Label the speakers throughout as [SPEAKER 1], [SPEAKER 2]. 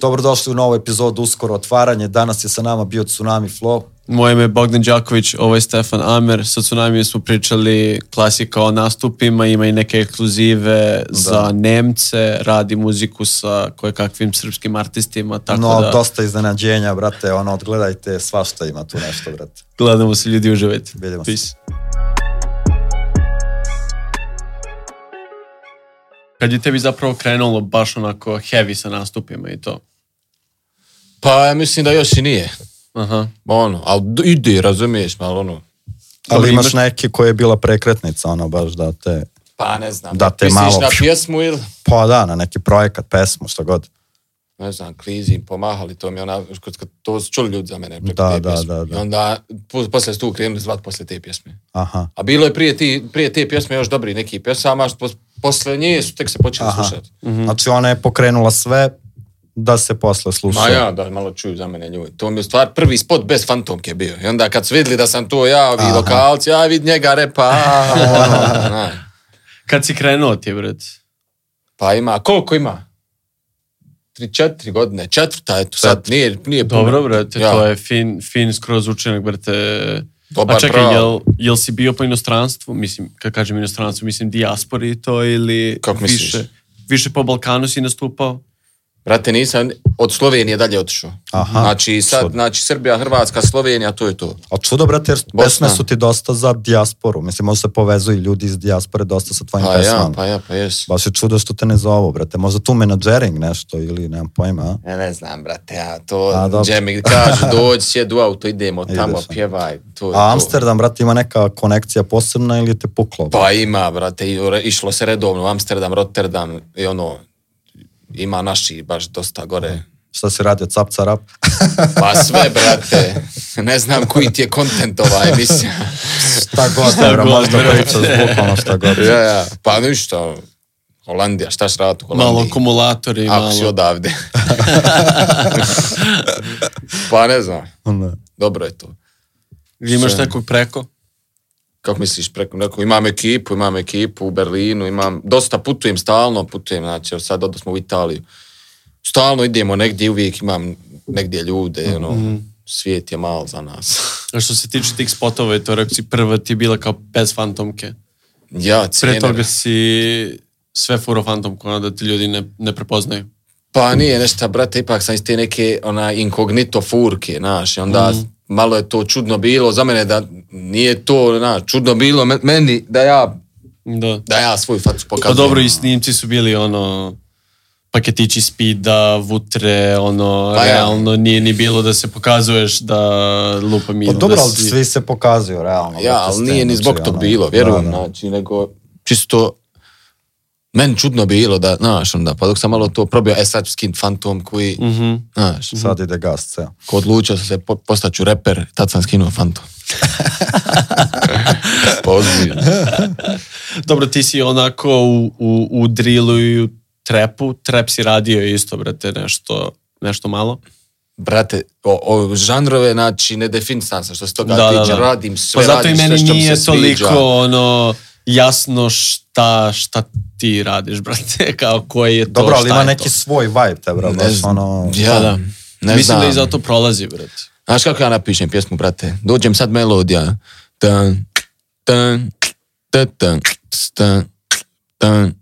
[SPEAKER 1] Dobrodošli u novu epizodu Uskoro otvaranje. Danas je sa nama bio Tsunami Flow.
[SPEAKER 2] Moje ime je Bogdan Đaković, ovo je Stefan Amer. Sa Tsunami smo pričali klasika o nastupima, ima i neke ekskluzive za Nemce, radi muziku sa kojekakvim srpskim artistima, tako
[SPEAKER 1] no,
[SPEAKER 2] da
[SPEAKER 1] dosta iznenađenja, brate, ono, odgledajte, svašta ima tu nešto, brate.
[SPEAKER 2] gledamo se ljudi uživajte.
[SPEAKER 1] Vidimo se.
[SPEAKER 2] Peace. Kad je tebi zapravo krenulo baš onako heavy sa nastupima i to?
[SPEAKER 3] Pa ja mislim da još i nije.
[SPEAKER 2] Aha.
[SPEAKER 3] Ono, ali d- ide, razumiješ, malo ono.
[SPEAKER 1] Ali
[SPEAKER 2] Dobro,
[SPEAKER 1] imaš
[SPEAKER 2] imaš-
[SPEAKER 1] neke koje je bila prekretnica, ono, baš da te...
[SPEAKER 3] Pa ne znam.
[SPEAKER 1] Da te
[SPEAKER 3] misliš
[SPEAKER 1] malo-
[SPEAKER 3] na pjesmu ili?
[SPEAKER 1] Pa da, na neki projekat, pesmu, šta god.
[SPEAKER 3] Ne znam, klizim, pomahali, to mi je ona, kad, kad to su čuli ljudi za mene preko
[SPEAKER 1] Da,
[SPEAKER 3] te
[SPEAKER 1] da,
[SPEAKER 3] pjesme.
[SPEAKER 1] da, da.
[SPEAKER 3] I onda, po- posle su tu krenuli zvat posle te pjesme.
[SPEAKER 1] Aha.
[SPEAKER 3] A bilo je prije, ti, prije te pjesme još dobri neki pjesama, što pos, posle nje su tek se počeli
[SPEAKER 1] Aha.
[SPEAKER 3] slušati.
[SPEAKER 1] Znači ona je pokrenula sve da se posle sluša.
[SPEAKER 3] Ma ja, da malo čuju za mene ljudi. To mi je stvar prvi spot bez fantomke bio. I onda kad su vidjeli da sam to ja, ovi
[SPEAKER 1] Aha.
[SPEAKER 3] lokalci, a vid njega repa, a, ono, znaš.
[SPEAKER 2] Kad si krenuo ti, bret?
[SPEAKER 3] Pa ima, koliko ima? Tri, četiri godine, četvrta, eto sad, nije, nije puno.
[SPEAKER 2] Dobro, brate,
[SPEAKER 3] Ja.
[SPEAKER 2] to je fin, fin skroz učinak, brate.
[SPEAKER 3] Dobar
[SPEAKER 2] A čekaj,
[SPEAKER 3] bravo.
[SPEAKER 2] jel, jel si bio po inostranstvu? Mislim, kad kažem inostranstvu, mislim dijaspori to ili
[SPEAKER 3] Kako misliš?
[SPEAKER 2] više, više po Balkanu si nastupao?
[SPEAKER 3] Brate, nisam od Slovenije dalje otišao.
[SPEAKER 1] Aha.
[SPEAKER 3] Znači, sad,
[SPEAKER 1] Što?
[SPEAKER 3] znači, Srbija, Hrvatska, Slovenija, to je to.
[SPEAKER 1] A čudo, brate, jer
[SPEAKER 3] Bosna.
[SPEAKER 1] pesme su ti dosta za dijasporu. Mislim, možda se povezuju ljudi iz dijaspore dosta sa tvojim
[SPEAKER 3] Pa ja,
[SPEAKER 1] pesmama.
[SPEAKER 3] pa ja, pa jes.
[SPEAKER 1] Baš je čudo što te ne zovu, brate. Možda tu menadžering nešto ili nemam pojma, a?
[SPEAKER 3] Ja ne znam, brate, ja to,
[SPEAKER 1] A, dobro.
[SPEAKER 3] gdje mi kažu, dođi, sjedi u auto, idemo tamo,
[SPEAKER 1] Ideš, a.
[SPEAKER 3] pjevaj, to je to.
[SPEAKER 1] A Amsterdam, brate, ima neka konekcija posebna ili je te puklo?
[SPEAKER 3] Pa ima, brate, i re- išlo se redovno u Amsterdam, Rotterdam i ono, ima naši baš dosta gore.
[SPEAKER 1] Šta si radio, cap, carap?
[SPEAKER 3] Pa sve, brate, ne znam koji ti je ovaj, kontent ova emisija.
[SPEAKER 1] Šta god, dobra,
[SPEAKER 2] god,
[SPEAKER 1] možda
[SPEAKER 2] brate.
[SPEAKER 1] pričaš bukvalno šta god.
[SPEAKER 3] Ja, ja. Pa ništa, Holandija, šta će raditi u Holandiji?
[SPEAKER 2] Malo akumulatori, malo.
[SPEAKER 3] Ako si odavde. pa ne znam,
[SPEAKER 1] Ne.
[SPEAKER 3] dobro je to.
[SPEAKER 2] Imaš
[SPEAKER 3] Sve.
[SPEAKER 2] nekog preko?
[SPEAKER 3] Kako misliš, preko neko, imam ekipu, imam ekipu u Berlinu, imam, dosta putujem, stalno putujem, znači evo sad odnosno u Italiju. Stalno idemo negdje, uvijek imam negdje ljude, ono,
[SPEAKER 2] Mhm.
[SPEAKER 3] svijet je mal za nas.
[SPEAKER 2] A što se tiče tih spotova, je to rekao si prva ti je bila kao bez fantomke.
[SPEAKER 3] ja,
[SPEAKER 2] Pre
[SPEAKER 3] cijenim.
[SPEAKER 2] toga si sve furo fantomku, ono da ti ljudi ne, ne prepoznaju.
[SPEAKER 3] Pa nije nešto, brate, ipak sam iz te neke ona inkognito furke, znaš, i onda
[SPEAKER 2] Mhm.
[SPEAKER 3] malo je to čudno bilo za mene da nije to, znaš, čudno bilo me- meni da ja,
[SPEAKER 2] Da.
[SPEAKER 3] da ja svoju facu
[SPEAKER 2] Pa
[SPEAKER 3] pokazujem.
[SPEAKER 2] dobro, i snimci su bili ono paketići spida, vutre, ono,
[SPEAKER 3] Pa ja.
[SPEAKER 2] realno nije ni bilo da se pokazuješ da lupa mi.
[SPEAKER 1] Pa
[SPEAKER 2] da
[SPEAKER 1] dobro, ali
[SPEAKER 2] si-
[SPEAKER 1] svi se pokazuju, realno.
[SPEAKER 3] Ja,
[SPEAKER 1] brate, s
[SPEAKER 3] ali
[SPEAKER 1] tim,
[SPEAKER 3] nije ni zbog
[SPEAKER 1] znači,
[SPEAKER 3] tog
[SPEAKER 1] ono,
[SPEAKER 3] bilo, vjerujem,
[SPEAKER 1] da, da.
[SPEAKER 3] znači, nego čisto meni čudno bilo da, znaš, onda, pa dok sam malo to probio, e sad ću skin fantom koji,
[SPEAKER 2] Mhm.
[SPEAKER 3] znaš,
[SPEAKER 1] Sad ide gas, ceo.
[SPEAKER 3] ko odlučio sam se, po, postaću reper, tad sam skinuo Pa fantom. Poziv.
[SPEAKER 2] Dobro, ti si onako u, u, u drillu i u trepu. Trep si radio isto, brate, nešto, nešto malo.
[SPEAKER 3] brate, o, o žanrove, znači, ne definisan sam što se toga
[SPEAKER 2] Da, da,
[SPEAKER 3] tiče,
[SPEAKER 2] da.
[SPEAKER 3] radim sve,
[SPEAKER 2] Pa zato i
[SPEAKER 3] radim
[SPEAKER 2] meni
[SPEAKER 3] sve što mi
[SPEAKER 2] nije
[SPEAKER 3] se
[SPEAKER 2] toliko
[SPEAKER 3] sviđa.
[SPEAKER 2] ono jasno šta, šta ti radiš, brate, kao koji je to,
[SPEAKER 1] Dobro, ali
[SPEAKER 2] šta
[SPEAKER 1] ima
[SPEAKER 2] je
[SPEAKER 1] neki
[SPEAKER 2] to.
[SPEAKER 1] svoj vibe, te, bro, baš
[SPEAKER 3] znam.
[SPEAKER 1] ono...
[SPEAKER 3] Ja,
[SPEAKER 2] Pa da.
[SPEAKER 3] ne
[SPEAKER 2] Mislim
[SPEAKER 3] znam.
[SPEAKER 2] da i zato prolazi, brate.
[SPEAKER 3] Znaš kako ja napišem pjesmu, brate? Dođem sad melodija. Tan, tan, tan, tan, tan, tan,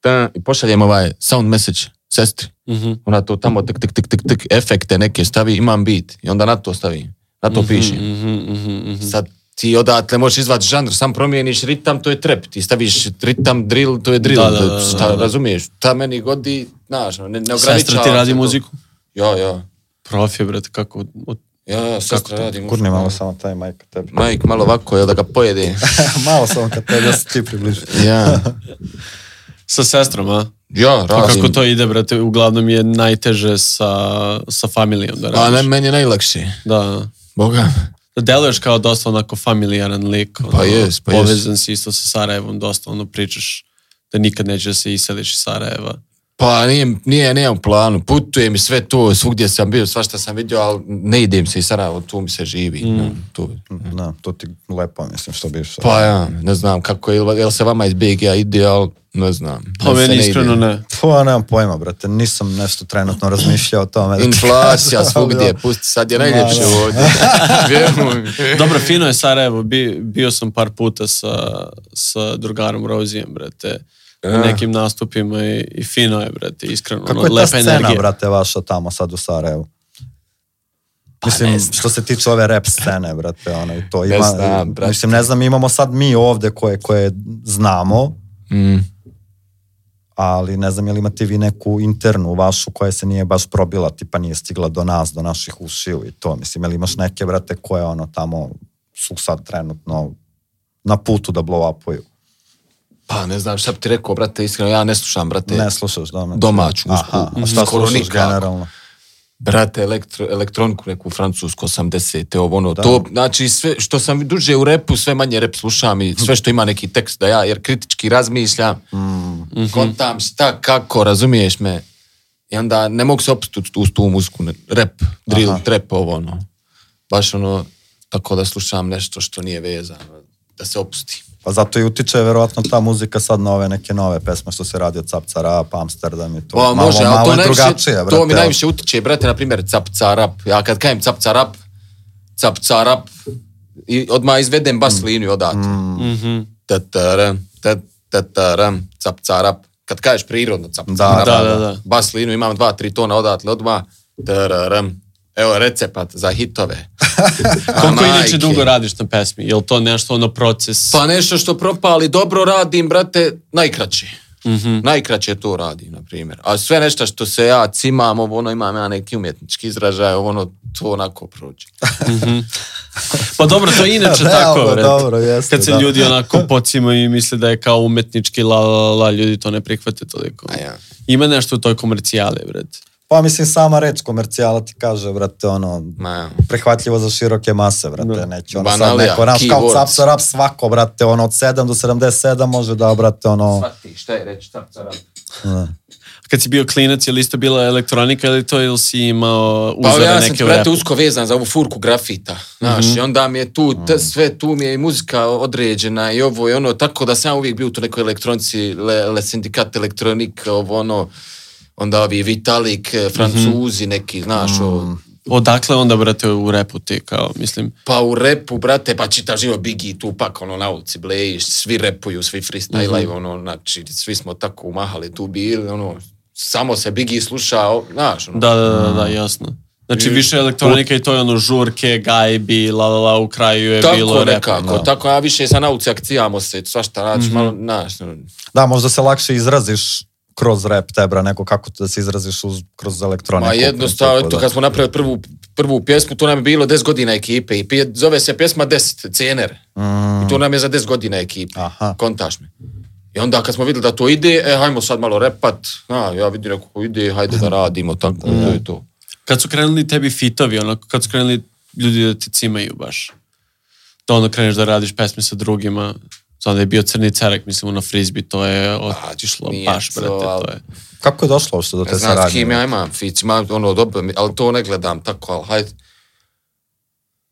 [SPEAKER 3] tan. I pošaljem ovaj sound message sestri.
[SPEAKER 2] Mhm.
[SPEAKER 3] Ona to tamo tik, tik, tik, tik, tik, efekte neke stavi, imam beat. I onda na to stavim. Na to pišem.
[SPEAKER 2] Mhm, mhm, mhm.
[SPEAKER 3] Sad ti odatle možeš izvat žanr, sam promijeniš ritam, to je trep. Ti staviš ritam, drill, to je drill.
[SPEAKER 2] Da, da, da, da,
[SPEAKER 3] Šta,
[SPEAKER 2] da.
[SPEAKER 3] razumiješ? Ta meni godi, znaš, ono, ne, ne
[SPEAKER 2] Sestra
[SPEAKER 3] ograničavam
[SPEAKER 2] ti
[SPEAKER 3] se
[SPEAKER 2] radi
[SPEAKER 3] to.
[SPEAKER 2] muziku?
[SPEAKER 3] Ja, ja.
[SPEAKER 2] Profi, brate, kako... od-
[SPEAKER 3] Ja, ja, sestra radi muziku.
[SPEAKER 1] Kurni malo samo taj majka tebi.
[SPEAKER 3] Majk malo ovako, jel da ga pojede?
[SPEAKER 1] malo samo kad tebi, ja se ti približi.
[SPEAKER 3] ja,
[SPEAKER 2] Sa sestrom, a?
[SPEAKER 3] ja
[SPEAKER 2] Pa
[SPEAKER 3] radim.
[SPEAKER 2] kako to ide, brate, uglavnom je najteže sa, sa familijom da
[SPEAKER 3] A
[SPEAKER 2] radiš.
[SPEAKER 3] Pa ne, meni je najlakše.
[SPEAKER 2] Da.
[SPEAKER 3] Boga.
[SPEAKER 2] Deluješ kao dosta onako familijaran lik. Ono,
[SPEAKER 3] Pa jes, pa jes.
[SPEAKER 2] Povezan si isto sa Sarajevom, dosta ono pričaš da nikad nećeš da se iseliš iz Sarajeva.
[SPEAKER 3] Pa nije, nije, nemam planu. Putujem i sve to, svugdje sam bio, svašta sam vidio, ali ne idem se i Sarajevo, tu mi se živi. Mm. Tu.
[SPEAKER 1] Da, to ti lepo, mislim, što bi išao.
[SPEAKER 3] Pa ja, ne znam kako je, jel se vama iz BG-a ide, ali ne znam.
[SPEAKER 2] Pa
[SPEAKER 3] Meni se
[SPEAKER 2] meni
[SPEAKER 3] ne ide.
[SPEAKER 2] iskreno ne.
[SPEAKER 1] Pa, nemam pojma, brate, nisam nešto trenutno razmišljao o tome. da ti
[SPEAKER 3] Inflacija
[SPEAKER 1] kažem, ali,
[SPEAKER 3] svugdje,
[SPEAKER 1] Pa da.
[SPEAKER 3] pusti, sad je najljepše
[SPEAKER 1] Ma,
[SPEAKER 3] ovdje. Vjeruj mi.
[SPEAKER 2] Dobro, fino je Sarajevo, Bi- bio sam par puta sa, sa drugarom Rozijem, brate,
[SPEAKER 3] Ah.
[SPEAKER 2] na nekim nastupima i, i fino je, brate, iskreno, ono,
[SPEAKER 1] Kako je ta
[SPEAKER 2] lepa
[SPEAKER 1] scena,
[SPEAKER 2] energija.
[SPEAKER 1] brate, vaša tamo sad u Sarajevu?
[SPEAKER 3] Pa
[SPEAKER 1] mislim, što se tiče ove rap scene, brate, ono, i to ima,
[SPEAKER 3] znam, brate.
[SPEAKER 1] mislim, ne znam, imamo sad mi ovdje koje, koje znamo,
[SPEAKER 3] Mm.
[SPEAKER 1] ali ne znam je li imate vi neku internu vašu koja se nije baš probila, tipa nije stigla do nas, do naših ušiju i to, mislim, je li imaš neke, brate, koje ono tamo su sad trenutno na putu da blow upuju.
[SPEAKER 3] Pa ne znam šta bi ti rekao, brate, iskreno, ja ne slušam, brate.
[SPEAKER 1] Ne slušaš doma?
[SPEAKER 3] Domaću,
[SPEAKER 1] Aha,
[SPEAKER 3] usku,
[SPEAKER 1] a šta
[SPEAKER 3] skoro
[SPEAKER 1] slušaš
[SPEAKER 3] nikako.
[SPEAKER 1] generalno?
[SPEAKER 3] Brate, elektro, elektroniku neku francusku 80. ovo ono,
[SPEAKER 1] Da.
[SPEAKER 3] to, znači sve što sam duže u repu, sve manje rep slušam i sve što ima neki tekst da ja, jer kritički razmišljam, kontam šta, kako, razumiješ me, i onda ne mogu se opustiti uz tu muziku, ne- rep, drill, trap, ovo ono, baš ono, tako da slušam nešto što nije vezano, da se opustim.
[SPEAKER 1] Pa zato i utiče vjerojatno ta muzika sad na ove neke nove pesme što se radi od Capca Rap, Amsterdam i to.
[SPEAKER 3] Pa, može,
[SPEAKER 1] malo,
[SPEAKER 3] ali
[SPEAKER 1] malo
[SPEAKER 3] to,
[SPEAKER 1] je
[SPEAKER 3] najviše,
[SPEAKER 1] drugačije, brate.
[SPEAKER 3] to mi najviše utiče, brate, na primjer, capca rap. Ja kad kajem capca rap, capca rap, i odmah izvedem bas
[SPEAKER 1] Mm.
[SPEAKER 3] liniju odatle.
[SPEAKER 2] Mhm.
[SPEAKER 3] Tataram, ta- tataram, capca rap. Kad kažeš prirodno capca
[SPEAKER 1] Da,
[SPEAKER 3] rap,
[SPEAKER 2] da, da, da.
[SPEAKER 3] bas liniju imam dva, tri tona odatle, odmah, tararam. Evo recept za hitove. A
[SPEAKER 2] Koliko inače
[SPEAKER 3] majke.
[SPEAKER 2] dugo radiš na pesmi? Je li to nešto ono proces?
[SPEAKER 3] Pa nešto što propali, dobro radim, brate, najkraće. Mhm. Najkraće to radim, na primjer. A sve nešto što se ja cimam, ovo ono, imam ja neki umjetnički izražaj, ovo ono, to onako prođe.
[SPEAKER 2] Pa dobro, to je inače
[SPEAKER 1] Da,
[SPEAKER 2] tako,
[SPEAKER 1] dobro,
[SPEAKER 2] brate.
[SPEAKER 1] dobro, jeste,
[SPEAKER 2] Kad se
[SPEAKER 1] da.
[SPEAKER 2] ljudi onako pocimaju i misle da je kao umetnički la, la, la, ljudi to ne prihvate toliko.
[SPEAKER 3] A ja.
[SPEAKER 2] Ima nešto u toj komercijali, brate.
[SPEAKER 1] Pa mislim, sama reč komercijala ti kaže, brate, ono,
[SPEAKER 3] Ma, ja.
[SPEAKER 1] prihvatljivo za široke mase, brate,
[SPEAKER 2] Da.
[SPEAKER 1] neće ono sad
[SPEAKER 3] Banalija,
[SPEAKER 1] neko, znaš, kao
[SPEAKER 3] keywords.
[SPEAKER 1] Capca Rap svako, brate, ono, od 7 do 77 može da, brate, ono,
[SPEAKER 3] Svati, šta je reći, šta rap.
[SPEAKER 1] ne.
[SPEAKER 2] Kad si bio klinac, je li isto bila elektronika ili to ili si imao
[SPEAKER 3] Pa
[SPEAKER 2] uzore
[SPEAKER 3] ja sam,
[SPEAKER 2] neke u
[SPEAKER 3] brate,
[SPEAKER 2] repu?
[SPEAKER 3] usko vezan za ovu furku grafita, znaš, i onda mi je tu, te, sve tu mi je i muzika određena i ovo i ono, tako da sam ja uvijek bio u tu nekoj elektronici, le, le sindikat elektronik, ovo ono, onda ovi Vitalik, eh, Francuzi neki, znaš, ovo,
[SPEAKER 2] Odakle onda, brate, u repu ti, kao, mislim,
[SPEAKER 3] Pa u repu, brate, pa čita živo Biggie tu, pak ono na ulici blejiš, svi repuju, svi freestyle
[SPEAKER 2] Mhm.
[SPEAKER 3] ono, znači, svi smo tako umahali tu bili, ono, samo se Biggie sluša, o, znaš, ono,
[SPEAKER 2] da, da, da, da, jasno. Znači, više elektronika i to je ono žurke, gajbi, la, la, la, u kraju je
[SPEAKER 3] tako
[SPEAKER 2] bilo repa.
[SPEAKER 3] nekako, tako, ja više sam na ulici akcijamo se, svašta, znači,
[SPEAKER 2] Mhm.
[SPEAKER 3] malo, znaš, ono,
[SPEAKER 1] da, možda se lakše izraziš kroz rap tebra, neko kako da se izraziš uz, kroz elektroniku.
[SPEAKER 3] Ma jednostavno,
[SPEAKER 1] tako
[SPEAKER 3] eto,
[SPEAKER 1] da.
[SPEAKER 3] kad smo napravili prvu, prvu pjesmu, to nam je bilo 10 godina ekipe i pije- zove se pjesma 10, Cener. I to nam je za 10 godina ekipe.
[SPEAKER 1] Mm. Aha.
[SPEAKER 3] Kontaš me. I onda kad smo vidjeli da to ide, e, hajmo sad malo repat, na, ja vidim neko ko ide, hajde da radimo, tako, to je to.
[SPEAKER 2] Kad su krenuli tebi fitovi, onako, kad su krenuli ljudi da ti cimaju baš, da ono kreneš da radiš pesme sa drugima, onda je bio Crni Cerek, mislim, ono frisbee, to je otišlo
[SPEAKER 3] nije
[SPEAKER 2] baš,
[SPEAKER 3] to,
[SPEAKER 2] brate, to
[SPEAKER 3] ali-
[SPEAKER 2] je.
[SPEAKER 1] Kako je došlo uopšte do te
[SPEAKER 3] Znam s
[SPEAKER 1] saradnje?
[SPEAKER 3] kim ja imam fić, imam ono dobro, mi- ali to ne gledam tako, ali hajde.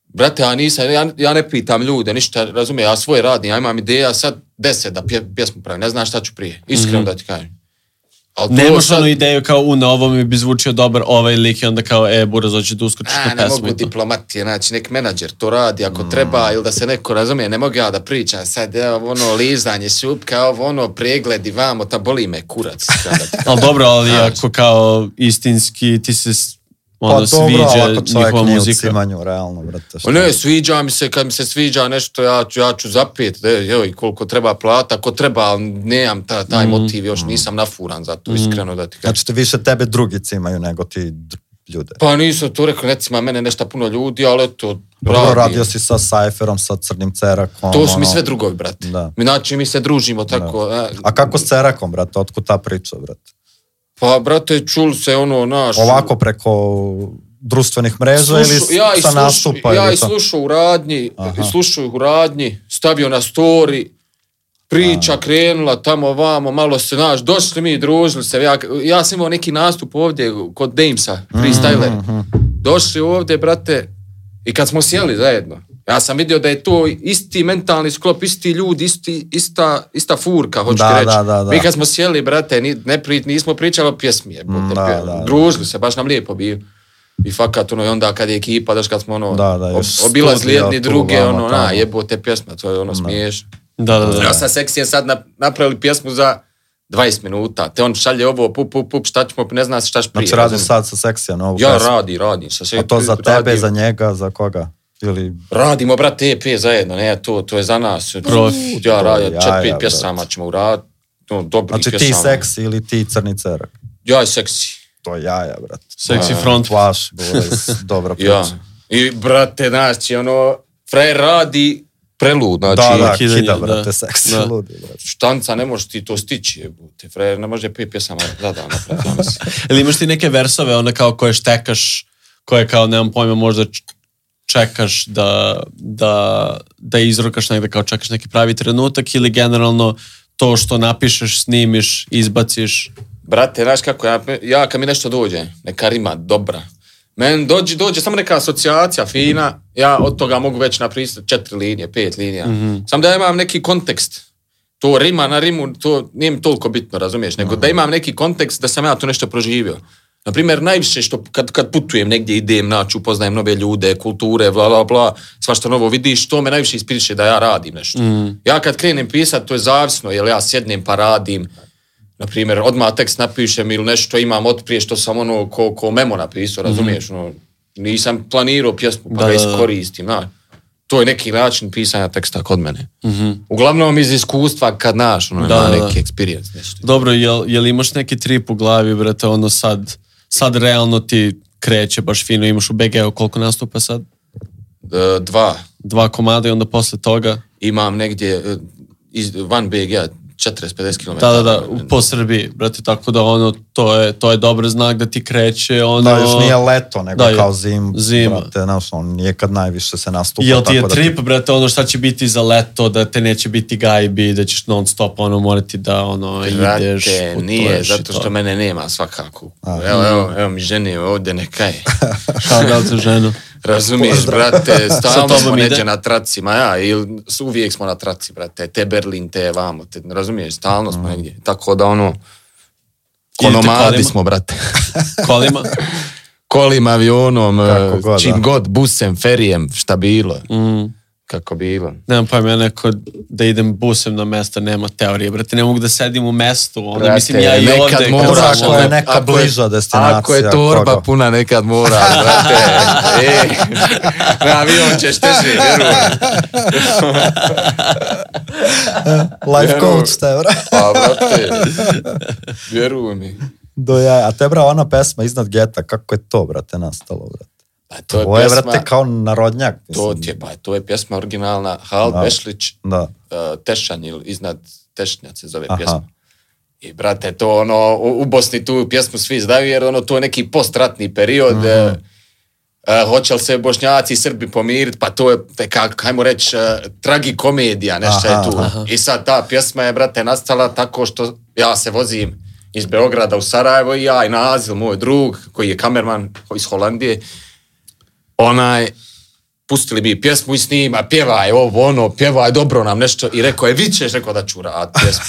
[SPEAKER 3] Brate, ja nisam, ja, ja ne pitam ljude, ništa, razumije, ja svoje radim, ja imam ideja sad deset da pje, pjesmu pravim, ne znam šta ću prije, iskreno da ti kažem. Ali to
[SPEAKER 2] Nemaš
[SPEAKER 3] sad-
[SPEAKER 2] ono ideju kao, u, na ovo mi bi zvučio dobar ovaj lik i onda kao, e, Buraz, hoćeš da uskočiš
[SPEAKER 3] A,
[SPEAKER 2] na
[SPEAKER 3] ne
[SPEAKER 2] pesmu
[SPEAKER 3] mogu
[SPEAKER 2] i to.
[SPEAKER 3] diplomatije, znači nek menadžer to radi ako treba ili da se neko razumije, ne mogu ja da pričam sad, evo ono lizanje šupka, ovo ono pregledi vamo, ta boli me kurac. sada ti kažem.
[SPEAKER 2] Ali dobro, ali ako kao istinski ti se s- ono
[SPEAKER 1] Znači. pa dobro, ali
[SPEAKER 2] sviđa
[SPEAKER 1] ako čovjek
[SPEAKER 2] njihova
[SPEAKER 1] nije u
[SPEAKER 2] muzika.
[SPEAKER 1] cimanju, realno, brate. šta-
[SPEAKER 3] O Pa ne, sviđa mi se, kad mi se sviđa nešto, ja ću, ja ću zapijet, e, joj, koliko treba plata, ako treba, ali nemam ta, taj motiv, još nisam nafuran za to, iskreno da ti kažem.
[SPEAKER 1] Mhm. Znači, više tebe drugi cimaju nego ti dr- ljude.
[SPEAKER 3] Pa nisam to rekao, recimo, mene nešto puno ljudi, ali eto,
[SPEAKER 1] Dobro,
[SPEAKER 3] radim.
[SPEAKER 1] radio si sa Cypherom, sa Crnim Cerakom.
[SPEAKER 3] To su mi
[SPEAKER 1] ono.
[SPEAKER 3] sve drugovi, brate.
[SPEAKER 1] Da.
[SPEAKER 3] Znači, mi se družimo tako. e,
[SPEAKER 1] A kako s Cerakom, brate? Otkud ta priča, brate?
[SPEAKER 3] Pa, brate, čul se ono, naš...
[SPEAKER 1] Ovako preko društvenih mreža ili
[SPEAKER 3] ja i
[SPEAKER 1] sa
[SPEAKER 3] sluš-
[SPEAKER 1] nastupa?
[SPEAKER 3] Ja
[SPEAKER 1] ili
[SPEAKER 3] i
[SPEAKER 1] sa-
[SPEAKER 3] slušao u radnji,
[SPEAKER 1] Aha.
[SPEAKER 3] i slušao ih u radnji, stavio na story, Priča krenula tamo vamo, malo se, znaš, došli mi, družili se. Ja, ja sam imao neki nastup ovdje kod Damesa, freestyler.
[SPEAKER 1] Mhm,
[SPEAKER 3] Došli ovdje, brate, i kad smo sjeli zajedno, ja sam vidio da je to isti mentalni sklop, isti ljudi, isti, ista, ista furka, hoću
[SPEAKER 1] Da,
[SPEAKER 3] ti reći.
[SPEAKER 1] da, da, da.
[SPEAKER 3] Mi kad smo sjeli, brate, ni- ne pri, nismo pričali o pjesmi, jebote,
[SPEAKER 1] Mm, da,
[SPEAKER 3] pje-
[SPEAKER 1] da, da.
[SPEAKER 3] družili se, baš nam lijepo bio. I fakat, ono, i onda kad je ekipa, daš kad smo, ono,
[SPEAKER 1] Da, da, još
[SPEAKER 3] ob- obilazili
[SPEAKER 1] studija
[SPEAKER 3] jedni
[SPEAKER 1] tu,
[SPEAKER 3] druge,
[SPEAKER 1] vamo,
[SPEAKER 3] ono,
[SPEAKER 1] tamo.
[SPEAKER 3] na, jebote, pjesma, to je, ono, smiješ.
[SPEAKER 2] Da, da, da.
[SPEAKER 3] Ja sam seksijem sad na- napravili pjesmu za 20 minuta, te on šalje ovo, pup, pup, pup, šta ćemo, ne zna se šta će prije.
[SPEAKER 1] Znači radiš
[SPEAKER 3] razumiješ?
[SPEAKER 1] sad sa seksija novu
[SPEAKER 3] Ja
[SPEAKER 1] pesmu.
[SPEAKER 3] radi, radim. Sa sve,
[SPEAKER 1] A to za tebe,
[SPEAKER 3] radim.
[SPEAKER 1] za njega, za koga? Ili
[SPEAKER 3] Radimo, brate, EP zajedno, ne, to, to je za nas.
[SPEAKER 2] Profi.
[SPEAKER 3] Ja radim,
[SPEAKER 1] Jaja,
[SPEAKER 3] četiri, pet
[SPEAKER 1] brate.
[SPEAKER 3] pjesama ćemo uraditi. No, dobrih
[SPEAKER 1] Znači ti
[SPEAKER 3] pjesama.
[SPEAKER 1] seksi ili ti crni cerak?
[SPEAKER 3] Ja i seksi.
[SPEAKER 1] To je jaja, brate.
[SPEAKER 2] Sexy front.
[SPEAKER 1] Flash, Boys, dobra priča.
[SPEAKER 3] Ja. I, brate, znači, ono, frajer radi prelud, znači,
[SPEAKER 1] Da, da,
[SPEAKER 2] kidanje,
[SPEAKER 1] kida,
[SPEAKER 2] da.
[SPEAKER 1] brate, seksi,
[SPEAKER 2] Da.
[SPEAKER 1] ludi, brate.
[SPEAKER 3] štanca, ne možeš ti to stići, jebote. Frajer ne može pet pjesama za dan, napraviti, ja mislim.
[SPEAKER 2] Ili imaš ti neke versove, one kao koje štekaš, koje kao, nemam pojma, možda č- čekaš da, da, da izrokaš negde, kao čekaš neki pravi trenutak ili generalno to što napišeš, snimiš, izbaciš.
[SPEAKER 3] Brate, znaš kako, ja, ja kad mi nešto dođe, neka rima dobra, men dođe, dođe samo neka asocijacija fina, ja od toga mogu već napisati četiri linije, pet linija. Samo da ja imam neki kontekst. To rima na rimu, to nije mi toliko bitno, razumiješ, nego da imam neki kontekst da sam ja tu nešto proživio. Na primjer, najviše što kad, kad putujem negdje idem, naći, upoznajem nove ljude, kulture, bla, bla, bla, svašta novo vidiš, to me najviše ispiriše da ja radim nešto. Ja kad krenem pisat, to je zavisno, jel ja sjednem pa radim, na primjer, odmah tekst napišem ili nešto imam od prije što sam ono ko, ko memo napisao, razumiješ? Ono, nisam planirao pjesmu, pa
[SPEAKER 2] Mhm. Da,
[SPEAKER 3] da,
[SPEAKER 2] da, da.
[SPEAKER 3] iskoristim, znaš. To je neki način pisanja teksta kod mene. Uglavnom iz iskustva kad naš, ono,
[SPEAKER 2] Mhm. Da,
[SPEAKER 3] ima
[SPEAKER 2] da, da.
[SPEAKER 3] neki experience, nešto.
[SPEAKER 2] Dobro, jel, jel imaš neki trip u glavi, brate, ono sad, sad realno ti kreće baš fino, imaš u BG-u koliko nastupa sad?
[SPEAKER 3] D- E, dva,
[SPEAKER 2] Dva komada i onda posle toga?
[SPEAKER 3] imam negdje e, iz, van BG-a 40-50 km.
[SPEAKER 2] Pa Da, da, da, u- po Srbiji, brate, tako da ono, to je, to je dobar znak da ti kreće, ono...
[SPEAKER 1] Da, još nije leto, nego
[SPEAKER 2] da, je-
[SPEAKER 1] kao zim,
[SPEAKER 2] zima.
[SPEAKER 1] brate, znaš, on nije kad najviše se nastupa.
[SPEAKER 2] Jel ti je
[SPEAKER 1] tako da
[SPEAKER 2] trip, brate, ono šta će biti za leto, da te neće biti gajbi, da ćeš non stop ono morati da ono ideš,
[SPEAKER 3] Brate, nije,
[SPEAKER 2] putuješ i
[SPEAKER 3] zato što
[SPEAKER 2] to.
[SPEAKER 3] mene nema svakako. Evo, evo,
[SPEAKER 2] mhm.
[SPEAKER 3] evo mi žene ovdje, neka je.
[SPEAKER 2] Šta da za ženu?
[SPEAKER 3] Razumiješ, brate, stalno
[SPEAKER 2] tobom
[SPEAKER 3] smo
[SPEAKER 2] ide.
[SPEAKER 3] neđe na tracima, ja, ili s- uvijek smo na traci, brate, te Berlin, te vamo, te, razumiješ, stalno
[SPEAKER 1] Mm.
[SPEAKER 3] smo negdje. Tako da ono, ko
[SPEAKER 2] Idete
[SPEAKER 3] nomadi
[SPEAKER 2] kolima?
[SPEAKER 3] smo, brate.
[SPEAKER 2] Kolima?
[SPEAKER 3] Kolima, avionom,
[SPEAKER 1] Kako
[SPEAKER 3] eh,
[SPEAKER 1] god, da.
[SPEAKER 3] čim god, busem, ferijem, šta bilo,
[SPEAKER 2] Mm.
[SPEAKER 3] kako bilo.
[SPEAKER 2] Nemam pojma, ja neko da idem busem na mesto, nema teorije, brate, ne mogu da sedim u mestu, onda
[SPEAKER 3] Brate,
[SPEAKER 2] mislim ja i
[SPEAKER 3] nekad
[SPEAKER 2] ovde. kad
[SPEAKER 1] Dobro,
[SPEAKER 3] mora,
[SPEAKER 2] sam
[SPEAKER 1] ako je
[SPEAKER 2] ono-
[SPEAKER 1] neka
[SPEAKER 3] ako je-
[SPEAKER 1] bliža destinacija.
[SPEAKER 3] Ako je torba
[SPEAKER 1] koga-
[SPEAKER 3] puna, nekad mora, brate. e, na avion ćeš teže, vjerujem.
[SPEAKER 1] Life
[SPEAKER 3] Vjerujem.
[SPEAKER 1] coach te, bra.
[SPEAKER 3] Pa, brate, vjeruj mi.
[SPEAKER 1] Do jaja. A te, bra, ona pesma iznad geta, kako je to, brate, nastalo, brate?
[SPEAKER 3] Pa, to je
[SPEAKER 1] Ovo je,
[SPEAKER 3] pjesma-
[SPEAKER 1] brate, kao narodnjak.
[SPEAKER 3] To
[SPEAKER 1] mislim.
[SPEAKER 3] ti je, pa to je pjesma originalna Hal
[SPEAKER 1] Da.
[SPEAKER 3] Bešlić,
[SPEAKER 1] Da.
[SPEAKER 3] uh, Tešanj ili iznad Tešnjac se zove
[SPEAKER 1] Aha.
[SPEAKER 3] pjesma. I brate, to ono, u, u Bosni tu pjesmu svi znaju jer ono, to je neki postratni period.
[SPEAKER 1] Mhm.
[SPEAKER 3] e, e, hoće li se Bošnjaci i Srbi pomiriti, pa to je, te kako, hajmo reći, e, tragikomedija,
[SPEAKER 1] Aha,
[SPEAKER 3] nešto je tu. I sad ta pjesma je, brate, nastala tako što ja se vozim iz Beograda u Sarajevo i ja i Nazil, moj drug, koji je kamerman iz Holandije, onaj, pustili bi pjesmu i snima, pjevaj ovo, ono, pjevaj, dobro nam nešto. I rekao je, vi ćeš, rekao da ću rad pjesmu.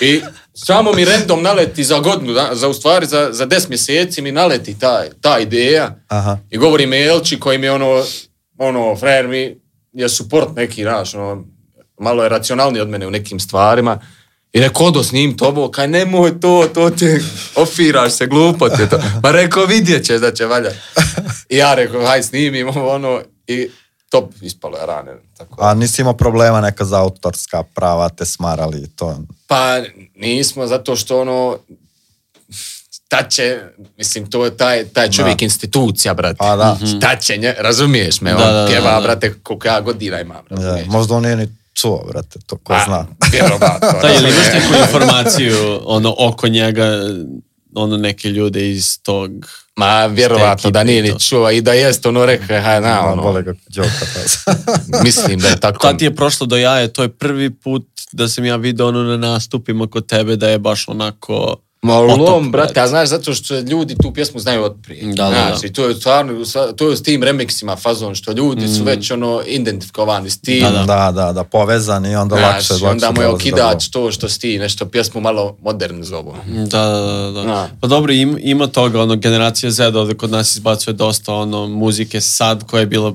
[SPEAKER 3] I samo mi random naleti za godinu, da- za u stvari za, za 10 mjeseci mi naleti ta, ta ideja.
[SPEAKER 1] Aha.
[SPEAKER 3] I govori mi Elči koji mi ono, ono, frajer mi je suport neki, znaš, ono, malo je racionalniji od mene u nekim stvarima. I rekao, odo snim to ovo, kaj nemoj to, to ti ofiraš se, glupo ti je to. Ma rekao, vidjet ćeš da će valja. I ja rekao, haj snimim ovo, ono, i top, ispalo je rane. Tako.
[SPEAKER 1] A nisi imao problema neka za autorska prava, te smarali i to.
[SPEAKER 3] Pa nismo, zato što ono, šta će, mislim, to je taj, taj čovjek institucija, brate.
[SPEAKER 1] Pa da.
[SPEAKER 3] Šta će, nje, razumiješ me,
[SPEAKER 2] Da,
[SPEAKER 3] on
[SPEAKER 2] da, da,
[SPEAKER 3] pjeva,
[SPEAKER 2] da.
[SPEAKER 3] brate, koliko ja godina imam,
[SPEAKER 1] Ja,
[SPEAKER 3] razumiješ?
[SPEAKER 1] možda on nije ni čuo, brate, to ko
[SPEAKER 3] Pa,
[SPEAKER 1] zna.
[SPEAKER 3] vjerovatno,
[SPEAKER 2] Da, jel
[SPEAKER 3] razumiješ?
[SPEAKER 2] imaš neku informaciju ono, oko njega, ono neke ljude iz tog...
[SPEAKER 3] Ma, vjerovatno
[SPEAKER 2] ekipe
[SPEAKER 3] da nije
[SPEAKER 2] i to.
[SPEAKER 3] ni čuo i da jest, ono rekao, je, ha, na,
[SPEAKER 1] ono.
[SPEAKER 3] ono,
[SPEAKER 1] Bole ga Đoka. pa-
[SPEAKER 3] mislim da je tako.
[SPEAKER 2] Tad ti je prošlo do jaje, to je prvi put da sam ja vidio ono na nastupima kod tebe da je baš onako...
[SPEAKER 3] Ma
[SPEAKER 2] potop,
[SPEAKER 3] lom, brate,
[SPEAKER 2] brate.
[SPEAKER 3] a znaš, zato što ljudi tu pjesmu znaju od prije.
[SPEAKER 2] Da, da,
[SPEAKER 3] znaš,
[SPEAKER 2] da.
[SPEAKER 3] I to je stvarno, sa- to je s tim remiksima fazon, što ljudi su već ono identifikovani s tim.
[SPEAKER 2] Mm. Da, da.
[SPEAKER 1] da, da, da, povezan i onda
[SPEAKER 3] Znaš,
[SPEAKER 1] lakše,
[SPEAKER 3] i
[SPEAKER 1] lakše.
[SPEAKER 3] onda mu je
[SPEAKER 1] dolazi do
[SPEAKER 3] okidač to što si ti nešto pjesmu malo modernizovao.
[SPEAKER 1] Mhm.
[SPEAKER 2] Da, da, da.
[SPEAKER 3] Da.
[SPEAKER 2] da. Pa dobro, im, ima toga, ono, generacija Z ovdje kod nas izbacuje dosta ono, muzike sad koja je bila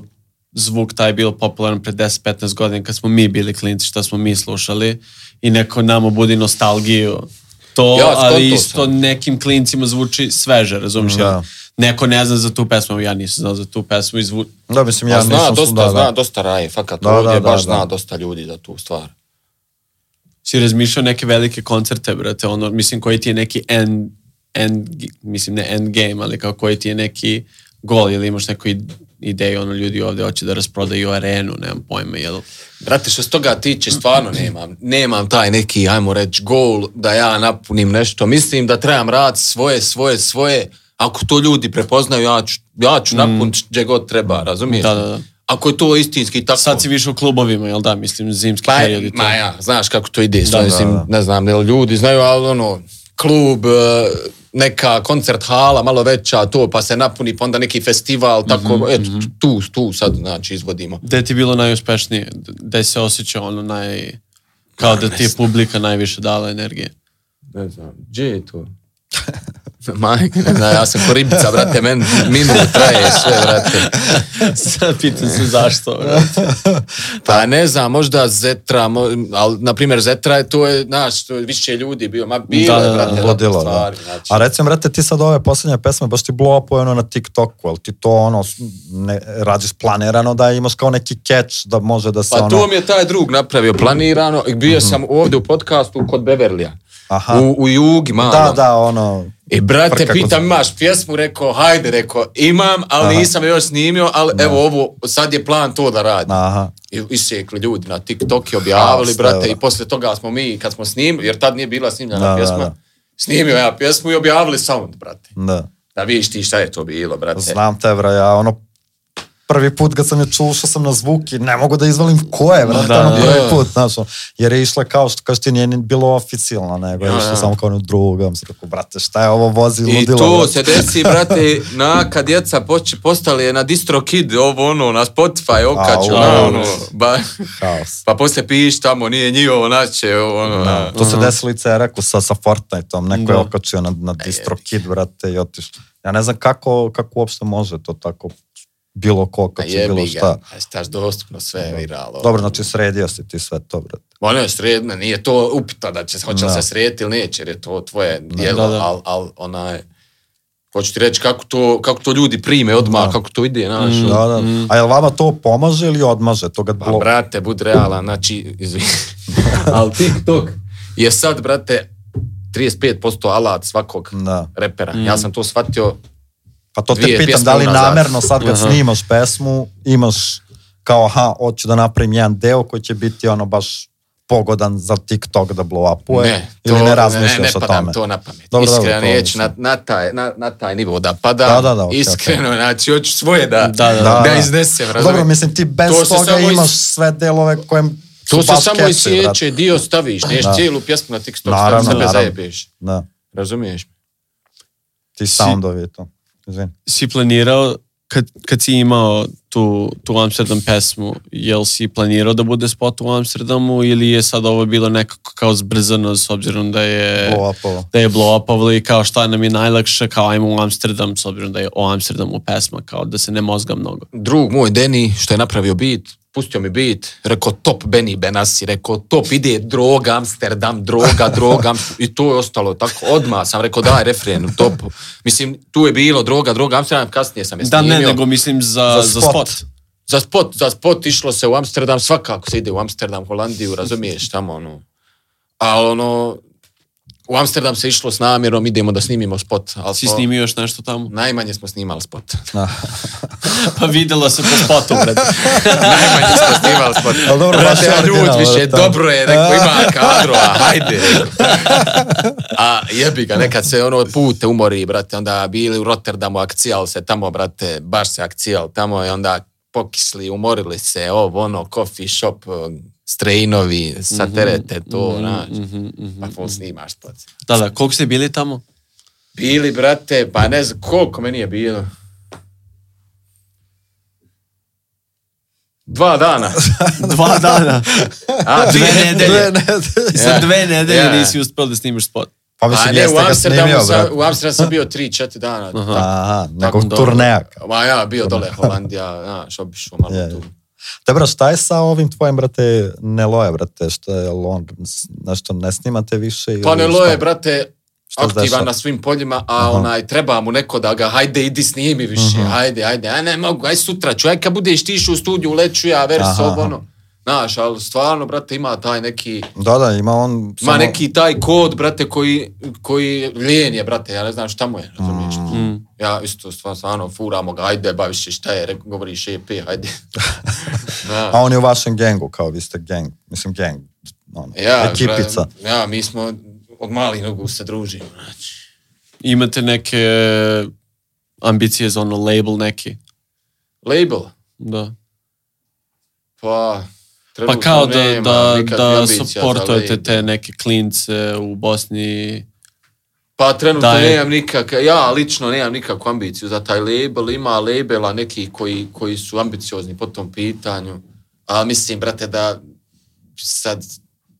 [SPEAKER 2] zvuk taj je bio popularan pred 10-15 godina kad smo mi bili klinci, što smo mi slušali i neko nama budi nostalgiju. To,
[SPEAKER 3] Ja,
[SPEAKER 2] ali
[SPEAKER 3] skonto
[SPEAKER 2] isto
[SPEAKER 3] sam.
[SPEAKER 2] nekim klincima zvuči sveže, razumiješ?
[SPEAKER 1] Da.
[SPEAKER 2] Neko ne zna za tu pesmu, ja nisam znao za tu pesmu i zvu...
[SPEAKER 1] Da, mislim,
[SPEAKER 3] Ja,
[SPEAKER 1] ja
[SPEAKER 3] zna,
[SPEAKER 1] nisam...
[SPEAKER 3] dosta,
[SPEAKER 1] da, da.
[SPEAKER 3] zna, dosta raje, fakat,
[SPEAKER 1] Da,
[SPEAKER 3] ovdje
[SPEAKER 1] da, da,
[SPEAKER 3] baš
[SPEAKER 1] da.
[SPEAKER 3] zna dosta ljudi za tu stvar.
[SPEAKER 2] si razmišljao neke velike koncerte, brate, ono, mislim, koji ti je neki end, end mislim, ne end game, ali kao koji ti je neki gol, ili imaš neku id- ideju, ono, ljudi ovdje hoće da rasprodaju arenu, nemam pojma, jel?
[SPEAKER 3] Brate, što se toga tiče, stvarno nemam. Nemam taj neki, ajmo reći, gol da ja napunim nešto. Mislim da trebam raditi svoje, svoje, svoje. Ako to ljudi prepoznaju, ja ću, ja
[SPEAKER 1] Mm.
[SPEAKER 3] ću napuniti gdje god treba, razumiješ?
[SPEAKER 2] Da, da, da.
[SPEAKER 3] Ako je to istinski tako...
[SPEAKER 2] Sad si više u klubovima, jel da, mislim, zimski
[SPEAKER 3] Ma,
[SPEAKER 2] period i to.
[SPEAKER 3] ma ja, Pa, znaš kako to ide. Da,
[SPEAKER 2] da,
[SPEAKER 3] mislim,
[SPEAKER 1] da.
[SPEAKER 3] Ne znam, jel ljudi znaju, ali ono, klub, e, neka koncert hala, malo veća, to, pa se napuni, pa onda neki festival, tako, eto, tu, tu sad, znači, izvodimo.
[SPEAKER 2] Gde ti je bilo najuspešnije? Gde se osjećao ono naj... Kao da ti je publika najviše dala energije.
[SPEAKER 3] Ne znam, gdje je to? Majke, ne znam, ja sam ko ribica, brate, men minut traje sve, brate.
[SPEAKER 2] Sad pitam se zašto, brate.
[SPEAKER 3] Pa ne znam, možda Zetra, mo, ali, na primjer, Zetra je to, je, znaš, to je više ljudi bio, ma bilo
[SPEAKER 2] Da,
[SPEAKER 3] je,
[SPEAKER 2] da,
[SPEAKER 3] brate,
[SPEAKER 2] da,
[SPEAKER 1] Ludilo,
[SPEAKER 3] dosta
[SPEAKER 1] da.
[SPEAKER 3] stvari, znači.
[SPEAKER 1] A recimo, brate, ti sad ove posljednje pesme, baš ti blow upuje ono na TikToku, ali ti to ono, s- ne, radiš planirano da imaš kao neki catch da može da se
[SPEAKER 3] Pa
[SPEAKER 1] ono... Mhm.
[SPEAKER 3] to mi je taj drug napravio planirano. Bio sam ovdje u podcastu kod Beverlija.
[SPEAKER 1] Aha.
[SPEAKER 3] U, u Jugi, malo.
[SPEAKER 1] Da, da, ono...
[SPEAKER 3] I brate,
[SPEAKER 1] Frka kod-
[SPEAKER 3] pitam, imaš pjesmu? Rekao, hajde, rekao, imam, ali
[SPEAKER 1] Aha.
[SPEAKER 3] nisam je još snimio, ali evo ovo, sad je plan to da radi.
[SPEAKER 1] Aha.
[SPEAKER 3] I isekli ljudi na TikTok i objavili,
[SPEAKER 1] Haos,
[SPEAKER 3] brate,
[SPEAKER 1] da, da.
[SPEAKER 3] i poslije toga smo mi, kad smo snimili, jer tad nije bila snimljena
[SPEAKER 1] Da, da,
[SPEAKER 3] pjesma,
[SPEAKER 1] da.
[SPEAKER 3] snimio ja pjesmu i objavili sound, brate.
[SPEAKER 1] Da.
[SPEAKER 3] Da vidiš ti šta je to bilo, brate.
[SPEAKER 1] Znam te, vra, ja ono prvi put kad sam je čuo, što sam na zvuk i ne mogu da izvalim ko je, vrata,
[SPEAKER 2] Da,
[SPEAKER 1] ono
[SPEAKER 2] da.
[SPEAKER 1] prvi put, znaš, ono, jer je išla kao što kažeš ti nije ni bilo oficijalno, nego je
[SPEAKER 3] Ja,
[SPEAKER 1] išla
[SPEAKER 3] ja.
[SPEAKER 1] samo kao ono druga, sam rekao, brate, šta je ovo vozi
[SPEAKER 3] I
[SPEAKER 1] ludilo,
[SPEAKER 3] to
[SPEAKER 1] brate.
[SPEAKER 3] se desi, brate, na kad djeca poče, postali je na distro kid, ovo ono, na Spotify, okaču,
[SPEAKER 1] A, užas.
[SPEAKER 3] na ono, ba,
[SPEAKER 1] Haos.
[SPEAKER 3] pa poslije piš tamo, nije njihovo, naće, ono, na.
[SPEAKER 1] To se desilo i Ceraku sa, sa Fortniteom, neko je
[SPEAKER 2] Da.
[SPEAKER 1] okačio na, na
[SPEAKER 3] E,
[SPEAKER 1] DistroKid, brate, i otišao. Ja ne znam kako, kako uopšte može to tako, bilo ko,
[SPEAKER 3] A
[SPEAKER 1] kako će bilo
[SPEAKER 3] Pa jebi
[SPEAKER 1] šta.
[SPEAKER 3] ga, a staš dostupno sve viralo.
[SPEAKER 1] Dobro, znači sredio si ti sve to, brate.
[SPEAKER 3] Ma ne, sredna, nije to upitno da će, hoće li
[SPEAKER 1] Da.
[SPEAKER 3] se srediti ili neće, jer je to tvoje djelo,
[SPEAKER 2] da, da.
[SPEAKER 3] ali al, onaj, hoću ti reći kako to, kako to ljudi prime odmah,
[SPEAKER 1] Da. Mm,
[SPEAKER 3] kako to ide, znaš, ono.
[SPEAKER 1] Da, da. Znači, A jel vama to pomaže ili odmaže? To kad
[SPEAKER 3] Pa
[SPEAKER 1] blo...
[SPEAKER 3] brate, bud realan, znači, izvini. ali TikTok je sad, brate, 35% alat svakog
[SPEAKER 1] Da.
[SPEAKER 3] repera.
[SPEAKER 1] Mm.
[SPEAKER 3] Ja sam to shvatio,
[SPEAKER 1] Pa to te
[SPEAKER 3] Dvije
[SPEAKER 1] pitam,
[SPEAKER 3] pjesme
[SPEAKER 1] da li
[SPEAKER 3] unazad.
[SPEAKER 1] namerno sad kad
[SPEAKER 2] Aha.
[SPEAKER 1] snimaš pesmu, imaš kao, aha, hoću da napravim jedan deo koji će biti ono baš pogodan za TikTok da blow upuje,
[SPEAKER 3] ne, to,
[SPEAKER 1] ili ne razmišljaš
[SPEAKER 3] ne, ne
[SPEAKER 1] o
[SPEAKER 3] padam
[SPEAKER 1] tome.
[SPEAKER 3] to na pamet.
[SPEAKER 1] Dobro, dobro,
[SPEAKER 3] Iskreno
[SPEAKER 1] to
[SPEAKER 3] neću
[SPEAKER 1] mislim.
[SPEAKER 3] na, na, taj, na, na taj nivo da padam.
[SPEAKER 1] Da, da, da, okej,
[SPEAKER 3] Iskreno, znači, hoću svoje da,
[SPEAKER 2] Da, da,
[SPEAKER 1] da.
[SPEAKER 3] da iznesem.
[SPEAKER 1] Dobro,
[SPEAKER 3] razumiješ?
[SPEAKER 1] mislim ti bez
[SPEAKER 3] To se
[SPEAKER 1] toga
[SPEAKER 3] samo iz-
[SPEAKER 1] imaš sve delove kojem
[SPEAKER 3] To
[SPEAKER 1] su
[SPEAKER 3] se
[SPEAKER 1] baš
[SPEAKER 3] samo
[SPEAKER 1] catchy,
[SPEAKER 3] isječe,
[SPEAKER 1] brate.
[SPEAKER 3] dio staviš, neš
[SPEAKER 1] Da.
[SPEAKER 3] cijelu pjesmu na TikTok,
[SPEAKER 1] Naravno,
[SPEAKER 3] naravno, sebe
[SPEAKER 1] naravno.
[SPEAKER 3] zajebeš.
[SPEAKER 1] Da,
[SPEAKER 3] Razumiješ?
[SPEAKER 1] ti soundovi i to. Izvini.
[SPEAKER 2] si planirao, kad, kad si imao tu, tu Amsterdam pesmu, jel si planirao da bude spot u Amsterdamu ili je sad ovo bilo nekako kao zbrzano s obzirom da je
[SPEAKER 1] Blow up ovo.
[SPEAKER 2] da je blow upavilo i kao šta nam je najlakše kao ajmo u Amsterdam s obzirom da je o Amsterdamu pesma kao da se ne mozga mnogo.
[SPEAKER 3] drug moj Deni što je napravio beat, pustio mi beat, rekao top Benny Benassi, rekao top ide droga Amsterdam, droga, droga Amsterdam. i to je ostalo tako, odmah sam rekao daj refren, top. Mislim, tu je bilo droga, droga Amsterdam, kasnije sam je
[SPEAKER 2] Da
[SPEAKER 3] snimio.
[SPEAKER 2] ne, nego mislim za,
[SPEAKER 1] Za
[SPEAKER 2] za
[SPEAKER 1] spot.
[SPEAKER 2] spot.
[SPEAKER 3] Za spot, za spot išlo se u Amsterdam, svakako se ide u Amsterdam, Holandiju, razumiješ, tamo ono. Ali ono, u Amsterdam se išlo s namjerom, idemo da snimimo spot. Ali
[SPEAKER 2] Si
[SPEAKER 3] smo-
[SPEAKER 2] snimio još nešto tamo?
[SPEAKER 3] Najmanje smo snimali spot.
[SPEAKER 2] pa videlo se po spotu, brate.
[SPEAKER 3] Najmanje smo snimali spot.
[SPEAKER 1] Ali dobro, baš je
[SPEAKER 3] Brate, a ljud
[SPEAKER 1] originalno,
[SPEAKER 3] više,
[SPEAKER 1] da.
[SPEAKER 3] dobro je, rekao, ima kadrova, hajde. A jebi ga, nekad se ono pute umori, brate, onda bili u Rotterdamu, akcijal se tamo, brate, baš se akcijal tamo i onda pokisli, umorili se, ovo, ono, coffee shop, strejnovi, saterete to, znaš. Pa full snimaš spot.
[SPEAKER 2] Da, da, koliko ste bili tamo?
[SPEAKER 3] Bili, brate, pa ne znam koliko meni je bilo. Dva dana.
[SPEAKER 2] Dva dana.
[SPEAKER 3] A, dvije
[SPEAKER 2] Dve
[SPEAKER 3] nedelje.
[SPEAKER 2] nedelje. Za
[SPEAKER 3] Ja.
[SPEAKER 2] dve nedelje
[SPEAKER 3] Ja.
[SPEAKER 2] nisi uspio da snimiš spot.
[SPEAKER 1] Pa
[SPEAKER 3] Pa
[SPEAKER 1] mislim,
[SPEAKER 3] ne, u
[SPEAKER 1] jeste ga snimio,
[SPEAKER 3] Amsterdamu, sam,
[SPEAKER 1] brate.
[SPEAKER 3] u Amsterdamu sam bio 3-4 dana.
[SPEAKER 1] Aha,
[SPEAKER 3] Tako
[SPEAKER 1] nekog
[SPEAKER 3] dobro.
[SPEAKER 1] turneja.
[SPEAKER 3] Ma ja, bio dole Holandija, znaš, obišao malo
[SPEAKER 1] Je,
[SPEAKER 3] tu.
[SPEAKER 1] je. Dobro, šta je sa ovim tvojim, brate, Neloje, brate, što je on, nešto ne snimate više? ili
[SPEAKER 3] Pa ne loje,
[SPEAKER 1] šta?
[SPEAKER 3] brate,
[SPEAKER 1] Šta se dešava?
[SPEAKER 3] aktivan na svim poljima, a
[SPEAKER 1] Aha.
[SPEAKER 3] onaj, treba mu neko da ga, hajde, idi snimi više, hajde, hajde, aj ne mogu, aj sutra ću, aj kad budeš tišu u studiju, leću ja, vers
[SPEAKER 1] Aha,
[SPEAKER 3] ovo,
[SPEAKER 1] aha.
[SPEAKER 3] ono. Znaš, ali stvarno, brate, ima taj neki,
[SPEAKER 1] Da, da, ima on...
[SPEAKER 3] ima
[SPEAKER 1] samo-
[SPEAKER 3] neki taj kod, brate, koji, koji lijen je, brate, ja ne znam šta mu je, razumiješ?
[SPEAKER 2] Mm.
[SPEAKER 3] Ja isto stvarno, stvarno furamo ga, ajde, baviš se šta je, reko- govoriš EP, ajde. Da.
[SPEAKER 1] A on je u vašem gengu, kao vi ste geng, mislim geng, ono,
[SPEAKER 3] Ja,
[SPEAKER 1] ekipica.
[SPEAKER 3] bra- ja, mi smo od malih nogu se družimo, znači.
[SPEAKER 2] Imate neke ambicije za ono label neki.
[SPEAKER 3] Label,
[SPEAKER 2] Da.
[SPEAKER 3] pa...
[SPEAKER 2] Pa
[SPEAKER 3] trenutno
[SPEAKER 2] kao da,
[SPEAKER 3] nema
[SPEAKER 2] da,
[SPEAKER 3] nikakvih
[SPEAKER 2] da
[SPEAKER 3] ambicija za
[SPEAKER 2] supportujete
[SPEAKER 3] label.
[SPEAKER 2] te neke klince u Bosni.
[SPEAKER 3] Pa trenutno
[SPEAKER 2] da je-
[SPEAKER 3] nemam nikak, ja lično nemam nikakvu ambiciju za taj label, ima labela neki koji, koji su ambiciozni po tom pitanju, a mislim, brate, da sad,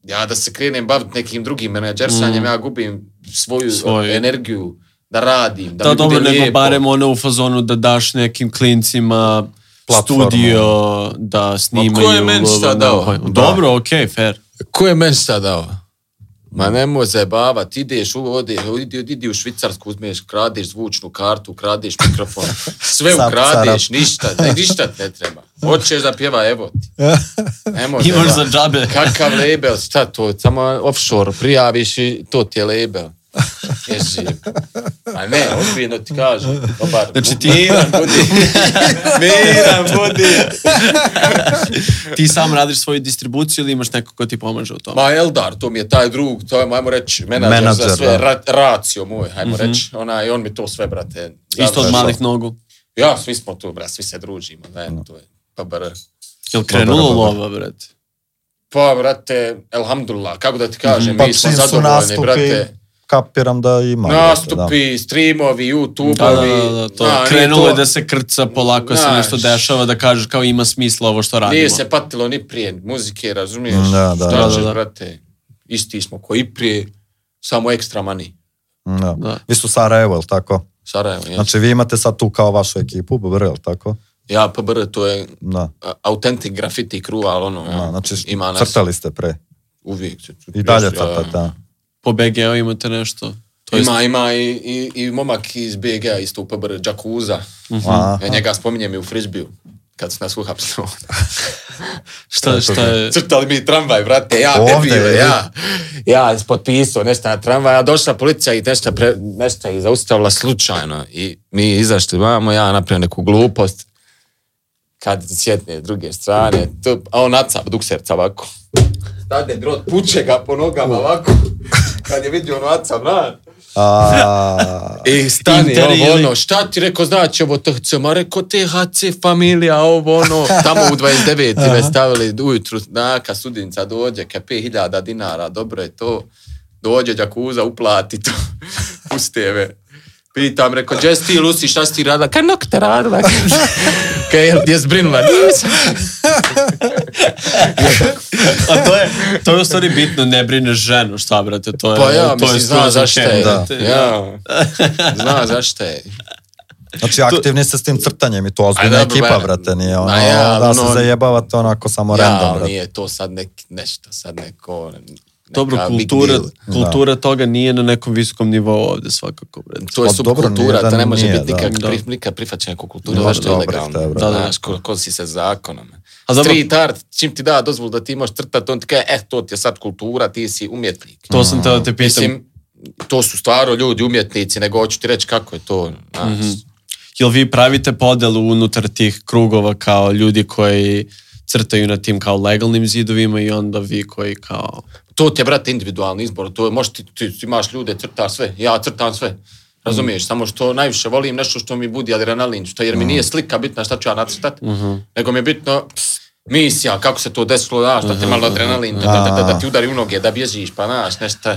[SPEAKER 3] ja da se krenem baviti nekim drugim menadžersanjem, ja gubim svoju
[SPEAKER 2] Mm. Svoju.
[SPEAKER 3] energiju da radim, da,
[SPEAKER 2] Da,
[SPEAKER 3] mi
[SPEAKER 2] dobro,
[SPEAKER 3] bude
[SPEAKER 2] nego
[SPEAKER 3] lijepo.
[SPEAKER 2] barem ono u fazonu da daš nekim klincima
[SPEAKER 1] Platformu.
[SPEAKER 2] studio da snimaju.
[SPEAKER 3] ko je meni šta
[SPEAKER 2] ono,
[SPEAKER 3] dao?
[SPEAKER 2] pa-
[SPEAKER 3] Da.
[SPEAKER 2] Dobro, okej, fair.
[SPEAKER 3] Ko je meni sad dao? Ma nemoj zajebavat, ideš, u- ode, idi, idi u Švicarsku, uzmeš, kradeš zvučnu kartu, kradeš mikrofon, sve
[SPEAKER 1] Sam
[SPEAKER 3] ukradeš, ništa, ne, ništa te ne treba. Hoćeš da pjeva, evo ti. Nemoj
[SPEAKER 2] Imaš za
[SPEAKER 3] zajebavat.
[SPEAKER 2] džabe.
[SPEAKER 3] Kakav label, šta to, samo offshore, prijaviš i to ti je label. Je živ. Ma ne, ozbiljno ti kažem. Dobar.
[SPEAKER 2] Znači ti-
[SPEAKER 3] Miran budi. Miran budi.
[SPEAKER 2] Ti sam radiš svoju distribuciju ili imaš neko ko ti pomaže u tome?
[SPEAKER 3] Ma Eldar, to mi je taj drug, to je, ajmo reći, menadžer,
[SPEAKER 1] Menadžer,
[SPEAKER 3] za sve,
[SPEAKER 1] da.
[SPEAKER 3] ra, racio moj, ajmo reći. Onaj, on mi to sve, brate,
[SPEAKER 2] Mhm. Isto od
[SPEAKER 3] završao.
[SPEAKER 2] malih nogu.
[SPEAKER 3] Ja, svi smo tu, brate, svi se družimo, ne, to je, pa br.
[SPEAKER 2] Jel krenulo
[SPEAKER 1] Dobro, dobro.
[SPEAKER 2] lova, brate?
[SPEAKER 3] Pa, brate, elhamdulillah, kako
[SPEAKER 2] Mhm.
[SPEAKER 3] da ti kažem,
[SPEAKER 1] Pa
[SPEAKER 3] mi smo
[SPEAKER 1] čim su
[SPEAKER 3] zadovoljni,
[SPEAKER 1] nastupi,
[SPEAKER 3] brate.
[SPEAKER 1] kapiram da ima. brate, da.
[SPEAKER 3] Nastupi, streamovi, YouTube-ovi.
[SPEAKER 2] Pa Da, da, da, da, to.
[SPEAKER 3] na, nije
[SPEAKER 2] Krenulo
[SPEAKER 3] to-
[SPEAKER 2] je da se krca, polako se
[SPEAKER 3] Znaš.
[SPEAKER 2] nešto dešava, da kažeš kao ima smisla ovo što radimo.
[SPEAKER 3] Nije se patilo ni prije muzike, razumiješ?
[SPEAKER 1] Da, da,
[SPEAKER 3] Šta
[SPEAKER 2] da,
[SPEAKER 3] ćeš,
[SPEAKER 2] da.
[SPEAKER 3] brate, isti smo koji prije, samo ekstra mani.
[SPEAKER 1] Da.
[SPEAKER 2] Da.
[SPEAKER 1] Vi su Sarajevo, jel tako?
[SPEAKER 3] Sarajevo, ja.
[SPEAKER 1] Znači vi imate sad tu kao vašu ekipu, BBR, jel tako?
[SPEAKER 3] ja, pa br, to je
[SPEAKER 1] Da.
[SPEAKER 3] a- autentic graffiti crew, ali ono,
[SPEAKER 1] da.
[SPEAKER 3] ja,
[SPEAKER 1] Znači
[SPEAKER 3] ima nas
[SPEAKER 1] crtali ste pre.
[SPEAKER 3] uvijek. se-
[SPEAKER 1] I dalje
[SPEAKER 3] još, ja,
[SPEAKER 1] crtate, da.
[SPEAKER 2] Po BG-u imate nešto? To jest-
[SPEAKER 3] Ima, ima i, i, i momak iz BG isto u PBR, Džakuza.
[SPEAKER 1] Aha.
[SPEAKER 3] Ja njega spominjem i u frisbiju kad su nas uhapsili.
[SPEAKER 2] šta, šta je?
[SPEAKER 3] Crtali mi tramvaj, brate, ja,
[SPEAKER 1] Ovdje,
[SPEAKER 3] debile,
[SPEAKER 1] je.
[SPEAKER 3] ja. Ja potpisao nešto na tramvaj, a došla policija i nešto, pre, nešto ih zaustavila slučajno. I mi izašli vamo, ja napravim neku glupost. Kad sjetne s druge strane, tu, a on nacap dukserca ovako. Stade drot, puče ga po nogama ovako. Kad je vidio ono nacap, na.
[SPEAKER 1] A,
[SPEAKER 3] I E, stani,
[SPEAKER 2] Inter
[SPEAKER 3] ovo
[SPEAKER 2] ili-
[SPEAKER 3] ono, šta ti rekao, znači ovo THC, ma rekao THC familija, ovo ono, tamo u 29. me stavili ujutru, naka sudinca dođe, ka 5000 dinara, dobro je to, dođe Đakuza, uplati to, puste me. Pitam, rekao, gdje si ti, Lucy, šta si ti radila? Kaj nokte radila? Kaj, jel ti je zbrinula? Nisam.
[SPEAKER 2] A to je, to je u stvari bitno, ne brineš ženu, šta brate, to je...
[SPEAKER 3] Pa ja,
[SPEAKER 2] to
[SPEAKER 3] mislim, zna
[SPEAKER 2] skroz
[SPEAKER 3] zašto
[SPEAKER 2] okej,
[SPEAKER 3] je.
[SPEAKER 1] Da.
[SPEAKER 2] brate.
[SPEAKER 3] Ja, zna zašto je.
[SPEAKER 1] znači aktivni ste s tim crtanjem i to ozbiljna
[SPEAKER 3] Aj, dobro,
[SPEAKER 1] ekipa,
[SPEAKER 3] ba-
[SPEAKER 1] brate, nije ono,
[SPEAKER 3] Ma ja,
[SPEAKER 1] da se
[SPEAKER 3] ono-
[SPEAKER 1] zajebavate onako
[SPEAKER 2] Pa,
[SPEAKER 1] samo
[SPEAKER 3] Ja,
[SPEAKER 1] random,
[SPEAKER 3] ali
[SPEAKER 1] brate.
[SPEAKER 3] nije to sad nek, nešto, sad neko... neka
[SPEAKER 2] Dobro,
[SPEAKER 3] big
[SPEAKER 2] kultura,
[SPEAKER 3] deal.
[SPEAKER 2] kultura toga nije na nekom visokom nivou ovdje svakako, brate.
[SPEAKER 3] To je
[SPEAKER 1] Pa dobro,
[SPEAKER 3] subkultura,
[SPEAKER 1] nije
[SPEAKER 3] to
[SPEAKER 1] da
[SPEAKER 3] ne može
[SPEAKER 1] nije,
[SPEAKER 3] biti
[SPEAKER 1] da.
[SPEAKER 3] nikak,
[SPEAKER 2] Da.
[SPEAKER 3] pri, nikad prihvaćena kao kultura,
[SPEAKER 1] Dobro,
[SPEAKER 3] zašto je
[SPEAKER 1] dobro
[SPEAKER 3] ilegalno.
[SPEAKER 1] ste, bro.
[SPEAKER 2] Da, da.
[SPEAKER 3] Znaš, ko, ko si se zakonom.
[SPEAKER 2] A dobro-
[SPEAKER 3] Street art, čim ti da dozvolu da ti možeš crtati, on ti kaže, eh, to ti je sad kultura, ti si umjetnik.
[SPEAKER 2] To sam te da te pitam. Mhm.
[SPEAKER 3] Mislim, to su stvarno ljudi, umjetnici, nego hoću ti reći kako je to. Nas.
[SPEAKER 2] Jel vi pravite podelu unutar tih krugova kao ljudi koji crtaju na tim kao legalnim zidovima i onda vi koji kao...
[SPEAKER 3] To ti je, brate, individualni izbor. To je, možeš ti, ti, ti imaš ljude, crtaš sve. Ja crtam sve. Razumiješ, samo što najviše volim nešto što mi budi adrenalin, što jer mi nije slika bitna šta ću ja nacrtati, nego mi je bitno ps, misija, kako se to desilo, znaš, da te malo adrenalin, da, da, da, da ti udari u noge, da bježiš, pa znaš, nešto.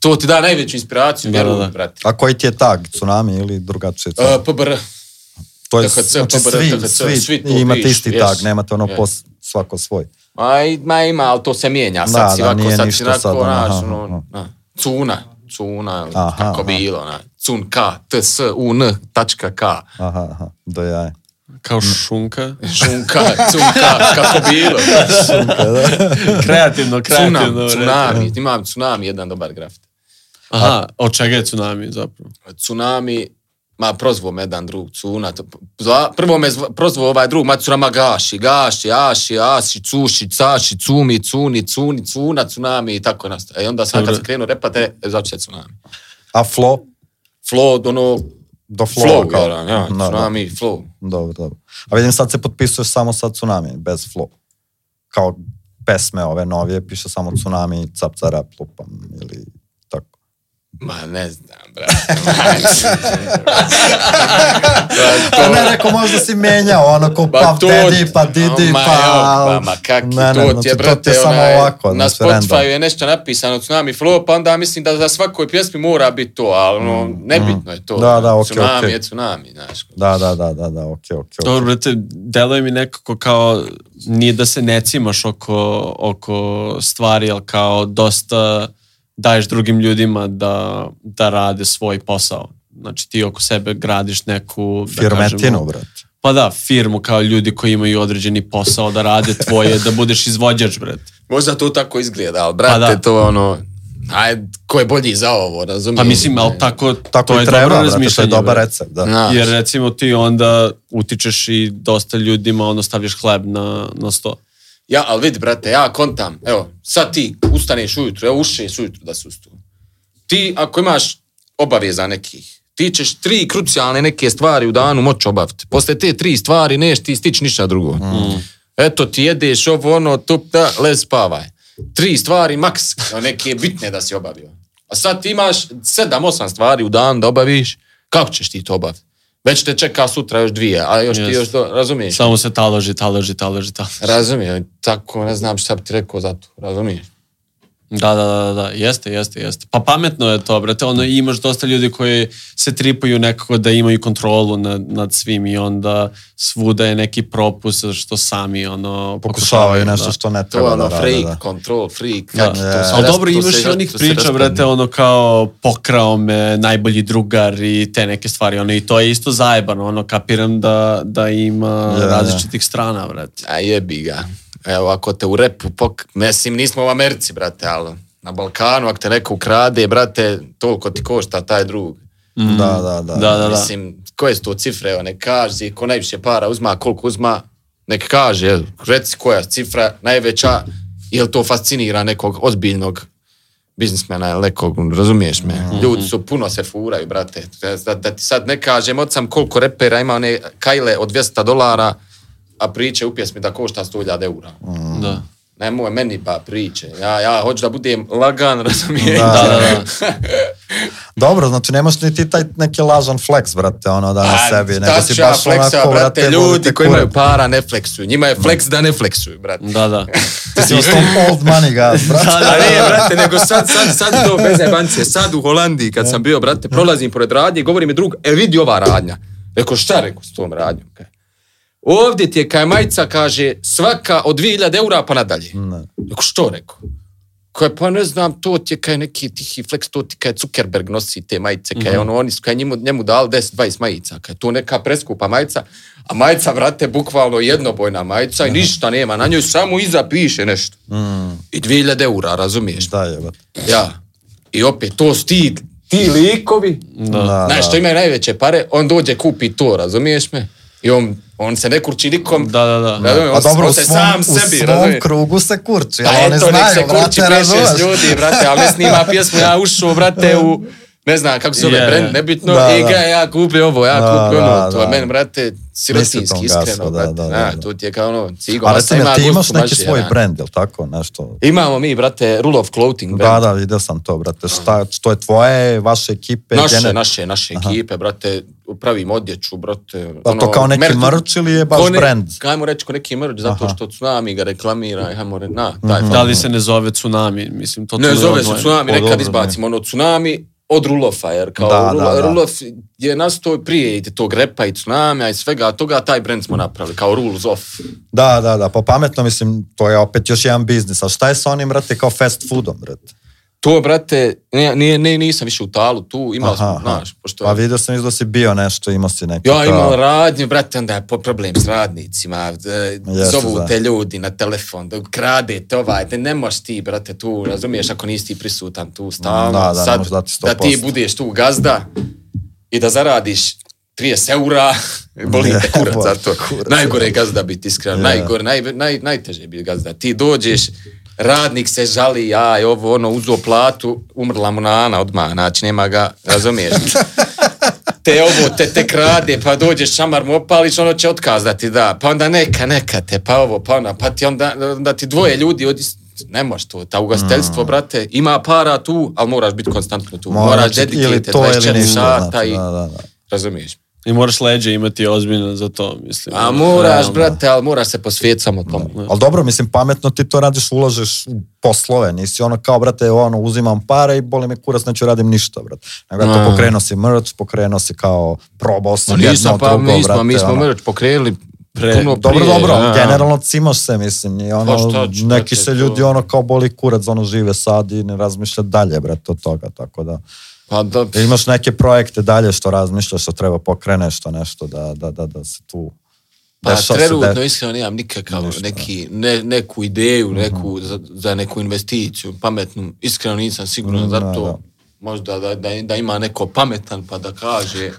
[SPEAKER 3] To ti da najveću inspiraciju,
[SPEAKER 2] Da, da,
[SPEAKER 3] vjerujem,
[SPEAKER 2] da.
[SPEAKER 3] brate.
[SPEAKER 1] A koji ti je tag? Tsunami ili drugačije?
[SPEAKER 3] E, PBR,
[SPEAKER 1] to je,
[SPEAKER 3] THC,
[SPEAKER 1] znači,
[SPEAKER 3] PBR,
[SPEAKER 1] svi,
[SPEAKER 3] THC,
[SPEAKER 1] svi,
[SPEAKER 3] svi tu
[SPEAKER 1] imate
[SPEAKER 3] vidiš,
[SPEAKER 1] isti
[SPEAKER 3] jes.
[SPEAKER 1] tag, nemate ono
[SPEAKER 3] Jes.
[SPEAKER 1] pos, svako svoj.
[SPEAKER 3] ma, i- ma ima, ali to se mijenja, sad
[SPEAKER 1] Da,
[SPEAKER 3] si
[SPEAKER 1] da,
[SPEAKER 3] ovako,
[SPEAKER 1] nije
[SPEAKER 3] sad si
[SPEAKER 1] ništa
[SPEAKER 3] onako,
[SPEAKER 1] sad, ono,
[SPEAKER 3] znaš,
[SPEAKER 1] aha,
[SPEAKER 3] ono,
[SPEAKER 1] aha.
[SPEAKER 3] na, cuna, cuna, ili
[SPEAKER 1] Aha,
[SPEAKER 3] kako
[SPEAKER 1] aha.
[SPEAKER 3] bilo, na, cun, k, t, s, u, n, tačka, k,
[SPEAKER 1] Aha, aha, do jaja. Mm.
[SPEAKER 2] Kao šunka?
[SPEAKER 3] šunka, cunka, kako bilo.
[SPEAKER 2] kreativno, kreativno.
[SPEAKER 3] Tsunami,
[SPEAKER 2] bre.
[SPEAKER 3] tsunami, imam tsunami, jedan dobar grafit.
[SPEAKER 2] Aha, od čega je tsunami zapravo?
[SPEAKER 3] Tsunami, ma prozvo me jedan drug Cuna. to- zva- prvo me zva- prozvo ovaj drug, ma Tsunama Gaši, Gaši, Aši, Asi, Cuši, Caši, Cumi, Cuni, Cuni, Cuna, Tsunami i tako nastaje. I onda sam
[SPEAKER 2] Dobro.
[SPEAKER 3] kad sam krenuo repate, začeo je Tsunami.
[SPEAKER 1] A flow?
[SPEAKER 3] Flow, ono,
[SPEAKER 1] Do flow, kao.
[SPEAKER 3] flow, kao, ja, ja,
[SPEAKER 1] Da, da.
[SPEAKER 3] Tsunami, flow.
[SPEAKER 1] Dobro, dobro. A vidim sad se potpisuješ samo sa Tsunami, bez flow. Kao pesme ove novije, piše samo Tsunami, cap cara, plupam ili tako.
[SPEAKER 3] Ma ne znam, brate. Brate, to-
[SPEAKER 1] Pa ne, rekao možda si menjao, ono ko
[SPEAKER 3] Pa
[SPEAKER 1] pa
[SPEAKER 3] to-
[SPEAKER 1] Teddy, pa Didi,
[SPEAKER 3] Ma,
[SPEAKER 1] pa...
[SPEAKER 3] evo, pa, ma kaki,
[SPEAKER 1] ne, ne,
[SPEAKER 3] to ti
[SPEAKER 1] znači,
[SPEAKER 3] je, brate,
[SPEAKER 1] to ti je samo
[SPEAKER 3] onaj,
[SPEAKER 1] ovako,
[SPEAKER 3] na
[SPEAKER 1] znači, random.
[SPEAKER 3] Spotify je nešto napisano, Tsunami Flow, pa onda mislim da za svakoj pjesmi mora biti to, ali ono, nebitno je to.
[SPEAKER 1] Mm, Da, da, okej,
[SPEAKER 3] Tsunami
[SPEAKER 1] okej.
[SPEAKER 3] je tsunami, znaš.
[SPEAKER 1] Da, da, da, da, da, okej, okej.
[SPEAKER 2] Dobro, brate, deluje mi nekako kao nije da se ne cimaš oko, oko stvari, ali kao dosta daješ drugim ljudima da, da rade svoj posao. Znači ti oko sebe gradiš neku... da
[SPEAKER 1] Firmetinu,
[SPEAKER 2] kažemo-
[SPEAKER 1] brate.
[SPEAKER 2] Pa da, firmu kao ljudi koji imaju određeni posao da rade tvoje, da budeš izvođač, brate.
[SPEAKER 3] Možda to tako izgleda, ali
[SPEAKER 2] Pa
[SPEAKER 3] brate,
[SPEAKER 2] da.
[SPEAKER 3] to ono, ajde, ko je bolji za ovo, razumiješ?
[SPEAKER 2] Pa mislim, ali tako,
[SPEAKER 1] Tako
[SPEAKER 2] to
[SPEAKER 1] i
[SPEAKER 2] je
[SPEAKER 1] treba,
[SPEAKER 2] dobro
[SPEAKER 1] brate, to je
[SPEAKER 2] razmišljanje.
[SPEAKER 1] dobar
[SPEAKER 2] brate.
[SPEAKER 1] recept, da.
[SPEAKER 3] Znaš.
[SPEAKER 2] Jer recimo ti onda utičeš i dosta ljudima, ono stavljaš hleb na, na sto.
[SPEAKER 3] Ja, ali vidi, brate, ja kontam, evo, sad ti ustaneš ujutro, evo, u šest ujutro da se ustu. Ti, ako imaš obaveza nekih, ti ćeš tri krucijalne neke stvari u danu moći obaviti. Posle te tri stvari neš ti stići ništa drugo. Eto, ti jedeš ovo, ono, tup, da, le, spavaj. Tri stvari maks, neke bitne da si obavio. A sad ti imaš sedam, osam stvari u dan da obaviš, kako ćeš ti to obaviti? Već te čeka sutra još dvije, a još
[SPEAKER 2] Jest.
[SPEAKER 3] ti još, do, razumiješ?
[SPEAKER 2] Samo se taloži, taloži, taloži, taloži.
[SPEAKER 3] Razumijem, tako ne znam šta bi ti rekao za to, razumiješ?
[SPEAKER 2] Da, da, da, da, jeste, jeste, jeste. Pa pametno je to, brate, ono imaš dosta ljudi koji se tripaju nekako da imaju kontrolu nad, nad svim i onda svuda je neki propust što sami ono
[SPEAKER 1] Pokušavaju nešto
[SPEAKER 2] da.
[SPEAKER 1] što ne
[SPEAKER 3] To je
[SPEAKER 1] treba da
[SPEAKER 3] ono
[SPEAKER 1] rade,
[SPEAKER 3] freak,
[SPEAKER 1] da.
[SPEAKER 3] control, freak,
[SPEAKER 2] Da.
[SPEAKER 3] kak, to
[SPEAKER 1] Da.
[SPEAKER 3] se
[SPEAKER 2] Ali
[SPEAKER 3] ras-
[SPEAKER 2] dobro,
[SPEAKER 3] to
[SPEAKER 2] imaš
[SPEAKER 3] se-
[SPEAKER 2] i onih
[SPEAKER 3] to se
[SPEAKER 2] priča,
[SPEAKER 3] raspadne.
[SPEAKER 2] brate, ono kao pokrao me najbolji drugar i te neke stvari, ono i to je isto zajebano, ono kapiram da, da ima
[SPEAKER 1] Da, da.
[SPEAKER 2] različitih strana, brate.
[SPEAKER 3] A jebi ga. Evo, ako te u repu pok... Mislim, nismo u Americi, brate, ali na Balkanu, ako te neko ukrade, brate, toliko ti košta taj drug.
[SPEAKER 1] Mm. Da, da, da.
[SPEAKER 2] Mm. Da, da, da.
[SPEAKER 3] Mislim, koje su to cifre, evo, nek kaže, ko najviše para uzma, koliko uzma, nek kaže, jel, reci koja cifra najveća, jel to fascinira nekog ozbiljnog biznismena ili nekog, razumiješ me?
[SPEAKER 2] Mhm.
[SPEAKER 3] Ljudi su puno se furaju, brate. Da, da ti sad ne kažem, od sam koliko repera ima one kajle od 200 dolara, a priče u pjesmi da košta 100.000 eura.
[SPEAKER 2] Mhm. Da.
[SPEAKER 3] Nemoj meni pa priče. Ja, ja hoću da budem lagan, razumiješ?
[SPEAKER 1] Da,
[SPEAKER 2] Da, da, da.
[SPEAKER 1] Dobro, znači nemaš ni ti taj neki lažan flex, brate, ono da na
[SPEAKER 3] A,
[SPEAKER 1] sebi,
[SPEAKER 3] šta
[SPEAKER 1] nego si
[SPEAKER 3] ću ja
[SPEAKER 1] baš
[SPEAKER 3] fleksa,
[SPEAKER 1] onako,
[SPEAKER 3] brate,
[SPEAKER 1] brate,
[SPEAKER 3] ljudi
[SPEAKER 1] volite
[SPEAKER 3] koji imaju
[SPEAKER 1] kurac.
[SPEAKER 3] para ne fleksuju. Njima je fleks da ne fleksuju, brate.
[SPEAKER 2] Da, da.
[SPEAKER 1] Ti si isto old money guy, brate.
[SPEAKER 2] Da, da,
[SPEAKER 3] A ne, brate, nego sad, sad, sad to bez jebancije. Sad u Holandiji, kad sam bio, brate, prolazim pored radnje i govori mi drug, e vidi ova radnja. Rekao, šta rekao s tom radnjom? Kaj? Ovdje ti je kaj majica, kaže, svaka od 2000 eura pa nadalje.
[SPEAKER 1] Ne.
[SPEAKER 3] Rekao, što rekao? Kaj, pa ne znam, to ti je kaj neki tihi flex, to ti kaj Zuckerberg nosi te majice, kaj
[SPEAKER 1] Mhm.
[SPEAKER 3] ono, oni su kaj njemu, njemu dali 10-20 majica, kaj to neka preskupa majica, a majica, brate, bukvalno jednobojna majica
[SPEAKER 1] Mhm.
[SPEAKER 3] i ništa nema, na njoj samo iza piše nešto. I 2000 eura, razumiješ?
[SPEAKER 1] Da je, brate.
[SPEAKER 3] Ja. I opet to stid. Ti likovi.
[SPEAKER 1] Da, da.
[SPEAKER 3] Znaš, što imaju najveće pare, on dođe kupi to, razumiješ me? I on, on se ne kurči nikom.
[SPEAKER 2] Da, da, da.
[SPEAKER 3] Razumiješ,
[SPEAKER 1] A
[SPEAKER 3] on,
[SPEAKER 1] dobro,
[SPEAKER 3] on
[SPEAKER 1] u
[SPEAKER 3] se
[SPEAKER 1] svom,
[SPEAKER 3] sam
[SPEAKER 1] u
[SPEAKER 3] sebi,
[SPEAKER 1] svom
[SPEAKER 3] razumiješ?
[SPEAKER 1] krugu se kurči,
[SPEAKER 3] Pa
[SPEAKER 1] ali oni
[SPEAKER 3] eto, nek se
[SPEAKER 1] znaju,
[SPEAKER 3] kurči
[SPEAKER 1] brate,
[SPEAKER 3] peš
[SPEAKER 1] razumeš?
[SPEAKER 3] ljudi, brate, ali ne snima pjesmu, ja ušao, brate, u ne znam kako se zove
[SPEAKER 2] Je.
[SPEAKER 3] brend, nebitno,
[SPEAKER 1] Da,
[SPEAKER 3] i
[SPEAKER 1] da.
[SPEAKER 3] ga ja kupio ovo, ja
[SPEAKER 1] Da,
[SPEAKER 3] kupio ono,
[SPEAKER 1] da,
[SPEAKER 3] to je
[SPEAKER 1] da.
[SPEAKER 3] meni, brate, sirotinski,
[SPEAKER 1] Mislim tom gasu, da,
[SPEAKER 3] iskreno, brate,
[SPEAKER 1] da, da,
[SPEAKER 3] na,
[SPEAKER 1] da.
[SPEAKER 3] to ti je kao ono, cigo,
[SPEAKER 1] A
[SPEAKER 3] masa
[SPEAKER 1] recimo,
[SPEAKER 3] ima
[SPEAKER 1] ti
[SPEAKER 3] gustu,
[SPEAKER 1] imaš neki
[SPEAKER 3] baš je,
[SPEAKER 1] svoj
[SPEAKER 3] ja.
[SPEAKER 1] brand, jel tako? Nešto.
[SPEAKER 3] Imamo mi, brate, Rule of Clothing brand.
[SPEAKER 1] Da, da, vidio sam to, brate. Šta, što je tvoje, vaše ekipe?
[SPEAKER 3] Naše,
[SPEAKER 1] gene-
[SPEAKER 3] naše, naše
[SPEAKER 1] Aha.
[SPEAKER 3] ekipe, brate, pravim odjeću, brate.
[SPEAKER 1] Pa to kao neki merch ili je baš
[SPEAKER 3] ono, ko ne-
[SPEAKER 1] brand?
[SPEAKER 3] Ajmo reći ko neki merch, zato
[SPEAKER 1] Aha. Mhm.
[SPEAKER 3] što Tsunami ga reklamira, ajmo reći, na, taj.
[SPEAKER 2] Da li se ne zove Tsunami? Mislim, to
[SPEAKER 3] Ne, zove se Tsunami,
[SPEAKER 1] O, dobro,
[SPEAKER 3] nekad
[SPEAKER 1] ne.
[SPEAKER 3] izbacimo ono Tsunami od Rulofa, jer kao
[SPEAKER 1] Da,
[SPEAKER 3] Rulo-
[SPEAKER 1] da, da.
[SPEAKER 3] Rulof je nastao i prije i tog repa i Tsunamija i svega toga, taj brand smo napravili, kao Rules Off.
[SPEAKER 1] Da, da, da, pa pametno, mislim, to je opet još jedan biznis. A šta je sa onim, brate, kao fast foodom, brate?
[SPEAKER 3] To, brate, ne, ne, ne, nisam više u talu tu, imao
[SPEAKER 1] Aha,
[SPEAKER 3] sam,
[SPEAKER 1] aha.
[SPEAKER 3] znaš, pošto
[SPEAKER 1] Pa vidio sam još da si bio nešto, imao si neki...
[SPEAKER 3] Ja imao
[SPEAKER 1] kao-
[SPEAKER 3] radnju, brate, onda je po problem s radnicima, e,
[SPEAKER 1] Jeste,
[SPEAKER 3] zovu
[SPEAKER 1] da.
[SPEAKER 3] te ljudi na telefon, da kradete ovaj, ne, ne možeš ti, brate, tu, razumiješ, ako nisi ti prisutan tu stalno,
[SPEAKER 1] Da, da, ne
[SPEAKER 3] sad,
[SPEAKER 1] možeš dati
[SPEAKER 3] da ti
[SPEAKER 1] 100%.
[SPEAKER 3] budeš tu gazda i da zaradiš 30 eura, boli te kurac,
[SPEAKER 1] Jebo,
[SPEAKER 3] zato
[SPEAKER 1] kurac.
[SPEAKER 3] najgore je gazda biti iskren,
[SPEAKER 1] Je.
[SPEAKER 3] najgore, naj, naj, najteže je biti gazda, ti dođeš, radnik se žali, aj, ovo, ono, uzo platu, umrla mu nana odmah, znači, nema ga, razumiješ, te ovo, te te krade, pa dođeš šamar mu opališ, ono će otkazati, da, pa onda neka, neka te, pa ovo, pa ona, pa ti onda, onda ti dvoje ljudi od ist- ne možeš to, ta ugostiteljstvo, brate, ima para tu, ali moraš biti konstantno tu,
[SPEAKER 1] Mm. Moraš
[SPEAKER 3] moraš
[SPEAKER 1] biti ili
[SPEAKER 3] dedikirati
[SPEAKER 1] to ili
[SPEAKER 3] 24
[SPEAKER 1] ništa,
[SPEAKER 3] sata
[SPEAKER 1] znači,
[SPEAKER 3] i,
[SPEAKER 1] da, da, da.
[SPEAKER 3] razumiješ.
[SPEAKER 2] I moraš leđe imati ozbiljno za to, mislim.
[SPEAKER 3] A moraš,
[SPEAKER 2] Realno.
[SPEAKER 3] brate, ali moraš se posvijetiti samo tomu.
[SPEAKER 1] Ali dobro, mislim, pametno ti to radiš, ulažeš u poslove, nisi ono kao, brate, ono, uzimam pare i boli me kurac, neću radim ništa, brate. Nego eto,
[SPEAKER 3] Mm.
[SPEAKER 1] pokrenuo si merch, pokrenuo si kao, probao si
[SPEAKER 3] Ma
[SPEAKER 1] jedno,
[SPEAKER 3] nisam, pa
[SPEAKER 1] drugo,
[SPEAKER 3] mi smo,
[SPEAKER 1] brate,
[SPEAKER 3] mi smo
[SPEAKER 1] ono.
[SPEAKER 3] merch pokrenuli
[SPEAKER 2] Pre-
[SPEAKER 3] puno
[SPEAKER 1] Dobro,
[SPEAKER 3] prije,
[SPEAKER 1] dobro,
[SPEAKER 3] a.
[SPEAKER 1] generalno cimaš se, mislim, i ono,
[SPEAKER 3] Pa šta
[SPEAKER 1] neki
[SPEAKER 3] ću, brate,
[SPEAKER 1] se
[SPEAKER 3] to-
[SPEAKER 1] ljudi ono kao boli kurac, ono žive sad i ne razmišlja dalje, brate, od toga, tako da.
[SPEAKER 3] Pa da,
[SPEAKER 1] Jel Imaš neke projekte dalje što razmišljaš, što treba pokreneš, što nešto da, da, da, da se tu...
[SPEAKER 3] Pa
[SPEAKER 1] dešava se
[SPEAKER 3] trenutno
[SPEAKER 1] de-
[SPEAKER 3] iskreno nemam nikakav
[SPEAKER 1] Ništa. Mhm.
[SPEAKER 3] neki, ne, neku ideju, neku, za, za neku investiciju pametnu. Iskreno nisam siguran,
[SPEAKER 1] Mm, da,
[SPEAKER 3] zato
[SPEAKER 1] da.
[SPEAKER 3] možda da, da, da ima neko pametan pa da kaže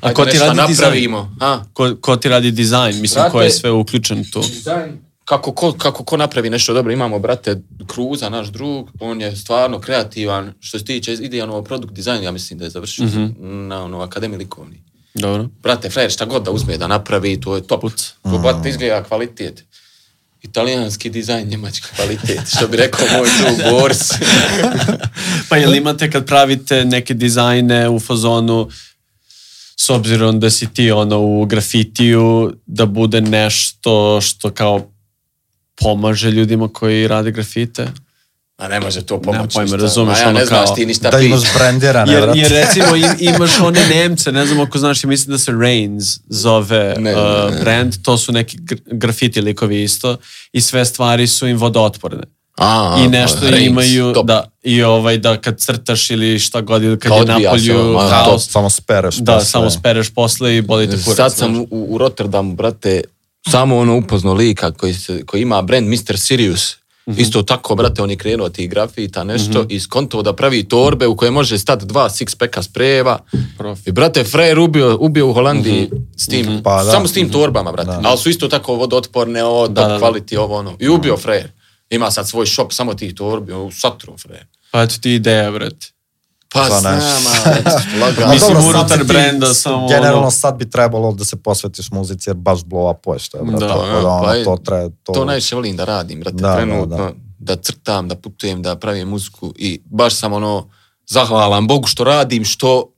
[SPEAKER 2] A ko
[SPEAKER 3] "Ajde,
[SPEAKER 2] ti
[SPEAKER 3] nešto
[SPEAKER 2] radi dizajn?
[SPEAKER 3] napravimo. A?
[SPEAKER 2] Ko, ko ti radi dizajn? Mislim, ko je
[SPEAKER 3] Brate-
[SPEAKER 2] sve uključen tu?
[SPEAKER 3] Kako ko, kako ko napravi nešto dobro, imamo brate Kruza, naš drug, on je stvarno kreativan, što se tiče idealno produkt dizajn, ja mislim da je završio
[SPEAKER 1] Mhm.
[SPEAKER 3] na ono, akademiji likovni.
[SPEAKER 2] Dobro.
[SPEAKER 3] brate, frajer, šta god da uzme da napravi, to je top.
[SPEAKER 2] Put.
[SPEAKER 3] To, brate, izgleda kvalitet. Italijanski dizajn, njemački kvalitet, što bi rekao moj drug Boris.
[SPEAKER 2] Pa jel imate kad pravite neke dizajne u fazonu s obzirom da si ti ono u grafitiju, da bude nešto što kao pomaže ljudima koji rade grafite?
[SPEAKER 3] A ne može to pomoći.
[SPEAKER 2] Nemam pojma,
[SPEAKER 3] ništa.
[SPEAKER 2] razumeš,
[SPEAKER 3] A ja
[SPEAKER 2] ono
[SPEAKER 3] ne znaš
[SPEAKER 2] kao-
[SPEAKER 3] ti ništa
[SPEAKER 1] da
[SPEAKER 3] pit.
[SPEAKER 1] imaš
[SPEAKER 3] Pa
[SPEAKER 1] brendirane,
[SPEAKER 2] Jer,
[SPEAKER 1] brate.
[SPEAKER 2] jer recimo im, imaš one Nemce, ne znam ako znaš, mislim da se Reigns zove
[SPEAKER 3] Ne,
[SPEAKER 2] uh,
[SPEAKER 3] ne, ne.
[SPEAKER 2] brand, to su neki gr- grafiti likovi isto i sve stvari su im vodootporne.
[SPEAKER 3] A, a,
[SPEAKER 2] I nešto
[SPEAKER 3] Reigns,
[SPEAKER 2] imaju,
[SPEAKER 3] top.
[SPEAKER 2] da, i ovaj da kad crtaš ili šta god, ili kad
[SPEAKER 3] Kao
[SPEAKER 2] je
[SPEAKER 3] odbija se,
[SPEAKER 2] napolju
[SPEAKER 3] ono, ma,
[SPEAKER 1] Da,
[SPEAKER 2] haos,
[SPEAKER 1] samo spereš.
[SPEAKER 2] Da,
[SPEAKER 1] posle.
[SPEAKER 2] samo spereš posle i boli te kurac.
[SPEAKER 3] Sad sam u, u Rotterdamu, brate, samo ono upozno lika koji, se, koji ima brand Mr. Sirius. Isto tako, brate, on je krenuo tih grafita, nešto, i skonto da pravi torbe u koje može stati dva six peka sprejeva.
[SPEAKER 2] Profi.
[SPEAKER 3] I, brate, Frejer ubio, ubio u Holandiji s tim,
[SPEAKER 1] Pa da.
[SPEAKER 3] samo s tim torbama, brate.
[SPEAKER 1] Da.
[SPEAKER 3] Ali su isto tako vodootporne, o,
[SPEAKER 2] Da,
[SPEAKER 3] da,
[SPEAKER 2] da, da.
[SPEAKER 3] kvaliti, ovo, ono. I ubio Frejer. Ima sad svoj shop samo tih torbi, u satru Frejer.
[SPEAKER 2] Pa eto ti ideja, vrat.
[SPEAKER 3] Pa,
[SPEAKER 1] Pa
[SPEAKER 3] s
[SPEAKER 1] ne.
[SPEAKER 3] nama, eto, lagano.
[SPEAKER 1] A
[SPEAKER 2] Mislim,
[SPEAKER 1] Pa dobro, sad
[SPEAKER 3] е
[SPEAKER 2] unutar
[SPEAKER 1] si ti-
[SPEAKER 2] brenda samo
[SPEAKER 1] Generalno
[SPEAKER 2] ono-
[SPEAKER 1] sad bi trebalo da se posvetiš muzici jer baš blow up je što je, brate.
[SPEAKER 2] Da,
[SPEAKER 1] tako
[SPEAKER 3] ja,
[SPEAKER 1] da, ono,
[SPEAKER 3] pa je-
[SPEAKER 1] to treba... To,
[SPEAKER 3] To najviše volim da radim, brate,
[SPEAKER 1] Da, da,
[SPEAKER 3] trenutno. Da,
[SPEAKER 1] da.
[SPEAKER 3] crtam, da putujem, da pravim muziku i baš sam ono, zahvalan Bogu što radim, što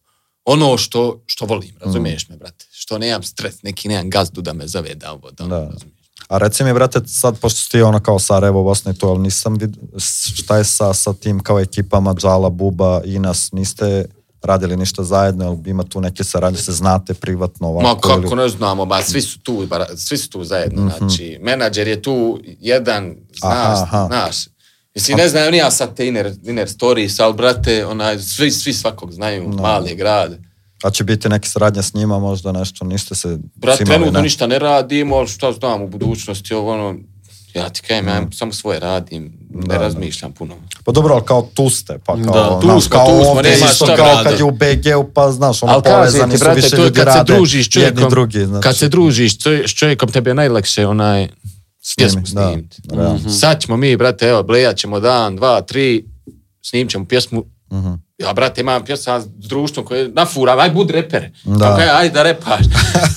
[SPEAKER 3] ono što, što volim, razumiješ
[SPEAKER 1] Mm.
[SPEAKER 3] me, brate. Što nemam stres, neki nemam gazdu da me zaveda ovo, da, ono,
[SPEAKER 1] Da.
[SPEAKER 3] razumiješ.
[SPEAKER 1] A reci mi, brate, sad pošto si ti ono kao Sarajevo, Bosna i to, ali nisam vid... s- šta je sa, sa tim kao ekipama Džala, Buba, Inas, niste radili ništa zajedno, jel ima tu neke saradnje, se znate privatno ovako?
[SPEAKER 3] Ma kako
[SPEAKER 1] ili-
[SPEAKER 3] ne znamo, ba, svi su tu, ba, svi su tu zajedno, znači, menadžer je tu jedan, znaš,
[SPEAKER 1] Mhm. Aha, aha.
[SPEAKER 3] znaš. Mislim, ne znam, ni ja sad te inner, inner stories, ali, brate, onaj, svi, svi svakog znaju, mali je grad.
[SPEAKER 1] A će biti neke saradnje s njima, možda nešto, niste se
[SPEAKER 3] Brat,
[SPEAKER 1] cimali,
[SPEAKER 3] trenutno
[SPEAKER 1] ne?
[SPEAKER 3] ništa ne radimo, ali šta znam u budućnosti, ovo ono, ja ti kajem, ja
[SPEAKER 1] Mm.
[SPEAKER 3] samo svoje radim, ne razmišljam puno.
[SPEAKER 1] Pa dobro, ali kao tu ste, pa kao,
[SPEAKER 2] Da,
[SPEAKER 1] da,
[SPEAKER 2] tu
[SPEAKER 1] tu
[SPEAKER 3] smo,
[SPEAKER 1] kao
[SPEAKER 3] tu smo,
[SPEAKER 1] ovdje
[SPEAKER 3] nema
[SPEAKER 1] isto
[SPEAKER 3] šta
[SPEAKER 1] kao
[SPEAKER 2] rade.
[SPEAKER 1] kad je u BG-u, pa znaš, ono
[SPEAKER 3] Ali kažem
[SPEAKER 1] povezani
[SPEAKER 3] ti,
[SPEAKER 1] su
[SPEAKER 3] brate,
[SPEAKER 1] više
[SPEAKER 3] to je
[SPEAKER 1] ljudi
[SPEAKER 3] kad se
[SPEAKER 1] rade
[SPEAKER 3] družiš s čovjekom,
[SPEAKER 1] jedni drugi, znači.
[SPEAKER 3] Kad se družiš čovje- s čovjekom, tebi je najlakše onaj pjesmu
[SPEAKER 1] da,
[SPEAKER 3] snimiti.
[SPEAKER 1] realno.
[SPEAKER 3] Sad ćemo mi, brate, evo, blejat ćemo dan, dva, tri, snimit ćemo pjesmu,
[SPEAKER 1] Mhm.
[SPEAKER 3] Ja, brate, imam pjesma s društvom koje nafura, aj bud reper.
[SPEAKER 1] Da.
[SPEAKER 3] Da. Kaj, aj da repaš.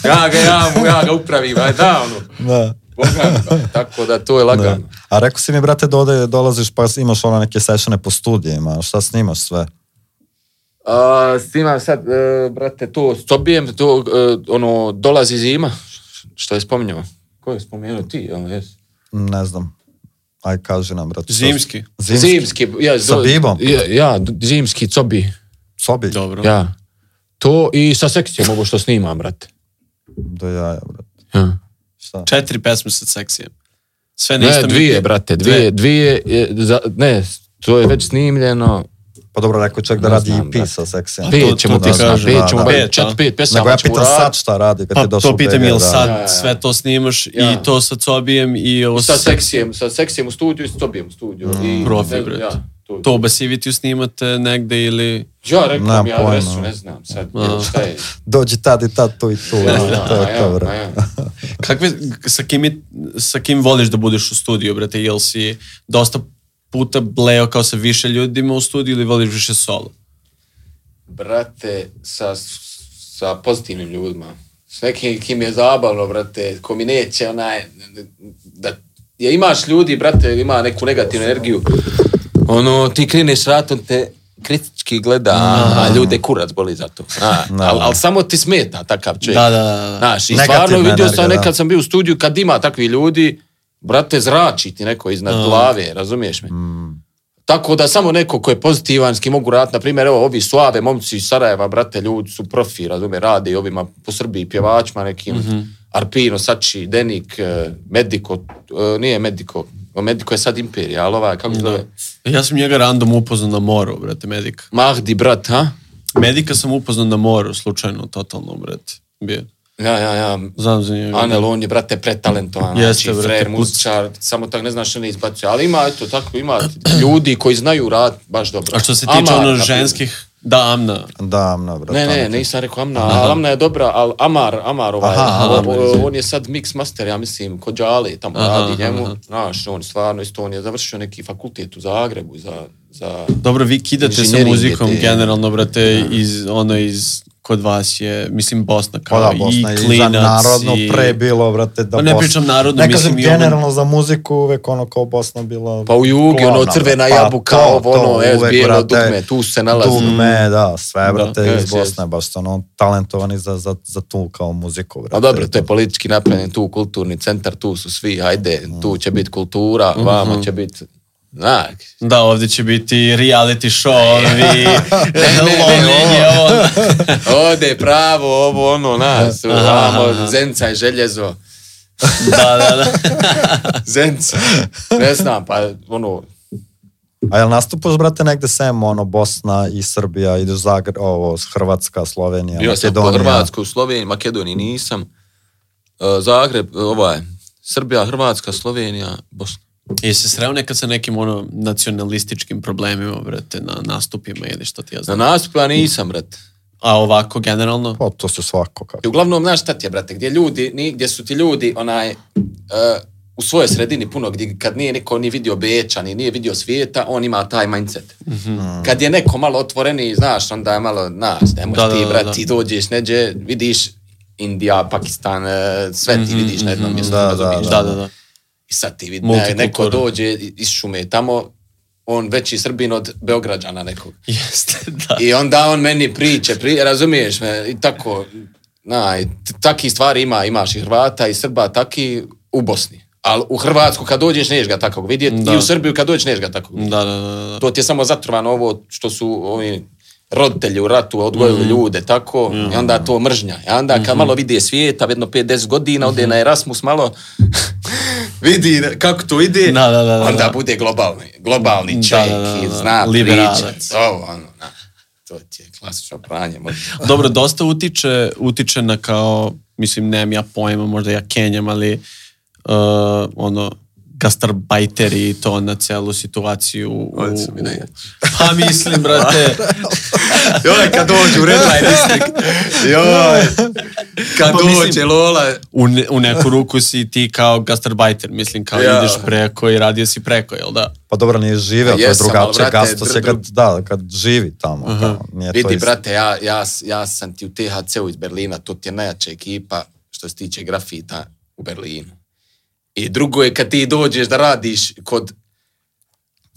[SPEAKER 3] Ja ga, ja, mu- ja ga upravim, aj da, ono.
[SPEAKER 1] Da.
[SPEAKER 3] Boga, mi, tako da to je lagano.
[SPEAKER 1] Da. A rekao si mi, brate, da ovde dolaziš pa imaš ono neke sessione po studijima, šta snimaš sve?
[SPEAKER 3] A, snimam sad, e, brate, to sobijem, to, e, ono, dolazi zima. Šta je spominjao? Ko je spomenuo ti? Ono, jes.
[SPEAKER 1] Ne znam. Aj, kaži nam, brate. šta-
[SPEAKER 2] Zimski.
[SPEAKER 1] Zimski.
[SPEAKER 3] Zimski. ja,
[SPEAKER 1] Sa
[SPEAKER 3] do-
[SPEAKER 1] bibom?
[SPEAKER 3] Ja, ja, d- zimski cobi.
[SPEAKER 1] Sobi.
[SPEAKER 2] Dobro.
[SPEAKER 3] Ja. To i sa sekcijom ovo što snimam, brate.
[SPEAKER 1] Do jaja, brate.
[SPEAKER 3] Ja.
[SPEAKER 1] Šta?
[SPEAKER 2] Četiri pesme sa seksijem. Sve Pa, na
[SPEAKER 3] Ne,
[SPEAKER 2] istom
[SPEAKER 3] dvije,
[SPEAKER 2] EP-u.
[SPEAKER 3] brate, dvije, dvije, je, za, ne, to je već snimljeno,
[SPEAKER 1] Pa dobro, rekao je čovjek da
[SPEAKER 3] Ne
[SPEAKER 1] radi
[SPEAKER 3] znam,
[SPEAKER 1] EP
[SPEAKER 3] brate.
[SPEAKER 1] sa seksijem.
[SPEAKER 2] to-
[SPEAKER 3] pet
[SPEAKER 2] to
[SPEAKER 3] ćemo
[SPEAKER 2] ti
[SPEAKER 3] ti kažem,
[SPEAKER 1] kažem, da,
[SPEAKER 3] pet ćemo,
[SPEAKER 1] da.
[SPEAKER 3] brate,
[SPEAKER 2] Pet,
[SPEAKER 3] četiri,
[SPEAKER 2] a?
[SPEAKER 3] pet pesama
[SPEAKER 1] Nego ja
[SPEAKER 3] ćemo
[SPEAKER 1] pitam
[SPEAKER 3] uradit.
[SPEAKER 1] sad šta radi kad je
[SPEAKER 2] Pa
[SPEAKER 1] došao
[SPEAKER 2] to
[SPEAKER 1] u BG,
[SPEAKER 2] pitam,
[SPEAKER 1] da.
[SPEAKER 2] jel sad
[SPEAKER 3] Ja, ja, ja.
[SPEAKER 2] sve to snimaš
[SPEAKER 3] Ja.
[SPEAKER 2] i to sa Cobijem i ovo
[SPEAKER 3] I sa seksijem, sa seksijem u studiju i s tobijem u studiju. I,
[SPEAKER 2] Profi,
[SPEAKER 3] ne-
[SPEAKER 2] brate.
[SPEAKER 3] Ja, to,
[SPEAKER 2] To u Basivitiju snimate negde ili...
[SPEAKER 3] ja rekao
[SPEAKER 1] Nemam
[SPEAKER 3] mi adresu,
[SPEAKER 1] pojma.
[SPEAKER 3] ne znam sad,
[SPEAKER 2] A.
[SPEAKER 3] šta je.
[SPEAKER 1] Dođi tad i tad, tu i tu.
[SPEAKER 3] Ja,
[SPEAKER 1] da, to je
[SPEAKER 3] ja,
[SPEAKER 1] to, brate.
[SPEAKER 3] ja.
[SPEAKER 2] Kakve, sa, kim je, sa kim voliš da budeš u studiju, brate? Jel si dosta puta bleo kao sa više ljudima u studiju ili voliš više solo?
[SPEAKER 3] Brate, sa, sa pozitivnim ljudima. S nekim kim je zabavno, brate, ko mi neće, onaj, da, ja imaš ljudi, brate, ima neku negativnu energiju. Ono, ti kreneš ratom, te kritički gleda, a, ljude kurac boli za to. A, al, al samo ti smeta takav čovjek.
[SPEAKER 2] Da, da, da, da.
[SPEAKER 3] Znaš, i
[SPEAKER 1] Negativna
[SPEAKER 3] stvarno vidio
[SPEAKER 1] energija,
[SPEAKER 3] sam
[SPEAKER 1] da.
[SPEAKER 3] nekad sam bio u studiju, kad ima takvi ljudi, brate, zrači ti neko iznad glave, razumiješ me?
[SPEAKER 1] Mm,
[SPEAKER 3] Tako da samo neko ko je pozitivan, s kim mogu raditi, na primjer, evo, ovi suave momci iz Sarajeva, brate, ljudi su profi, razume, rade i ovima po Srbiji pjevačima nekim,
[SPEAKER 2] Mhm.
[SPEAKER 3] Arpino, Sači, Denik, eh, Mediko, eh, nije Mediko, Mediko je sad Imperija, ali ovaj, kako se zove?
[SPEAKER 2] Ja sam njega random upoznao na moru, brate, Medika.
[SPEAKER 3] Mahdi, brat, ha?
[SPEAKER 2] Medika sam upoznao na moru, slučajno, totalno, brate. Bio.
[SPEAKER 3] Ja, ja, ja,
[SPEAKER 2] Znam za njega.
[SPEAKER 3] Anel, on je, brate, pretalentovan,
[SPEAKER 2] Jeste,
[SPEAKER 3] znači,
[SPEAKER 2] brate,
[SPEAKER 3] frajer,
[SPEAKER 2] kuc.
[SPEAKER 3] muzičar, samo tak ne znaš što ne izbacuje. Ali ima, eto, tako, ima ljudi koji znaju rad baš dobro.
[SPEAKER 2] A što se tiče
[SPEAKER 3] Amar, na
[SPEAKER 2] ono
[SPEAKER 3] primjer.
[SPEAKER 2] ženskih, da, Amna.
[SPEAKER 1] Da, mna, brate.
[SPEAKER 3] Ne, ne,
[SPEAKER 1] ono,
[SPEAKER 3] nisam rekao Amna, ali Amna je dobra, ali Amar, Amar ovaj,
[SPEAKER 1] Aha,
[SPEAKER 3] o-
[SPEAKER 1] Amar,
[SPEAKER 3] o-
[SPEAKER 1] izvini.
[SPEAKER 3] on je sad mix master, ja mislim, kod Đali, tamo
[SPEAKER 2] Aha,
[SPEAKER 3] radi njemu,
[SPEAKER 2] aha.
[SPEAKER 3] znaš, on stvarno, isto on je završio neki fakultet u Zagrebu za, za
[SPEAKER 2] Dobro, vi kidate sa
[SPEAKER 3] Inženjering
[SPEAKER 2] muzikom
[SPEAKER 3] je ti-
[SPEAKER 2] generalno, brate, iz, ono iz, kod vas je, mislim, Bosna
[SPEAKER 1] Pa
[SPEAKER 2] kao
[SPEAKER 1] da, Bosna je
[SPEAKER 2] i
[SPEAKER 1] i za
[SPEAKER 2] klinac
[SPEAKER 1] narodno
[SPEAKER 2] i...
[SPEAKER 1] pre bilo, brate, da
[SPEAKER 2] Pa ne
[SPEAKER 1] Bosna-
[SPEAKER 2] pričam narodno,
[SPEAKER 1] ne
[SPEAKER 2] mislim
[SPEAKER 1] kažem
[SPEAKER 2] i ono-
[SPEAKER 1] generalno za muziku, uvek ono kao Bosna bila...
[SPEAKER 3] Pa u jugi, ono,
[SPEAKER 1] glavna,
[SPEAKER 3] crvena
[SPEAKER 1] brate. Pa
[SPEAKER 3] jabuka,
[SPEAKER 1] to,
[SPEAKER 3] ovo,
[SPEAKER 1] to,
[SPEAKER 3] ono,
[SPEAKER 1] uvek,
[SPEAKER 3] SBS, bijelo
[SPEAKER 1] brate,
[SPEAKER 3] dugme, tu se nalazi.
[SPEAKER 1] Dugme, da, sve, brate,
[SPEAKER 3] Jes,
[SPEAKER 1] iz Bosne,
[SPEAKER 3] jes.
[SPEAKER 1] baš su ono, talentovani za, za, za tu kao muziku, brate.
[SPEAKER 3] A dobro, to je politički napravljen, tu kulturni centar, tu su svi, ajde, tu će biti kultura,
[SPEAKER 1] Mhm.
[SPEAKER 3] vamo će biti, znak.
[SPEAKER 2] Da, ovdje će biti reality show, ovi, lomljenje, ono.
[SPEAKER 3] Ode pravo, ovo, ono, nas, vamo, zenca i željezo,
[SPEAKER 2] Da, da, da.
[SPEAKER 3] zenca, ne znam, pa, ono,
[SPEAKER 1] A jel nastupaš, brate, negde sem, ono, Bosna i Srbija, ideš Zagreb, ovo, Hrvatska, Slovenija,
[SPEAKER 3] bio sam po
[SPEAKER 1] Makedonija.
[SPEAKER 3] Hrvatskoj, u Sloveniji, Makedoniji nisam, E, Zagreb, e, ovaj, Srbija, Hrvatska, Slovenija, Bosna.
[SPEAKER 2] I se sreo nekad sa nekim ono nacionalističkim problemima, brate, na nastupima ili što ti ja
[SPEAKER 3] Na
[SPEAKER 2] znam.
[SPEAKER 3] nastup ja nisam, brate.
[SPEAKER 2] A ovako, generalno?
[SPEAKER 1] Pa, to su svako kako.
[SPEAKER 3] I uglavnom, znaš šta ti je, brate, gdje ljudi, ni, gdje su ti ljudi, onaj, e, u svojoj sredini puno, gdje, kad nije niko ni vidio Beča, ni nije vidio svijeta, on ima taj mindset.
[SPEAKER 2] Mhm.
[SPEAKER 3] Kad je neko malo otvoreniji, znaš, onda je malo, nas, nemoj
[SPEAKER 2] Da,
[SPEAKER 3] ti,
[SPEAKER 2] da, da,
[SPEAKER 3] brate,
[SPEAKER 2] da.
[SPEAKER 3] ti dođeš, neđe, vidiš Indija, Pakistan, e, sve ti vidiš na jednom mjestu,
[SPEAKER 1] Da, da,
[SPEAKER 3] razumiješ?
[SPEAKER 2] Mhm, Da, da, da.
[SPEAKER 3] I sad ti vidi, ne, neko
[SPEAKER 2] Multikultura.
[SPEAKER 3] dođe iz šume tamo, on veći Srbin od Beograđana nekog.
[SPEAKER 2] Jeste, da.
[SPEAKER 3] I onda on meni priče, pri, razumiješ me, i tako, na, i t- taki stvari ima, imaš i Hrvata i Srba, taki u Bosni. Ali u Hrvatsku kad dođeš neš ga takvog vidjeti
[SPEAKER 2] Da.
[SPEAKER 3] i u Srbiju kad dođeš neš ga takvog vidjeti.
[SPEAKER 2] Da, da, da, da.
[SPEAKER 3] To ti je samo zatrovano ovo što su ovi roditelji u ratu odgojili ljude, tako, i onda to mržnja. I onda kad malo vidi svijeta, jedno 5-10 godina, ode na Erasmus malo, vidi kako to ide,
[SPEAKER 2] Da, da, da, da,
[SPEAKER 3] onda
[SPEAKER 2] da.
[SPEAKER 3] bude globalni, globalni
[SPEAKER 2] Da,
[SPEAKER 3] čovjek,
[SPEAKER 2] da, da,
[SPEAKER 3] i
[SPEAKER 2] da.
[SPEAKER 3] zna
[SPEAKER 2] Liberalac.
[SPEAKER 3] priče, ovo, ono, na, to ti je klasično pranje mozga.
[SPEAKER 2] Dobro, dosta utiče, utiče na kao, mislim, nemam ja pojma, možda ja kenjam, ali uh, ono, gastarbajteri i to na celu situaciju. U,
[SPEAKER 3] Oni su mi
[SPEAKER 2] u-
[SPEAKER 3] najjači.
[SPEAKER 2] pa mislim, brate,
[SPEAKER 3] Joj, kad dođu u Redline District. Joj, kad
[SPEAKER 2] Pa mislim-
[SPEAKER 3] dođe Lola.
[SPEAKER 2] u, ne, u neku ruku si ti kao gastarbajter, mislim, kao
[SPEAKER 3] Ja.
[SPEAKER 2] ideš preko i radio si preko, jel da?
[SPEAKER 1] Pa dobro, nije živeo, to je
[SPEAKER 3] Jesam, ali,
[SPEAKER 1] drugačije.
[SPEAKER 3] brate,
[SPEAKER 1] Gastos je
[SPEAKER 3] dru- Mhm.
[SPEAKER 1] kad, da, kad živi tamo. kao, nije to
[SPEAKER 3] Vidi,
[SPEAKER 1] isto.
[SPEAKER 3] brate, ja, ja, ja sam ti u THC-u iz Berlina, to ti je najjača ekipa što se tiče grafita u Berlinu. I drugo je kad ti dođeš da radiš kod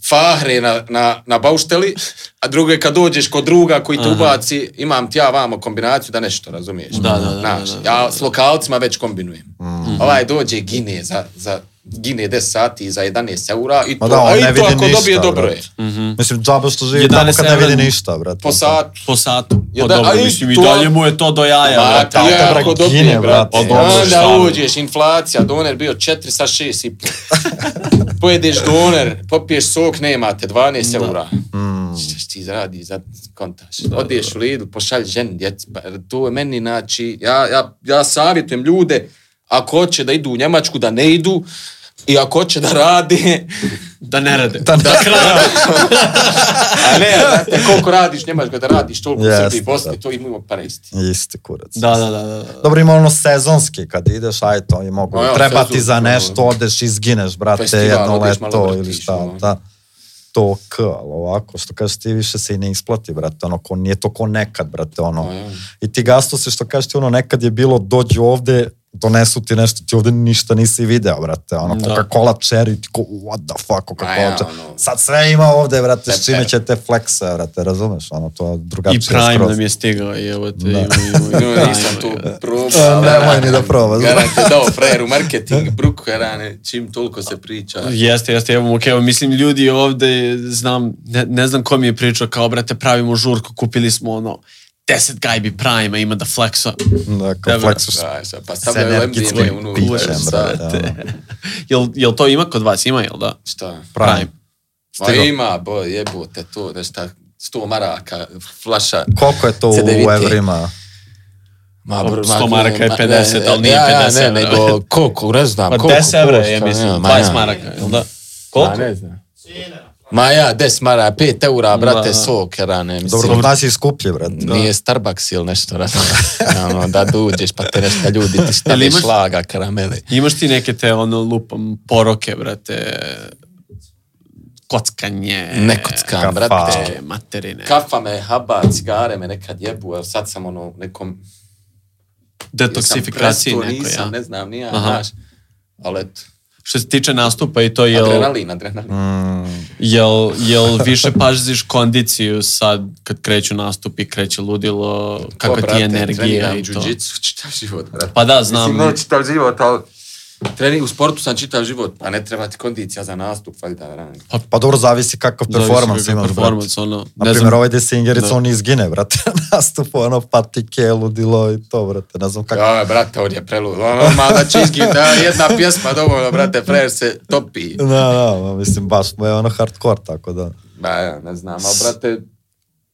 [SPEAKER 3] Fahre na, na, na Baušteli, a drugo je kad dođeš kod druga koji te ubaci, imam ti ja vamo kombinaciju da nešto razumiješ.
[SPEAKER 2] Da, da, da,
[SPEAKER 3] Znaš,
[SPEAKER 2] da, da,
[SPEAKER 3] ja s lokalcima već kombinujem. Ovaj dođe gine za, za gine 10 sati za 11 eura i
[SPEAKER 1] Ma
[SPEAKER 3] to,
[SPEAKER 1] da, on
[SPEAKER 3] a
[SPEAKER 1] ne
[SPEAKER 3] i to
[SPEAKER 1] vidi
[SPEAKER 3] ako
[SPEAKER 1] ništa,
[SPEAKER 3] dobije Mhm. dobro je.
[SPEAKER 1] brate. Mislim, džaba što živi tamo
[SPEAKER 2] 11
[SPEAKER 1] kad ne
[SPEAKER 2] evra
[SPEAKER 1] vidi ništa, brate.
[SPEAKER 3] Po satu.
[SPEAKER 2] Po satu.
[SPEAKER 3] Ja
[SPEAKER 2] Pa
[SPEAKER 3] da,
[SPEAKER 2] dobro,
[SPEAKER 3] ali
[SPEAKER 2] mislim, i
[SPEAKER 3] to-
[SPEAKER 2] dalje mu je to do jaja,
[SPEAKER 3] Ma,
[SPEAKER 2] brate.
[SPEAKER 3] ta,
[SPEAKER 1] brate,
[SPEAKER 3] jako
[SPEAKER 1] brate,
[SPEAKER 3] dobije,
[SPEAKER 1] gine, brate.
[SPEAKER 3] brate.
[SPEAKER 1] Pa dobro,
[SPEAKER 3] Onda
[SPEAKER 2] šta?
[SPEAKER 3] uđeš, inflacija, doner bio 4 sa 6 i pol. Pojedeš doner, popiješ sok, nemate, 12 eura.
[SPEAKER 1] Mm.
[SPEAKER 3] Šta ti zaradi, za kontaš. Odeš u Lidl, pošalj ženi, djeci. Pa, to je meni, znači, ja, ja, ja savjetujem ljude, ako hoće da idu u Njemačku, da ne idu, i ako hoće da rade,
[SPEAKER 2] Da ne rade. Da, da
[SPEAKER 3] a ne, znate, koliko radiš u Njemačkoj, da radiš toliko u
[SPEAKER 1] Jeste,
[SPEAKER 3] Srbiji, Bosni,
[SPEAKER 1] da.
[SPEAKER 3] to imamo pa isti.
[SPEAKER 1] Isti kurac.
[SPEAKER 2] Da, da, da, da.
[SPEAKER 1] Dobro, ima ono sezonski, kad ideš, aj to i mogu.
[SPEAKER 3] A ja,
[SPEAKER 1] Treba ti
[SPEAKER 3] sezonski,
[SPEAKER 1] za nešto,
[SPEAKER 3] ono.
[SPEAKER 1] odeš, izgineš, brate,
[SPEAKER 3] Festival,
[SPEAKER 1] jedno
[SPEAKER 3] odeš, malo
[SPEAKER 1] leto ili
[SPEAKER 3] vrtiš,
[SPEAKER 1] šta.
[SPEAKER 3] ono.
[SPEAKER 1] Da. To k, ali ovako, što kažeš ti, više se i ne isplati, brate, ono, ko, nije to ko nekad, brate, ono.
[SPEAKER 3] A ja.
[SPEAKER 1] I ti gasto se što kažeš ti, ono, nekad je bilo, dođi ovde, donesu ti nešto, ti ovde ništa nisi video, brate, ono,
[SPEAKER 2] Da.
[SPEAKER 1] Coca-Cola cherry, ti ko, what the fuck,
[SPEAKER 3] A ja,
[SPEAKER 1] Coca-Cola cherry.
[SPEAKER 3] ono.
[SPEAKER 1] Sad sve ima ovde, brate, s čime
[SPEAKER 3] Pepper.
[SPEAKER 1] će te flexa, brate, razumeš, ono, to je drugačije
[SPEAKER 2] I Prime
[SPEAKER 1] skroz.
[SPEAKER 2] nam je stigao, i evo te,
[SPEAKER 1] Da.
[SPEAKER 2] imamo, imamo i
[SPEAKER 3] No,
[SPEAKER 2] Prime,
[SPEAKER 3] nisam to
[SPEAKER 2] evo.
[SPEAKER 3] probao.
[SPEAKER 1] Nemoj ni da probaš.
[SPEAKER 3] Garant je dao frajeru marketing, bruku rane, čim toliko se priča.
[SPEAKER 2] Jeste, jeste, evo, ok, evo, mislim, ljudi ovde, znam, ne, ne znam ko mi je pričao, kao, brate, pravimo žurku, kupili smo, ono, 10 gajbi Prime-a, ima da flexa.
[SPEAKER 1] Da, kao
[SPEAKER 2] Dobro.
[SPEAKER 1] flexaš
[SPEAKER 3] Da, sad, pa
[SPEAKER 1] sa
[SPEAKER 3] stavljaju MDMA
[SPEAKER 1] energijskim
[SPEAKER 3] u
[SPEAKER 1] pićem, brate.
[SPEAKER 3] šta?
[SPEAKER 1] ono.
[SPEAKER 2] Jel, jel to ima kod vas? Ima, jel da?
[SPEAKER 3] Šta?
[SPEAKER 1] Prime.
[SPEAKER 3] Ma
[SPEAKER 1] Stigao.
[SPEAKER 3] ima, bo, jebote, to, nešta, 100 maraka, flaša.
[SPEAKER 1] Koliko je to u
[SPEAKER 3] CDVT?
[SPEAKER 1] evrima?
[SPEAKER 3] Ma,
[SPEAKER 2] Dobro,
[SPEAKER 3] bro,
[SPEAKER 2] 100
[SPEAKER 3] ma,
[SPEAKER 2] maraka je
[SPEAKER 3] ma,
[SPEAKER 2] 50, ali nije
[SPEAKER 3] ja,
[SPEAKER 2] 50
[SPEAKER 3] Ja, ne,
[SPEAKER 2] evra.
[SPEAKER 3] nego koliko, ne znam,
[SPEAKER 2] Pa
[SPEAKER 3] koliko
[SPEAKER 2] 10 evra je,
[SPEAKER 3] košta,
[SPEAKER 2] mislim,
[SPEAKER 3] ne, ma
[SPEAKER 2] 20
[SPEAKER 3] ja.
[SPEAKER 2] maraka, jel da?
[SPEAKER 3] Ma,
[SPEAKER 2] Koliko?
[SPEAKER 3] ne znam. Ma ja, 10 maraka, 5
[SPEAKER 2] Da.
[SPEAKER 3] eura, brate, sok, rane, mislim.
[SPEAKER 1] Dobro, kod nas je skuplje, brate.
[SPEAKER 3] Nije Starbucks ili nešto razumno. ono, da dođeš pa te nešto ljudi ti
[SPEAKER 2] Jel
[SPEAKER 3] stavi
[SPEAKER 2] imaš-
[SPEAKER 3] šlaga, karamele.
[SPEAKER 2] Imaš ti neke te, ono, lupam, poroke, brate, kockanje,
[SPEAKER 3] Ne kockam,
[SPEAKER 1] Kafa.
[SPEAKER 3] brate.
[SPEAKER 2] materine.
[SPEAKER 3] Kafa me haba, cigare me nekad jebu, jer sad sam ono u nekom...
[SPEAKER 2] Detoksifikaciji
[SPEAKER 3] presto,
[SPEAKER 2] neko,
[SPEAKER 3] nisam,
[SPEAKER 2] ja.
[SPEAKER 3] ne znam, nija,
[SPEAKER 2] Aha.
[SPEAKER 3] znaš. Ali eto,
[SPEAKER 2] Što se tiče nastupa i to, jel,
[SPEAKER 3] adrenalin, adrenalin.
[SPEAKER 1] Mm.
[SPEAKER 2] jel, jel više paziš kondiciju sad kad kreću nastupi, kreće ludilo,
[SPEAKER 3] Ko,
[SPEAKER 2] kakva ti je
[SPEAKER 3] brate,
[SPEAKER 2] energija
[SPEAKER 3] treniram
[SPEAKER 2] i to?
[SPEAKER 3] jiu-jitsu čitav život, brate.
[SPEAKER 2] Pa da, znam.
[SPEAKER 3] Mislim, znači, ne čitav život, ali... Treni, u sportu sam čitav život, a ne treba ti kondicija za nastup, valjda, rani.
[SPEAKER 1] Pa dobro, zavisi kakav
[SPEAKER 2] Zavisi
[SPEAKER 1] performans
[SPEAKER 2] kakav
[SPEAKER 1] imaš, brate.
[SPEAKER 2] performans, ono,
[SPEAKER 1] Na
[SPEAKER 2] ne
[SPEAKER 1] primjer,
[SPEAKER 2] znam,
[SPEAKER 1] ovaj desingerica,
[SPEAKER 2] Da.
[SPEAKER 1] on izgine, brate, na nastupu, ono, patike, ludilo i to, brate, ne znam kako.
[SPEAKER 3] Ja, brate, on je prelud. Ono, ma da će izgin, da jedna pjesma dovoljno, brate, frajer se topi.
[SPEAKER 1] Da, da, ma, mislim, baš mu je ono hardcore, tako da.
[SPEAKER 3] Ba, ja, ne znam, ali, brate,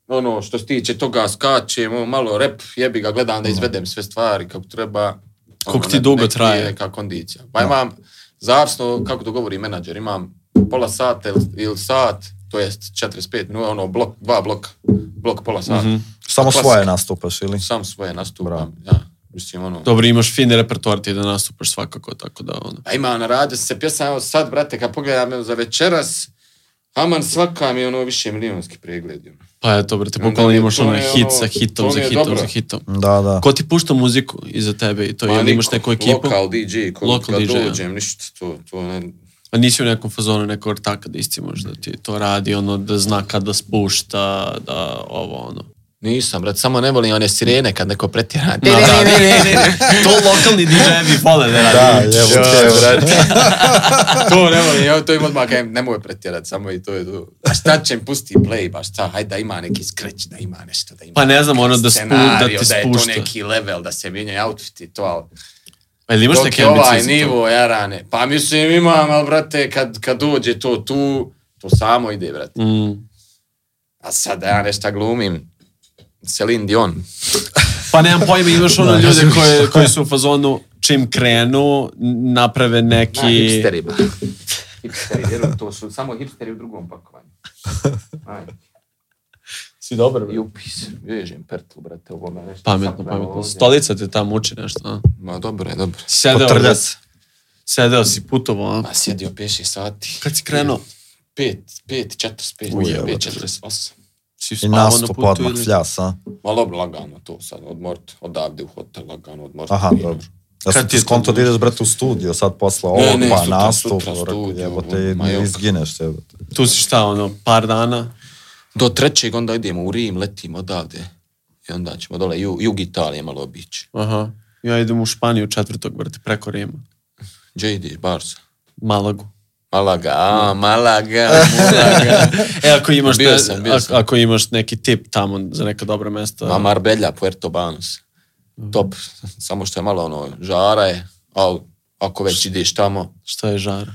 [SPEAKER 3] ono, što se tiče toga, skačem, ono, malo rep, jebi ga, gledam da izvedem sve stvari kako treba. Ono,
[SPEAKER 2] Mm. Koliko ti
[SPEAKER 3] ne-
[SPEAKER 2] dugo
[SPEAKER 3] nek mi je
[SPEAKER 2] traje?
[SPEAKER 3] Neka kondicija. Pa imam, zavisno, kako to govori menadžer, imam pola sata ili, ili sat, to jest 45 minuta, ono, blok, dva bloka, blok pola sata.
[SPEAKER 2] Mhm.
[SPEAKER 1] Samo
[SPEAKER 3] Klasika.
[SPEAKER 1] svoje nastupaš, ili?
[SPEAKER 3] Sam svoje nastupam,
[SPEAKER 1] Bravo.
[SPEAKER 3] ja, mislim, ono...
[SPEAKER 2] dobro, imaš fin repertoar ti da nastupaš svakako, tako da, ono.
[SPEAKER 3] A ima na radio se pjesma, evo sad, brate, kad pogledam evo, za večeras, Aman svaka mi je ono više milionski pregled. ono.
[SPEAKER 2] Pa eto, brate,
[SPEAKER 3] Onda
[SPEAKER 2] bukvalno
[SPEAKER 3] mi je
[SPEAKER 2] imaš
[SPEAKER 3] to
[SPEAKER 2] ono
[SPEAKER 3] je
[SPEAKER 2] hit
[SPEAKER 3] ono-
[SPEAKER 2] sa hitom,
[SPEAKER 3] to
[SPEAKER 2] za
[SPEAKER 3] mi je
[SPEAKER 2] hitom,
[SPEAKER 3] dobro.
[SPEAKER 2] za hitom.
[SPEAKER 1] Da, da.
[SPEAKER 2] Ko ti pušta muziku iza tebe i to?
[SPEAKER 3] Ma
[SPEAKER 2] Jel imaš
[SPEAKER 3] niko,
[SPEAKER 2] neku ekipu?
[SPEAKER 3] Lokal DJ, ko,
[SPEAKER 2] Lokal
[SPEAKER 3] kad
[SPEAKER 2] DJ, ja.
[SPEAKER 3] dođem, ništa, to, to ne...
[SPEAKER 2] A nisi u nekom fazonu nekog ortaka da isti možda ti to radi, ono da zna kada spušta, da ovo ono.
[SPEAKER 3] Nisam, brate, samo ne volim one sirene kad neko pretjera.
[SPEAKER 2] Da, da, ne, ne, ne. To lokalni DJ-evi vole da
[SPEAKER 1] Da,
[SPEAKER 2] radi.
[SPEAKER 1] jevo
[SPEAKER 3] Joj,
[SPEAKER 1] te, brate.
[SPEAKER 3] to ne volim, ja to im odmah kajem, nemoj pretjerati, samo i to je to. A šta će im pusti play, ba šta, hajde da ima neki skreć, da ima nešto, da ima
[SPEAKER 2] Pa ne znam, ono da, spu, da
[SPEAKER 3] scenario,
[SPEAKER 2] ti
[SPEAKER 3] da je to
[SPEAKER 2] spušta.
[SPEAKER 3] neki level, da se mijenjaju outfit i to, ali
[SPEAKER 2] Pa jel imaš
[SPEAKER 3] Dok
[SPEAKER 2] neke
[SPEAKER 3] je ovaj
[SPEAKER 2] ambicije za to?
[SPEAKER 3] nivo, ja rane. Pa mislim imam, ali brate, kad, kad dođe to tu, to samo ide, brate.
[SPEAKER 2] Mm.
[SPEAKER 3] A sad da ja nešto glumim, Celine Dion.
[SPEAKER 2] Pa nemam pojma, imaš ono ljude koje, koji su u fazonu čim krenu, naprave
[SPEAKER 3] Na
[SPEAKER 2] neki...
[SPEAKER 3] hipsterima.
[SPEAKER 4] Hipsteri, vjerujem, to su samo hipsteri u drugom pakovanju. Ajde.
[SPEAKER 2] Si dobro,
[SPEAKER 4] I upis, vežem pertlu, brate, ovo me nešto.
[SPEAKER 2] Pametno,
[SPEAKER 4] sapne
[SPEAKER 2] pametno.
[SPEAKER 4] ovdje.
[SPEAKER 2] Stolica te tam muči nešto. a?
[SPEAKER 3] Ma dobro je, dobro.
[SPEAKER 2] Sedeo,
[SPEAKER 1] Potrlja
[SPEAKER 2] brate.
[SPEAKER 1] se.
[SPEAKER 2] sedeo si putovo. a?
[SPEAKER 3] Ma sjedio 5-6 sati.
[SPEAKER 2] Kad si krenuo?
[SPEAKER 3] Pet, pet, četiri, pet,
[SPEAKER 1] Ujebote.
[SPEAKER 3] pet, četiri, osam.
[SPEAKER 2] Si
[SPEAKER 1] I
[SPEAKER 2] spavao ono, na
[SPEAKER 1] nastup
[SPEAKER 2] putu
[SPEAKER 1] odmah,
[SPEAKER 2] ili...
[SPEAKER 1] fljas, a?
[SPEAKER 3] Ma dobro, lagano to sad, odmort, odavde u hotel, lagano odmort.
[SPEAKER 1] Aha,
[SPEAKER 3] Mirno.
[SPEAKER 1] dobro. Ja
[SPEAKER 2] Kad
[SPEAKER 1] sam
[SPEAKER 2] ti
[SPEAKER 1] ti
[SPEAKER 2] je
[SPEAKER 1] skonto
[SPEAKER 2] to
[SPEAKER 1] da ideš, brate, u studio sad posle ovog,
[SPEAKER 3] Ne, ne,
[SPEAKER 1] pa
[SPEAKER 3] sutra,
[SPEAKER 1] nastup,
[SPEAKER 3] sutra
[SPEAKER 1] rekao,
[SPEAKER 3] studio,
[SPEAKER 1] jebote,
[SPEAKER 3] ma, jok.
[SPEAKER 1] izgineš, jebote.
[SPEAKER 2] Tu si šta, ono, par dana?
[SPEAKER 3] Do trećeg onda idemo u Rim, letimo odavde. I onda ćemo dole, jug, jug Italije malo obići.
[SPEAKER 2] Aha. Ja idem u Španiju četvrtog, brate, preko Rima.
[SPEAKER 3] Gdje ideš, Barca?
[SPEAKER 2] Malagu.
[SPEAKER 3] Malaga, a, Malaga, Malaga.
[SPEAKER 2] E, ako imaš,
[SPEAKER 3] Bio
[SPEAKER 2] ne-
[SPEAKER 3] sam, bio
[SPEAKER 2] ak-
[SPEAKER 3] sam.
[SPEAKER 2] ako imaš neki tip tamo za neka dobra mesta,
[SPEAKER 3] Ma Marbella, Puerto Banus.
[SPEAKER 2] Mhm.
[SPEAKER 3] Top, samo što je malo ono, žara je, ali ako već ideš tamo,
[SPEAKER 2] šta je žar?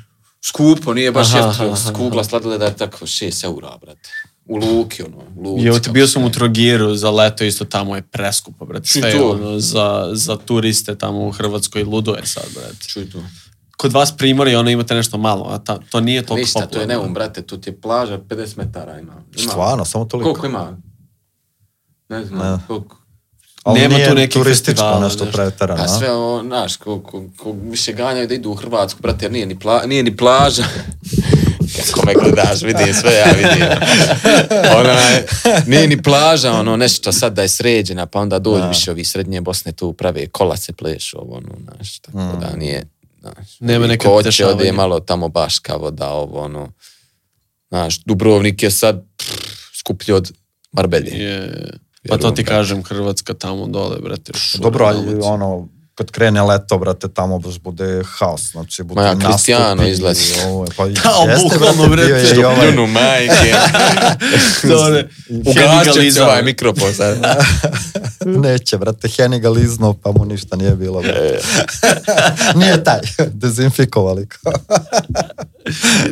[SPEAKER 3] skupo, nije baš
[SPEAKER 2] Aha,
[SPEAKER 3] jeftino,
[SPEAKER 2] aha, aha.
[SPEAKER 3] kugla sladoleda je tako 6 eura, brate. U Luki, ono, u Luci.
[SPEAKER 2] Je,
[SPEAKER 3] kako
[SPEAKER 2] bio
[SPEAKER 3] se
[SPEAKER 2] sam
[SPEAKER 3] ne-
[SPEAKER 2] u Trogiru za leto, isto tamo je preskupo, brate.
[SPEAKER 3] Čuj
[SPEAKER 2] Sve je
[SPEAKER 3] to.
[SPEAKER 2] ono, za, za turiste tamo u Hrvatskoj ludo je sad, brate.
[SPEAKER 3] Čuj tu.
[SPEAKER 2] Kod vas primori, ono, imate nešto malo, a ta, to nije toliko
[SPEAKER 3] Ništa, to je
[SPEAKER 2] popularno.
[SPEAKER 3] neum, brate, tu ti je plaža 50 metara ima. ima.
[SPEAKER 1] Stvarno, samo toliko.
[SPEAKER 3] Koliko ima? Ne znam,
[SPEAKER 1] Ne.
[SPEAKER 3] koliko.
[SPEAKER 1] Ali
[SPEAKER 2] Nema
[SPEAKER 1] nije
[SPEAKER 2] tu nekih
[SPEAKER 1] turističko
[SPEAKER 2] festivala,
[SPEAKER 1] nešto
[SPEAKER 2] nešto.
[SPEAKER 1] preterano,
[SPEAKER 3] A
[SPEAKER 1] a?
[SPEAKER 3] sve, o, znaš, ko, ko, ko više ganjaju da idu u Hrvatsku, brate, jer nije ni, pla, nije ni plaža. Kako me gledaš, vidim sve, ja vidim. Onaj, nije ni plaža, ono, nešto sad da je sređena, pa onda dođu više ovi iz srednje Bosne tu prave kola se plešu, ovo, ono, znaš, tako
[SPEAKER 1] Mm.
[SPEAKER 3] da nije, znaš.
[SPEAKER 2] Nema
[SPEAKER 3] I
[SPEAKER 2] neke
[SPEAKER 3] ko hoće,
[SPEAKER 2] dešavanja.
[SPEAKER 3] ode malo tamo baška voda, ovo, ono, znaš, Dubrovnik je sad pff, skuplji od Marbelje.
[SPEAKER 2] Je, pa to ti kažem, Hrvatska tamo dole, brate. šura,
[SPEAKER 1] Pa Dobro, ali
[SPEAKER 2] dolac.
[SPEAKER 1] ono, kad krene leto, brate, tamo baš bude haos, znači bude
[SPEAKER 3] Ma ja,
[SPEAKER 1] nastupi
[SPEAKER 3] Cristiano
[SPEAKER 1] i
[SPEAKER 3] izlazi.
[SPEAKER 1] Ovo, je, pa
[SPEAKER 2] Da,
[SPEAKER 1] jeste,
[SPEAKER 2] bukvalno,
[SPEAKER 1] brate, bio
[SPEAKER 2] brate,
[SPEAKER 1] je i ovaj,
[SPEAKER 3] Pljunu majke.
[SPEAKER 2] Dobro.
[SPEAKER 3] Ugasit će se
[SPEAKER 2] Henigalizam.
[SPEAKER 3] ovaj mikrofon sad.
[SPEAKER 1] neće, brate, Heniga lizno, pa mu ništa nije bilo,
[SPEAKER 3] E.
[SPEAKER 1] brate. nije taj, dezinfikovali ga.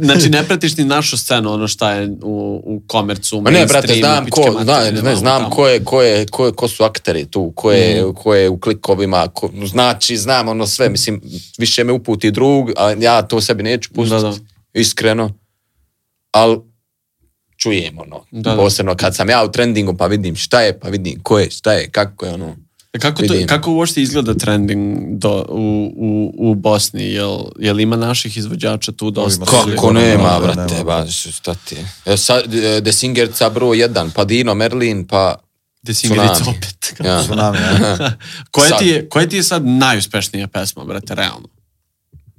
[SPEAKER 2] Znači, ne pratiš ni našu scenu, ono šta je u, u komercu, u
[SPEAKER 3] Ma ne, brate,
[SPEAKER 2] mainstreamu,
[SPEAKER 3] znam
[SPEAKER 2] pičke
[SPEAKER 3] ko,
[SPEAKER 2] materine,
[SPEAKER 3] da, ne,
[SPEAKER 2] vamo
[SPEAKER 3] znam
[SPEAKER 2] tamo.
[SPEAKER 3] ko je, ko je, ko je, ko su akteri tu, ko je, ko je u klikovima, ko, znači, znam ono sve, mislim, više me uputi drug, a ja to sebi neću pustiti,
[SPEAKER 2] Da, da.
[SPEAKER 3] iskreno, ali čujem ono,
[SPEAKER 2] Da, da.
[SPEAKER 3] posebno kad sam ja u trendingu, pa vidim šta je, pa vidim ko je, šta je, kako je ono.
[SPEAKER 2] E Kako, to,
[SPEAKER 3] Vidim.
[SPEAKER 2] kako uopšte izgleda trending do, u, u, u Bosni? Jel, jel ima naših izvođača tu dosta?
[SPEAKER 1] Ima sigurno.
[SPEAKER 3] Kako
[SPEAKER 1] Sigurno,
[SPEAKER 3] nema,
[SPEAKER 1] nema,
[SPEAKER 3] brate,
[SPEAKER 1] nema.
[SPEAKER 3] baš, šta ti je. E, Sad, e, Desingerca broj 1, pa Dino Merlin, pa
[SPEAKER 2] Gde si Ingridica
[SPEAKER 3] Tsunami.
[SPEAKER 2] opet?
[SPEAKER 3] Ja.
[SPEAKER 1] Tsunami, ne?
[SPEAKER 2] koja,
[SPEAKER 3] Sad.
[SPEAKER 2] ti je, koja ti je sad najuspešnija pesma, brate, realno?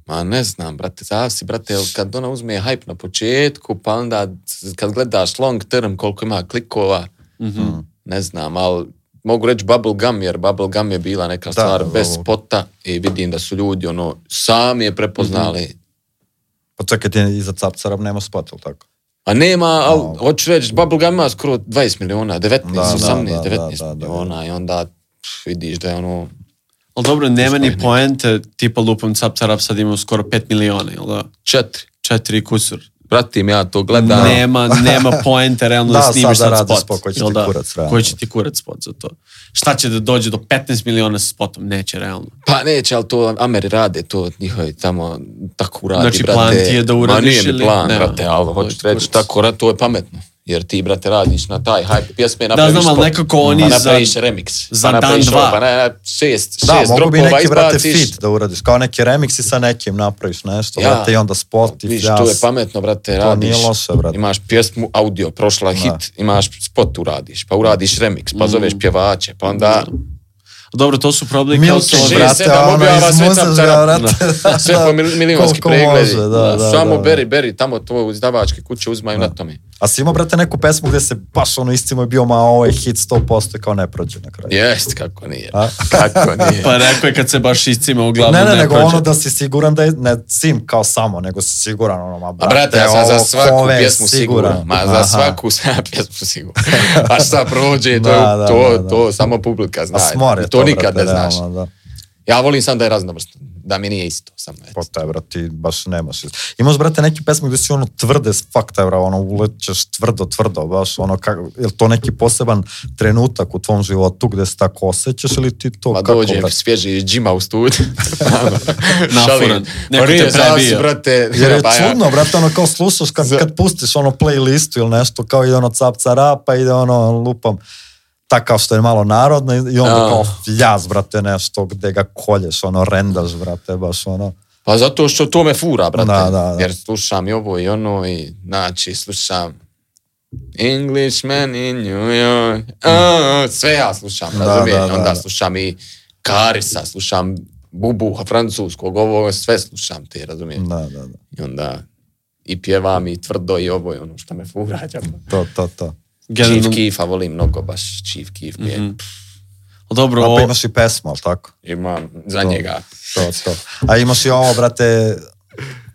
[SPEAKER 3] Ma ne znam, brate, zavisi, brate, jel kad ona uzme hype na početku, pa onda kad gledaš long term koliko ima klikova,
[SPEAKER 1] Mm.
[SPEAKER 3] ne znam, ali mogu reći bubble gum, jer bubble gum je bila neka stvar
[SPEAKER 1] da,
[SPEAKER 3] bez
[SPEAKER 1] ovo.
[SPEAKER 3] spota i vidim da su ljudi, ono, sami je prepoznali.
[SPEAKER 1] Pa čekaj, ti iza Capcarab nema spot, ili tako?
[SPEAKER 3] A nema, al,
[SPEAKER 1] Da.
[SPEAKER 3] hoću reći, bubble gum ima skoro 20 miliona, 19,
[SPEAKER 1] Da, da,
[SPEAKER 3] 18,
[SPEAKER 1] da, da,
[SPEAKER 3] 19
[SPEAKER 1] da, da.
[SPEAKER 3] miliona i onda pff, vidiš da je ono,
[SPEAKER 2] Ali dobro, nema ni
[SPEAKER 3] Uspojenik.
[SPEAKER 2] poente, tipa lupom Cap Tarap sad ima skoro 5 miliona, jel da?
[SPEAKER 3] četiri,
[SPEAKER 2] Četiri kusur.
[SPEAKER 3] pratim ja to, gledam.
[SPEAKER 2] Nema, nema poente realno da,
[SPEAKER 1] Da, sada
[SPEAKER 2] snimiš sad
[SPEAKER 1] radi
[SPEAKER 2] spot.
[SPEAKER 1] spot koji će
[SPEAKER 2] jel
[SPEAKER 1] ti
[SPEAKER 2] da?
[SPEAKER 1] kurac, realno.
[SPEAKER 2] Koji će ti kurac spot za to? Šta će da dođe do 15 miliona sa spotom? Neće realno.
[SPEAKER 3] Pa neće, ali to Ameri rade, to njihovi tamo tako uradi,
[SPEAKER 2] Znači,
[SPEAKER 3] brate.
[SPEAKER 2] plan ti je da uradiš
[SPEAKER 3] Ma nije mi
[SPEAKER 2] ili-
[SPEAKER 3] plan,
[SPEAKER 2] Nema.
[SPEAKER 3] brate, ali hoću
[SPEAKER 2] Hoćeš
[SPEAKER 3] reći,
[SPEAKER 2] kurac.
[SPEAKER 3] tako ra- to je pametno. Jer ti, brate, radiš na taj hype pjesme, napraviš
[SPEAKER 2] znam, ali
[SPEAKER 3] spot,
[SPEAKER 2] nekako oni
[SPEAKER 3] pa
[SPEAKER 2] za-
[SPEAKER 3] napraviš remix,
[SPEAKER 2] za
[SPEAKER 3] pa napraviš
[SPEAKER 2] dan,
[SPEAKER 3] ovo,
[SPEAKER 2] dva.
[SPEAKER 3] pa na, na, šest,
[SPEAKER 1] Da,
[SPEAKER 3] šest
[SPEAKER 1] mogu bi
[SPEAKER 3] dropova
[SPEAKER 1] neki, brate,
[SPEAKER 3] izbaciš.
[SPEAKER 1] fit da uradiš, kao neki remix i sa nekim napraviš nešto,
[SPEAKER 3] Ja.
[SPEAKER 1] brate, i onda spot i
[SPEAKER 3] Viš,
[SPEAKER 1] fljas.
[SPEAKER 3] to je pametno, brate,
[SPEAKER 1] To
[SPEAKER 3] radiš.
[SPEAKER 1] nije loše, brate.
[SPEAKER 3] Imaš pjesmu, audio, prošla hit, imaš spot uradiš, pa uradiš remix, pa zoveš
[SPEAKER 2] Mm.
[SPEAKER 3] pjevače, pa onda...
[SPEAKER 2] Dobro, to su probabli kao
[SPEAKER 1] Milton,
[SPEAKER 2] to...
[SPEAKER 3] šest,
[SPEAKER 1] brate,
[SPEAKER 3] sedam
[SPEAKER 1] ono,
[SPEAKER 3] objava, sve
[SPEAKER 1] izmuzeš
[SPEAKER 3] tam,
[SPEAKER 1] ga,
[SPEAKER 3] tam.
[SPEAKER 1] brate.
[SPEAKER 3] Sve po mil- milionski
[SPEAKER 1] Koliko
[SPEAKER 3] pregledi.
[SPEAKER 1] može, da, da,
[SPEAKER 3] Samo
[SPEAKER 1] da.
[SPEAKER 3] beri, beri, tamo to izdavačke kuće uzimaju na tome.
[SPEAKER 1] A si imao, brate, neku pesmu gdje se baš ono istimo je bio, ma ovo je hit 100% i kao ne prođe na kraju.
[SPEAKER 3] Jest, kako nije.
[SPEAKER 1] A?
[SPEAKER 3] Kako nije.
[SPEAKER 2] Pa rekao je kad se baš iscima uglavnom
[SPEAKER 1] ne, ne, nego
[SPEAKER 2] prođe.
[SPEAKER 1] ono da si siguran da je, ne sim kao samo, nego si siguran ono, ma
[SPEAKER 3] A
[SPEAKER 1] brate,
[SPEAKER 3] brate, ja sam za
[SPEAKER 1] ovo
[SPEAKER 3] svaku
[SPEAKER 1] cover
[SPEAKER 3] pjesmu siguran. Ma za
[SPEAKER 1] Aha.
[SPEAKER 3] svaku sam ja pjesmu siguran. A šta prođe, to,
[SPEAKER 1] Da,
[SPEAKER 3] je
[SPEAKER 1] da,
[SPEAKER 3] to,
[SPEAKER 1] da, da.
[SPEAKER 3] to samo publika zna.
[SPEAKER 1] A smore
[SPEAKER 3] I to nikad
[SPEAKER 1] brate, ono.
[SPEAKER 3] ne znaš.
[SPEAKER 1] realno, da.
[SPEAKER 3] Ja volim sam da je raznovrsno. da mi nije isto samo eto.
[SPEAKER 1] Potaj, brati, baš nemaš. iz- Imaš, brate, neke pesme gdje si ono tvrde s fakta, bra, ono, ulećeš tvrdo, tvrdo, baš, ono, kako, je li to neki poseban trenutak u tvom životu gdje se tako osjećaš ili ti to
[SPEAKER 3] Pa
[SPEAKER 1] kako,
[SPEAKER 3] dođe
[SPEAKER 1] brate?
[SPEAKER 3] svježi iz džima u studiju. Pa
[SPEAKER 2] Nafuran.
[SPEAKER 1] Pa
[SPEAKER 2] Neko te
[SPEAKER 3] Rije
[SPEAKER 2] prebija.
[SPEAKER 3] brate.
[SPEAKER 1] Jer je
[SPEAKER 3] ba ja.
[SPEAKER 1] čudno, brate, ono kao slušaš kad,
[SPEAKER 3] Za-
[SPEAKER 1] kad pustiš ono playlistu ili nešto, kao ide ono capca rapa, ide ono lupam takav što je malo narodno i- i onda
[SPEAKER 3] A.
[SPEAKER 1] kao jaz, brate, nešto gde ga kolješ, ono rendaš, brate, baš ono.
[SPEAKER 3] Pa zato što to me fura, brate.
[SPEAKER 1] Da, da, da.
[SPEAKER 3] Jer slušam i ovo i ono i, znači, slušam Englishman in New York. Ah, sve ja slušam,
[SPEAKER 1] Da,
[SPEAKER 3] razumiješ?
[SPEAKER 1] da, da,
[SPEAKER 3] Onda
[SPEAKER 1] da.
[SPEAKER 3] slušam i Karisa, slušam Bubuha francuskog, ovo sve slušam te, razumiješ?
[SPEAKER 1] Da, da, da,
[SPEAKER 3] I onda i pjevam i tvrdo i ovo i ono što me fura. džaba.
[SPEAKER 1] to, to, to.
[SPEAKER 3] Chief
[SPEAKER 2] Generalno,
[SPEAKER 3] Keefa volim mnogo, baš Chief Keef mi je
[SPEAKER 2] Mhm. dobro,
[SPEAKER 1] A pa
[SPEAKER 2] ovo,
[SPEAKER 1] imaš i pesmu, ali tako?
[SPEAKER 3] imam za
[SPEAKER 1] To.
[SPEAKER 3] njega.
[SPEAKER 1] To, to. A imaš i ovo, brate,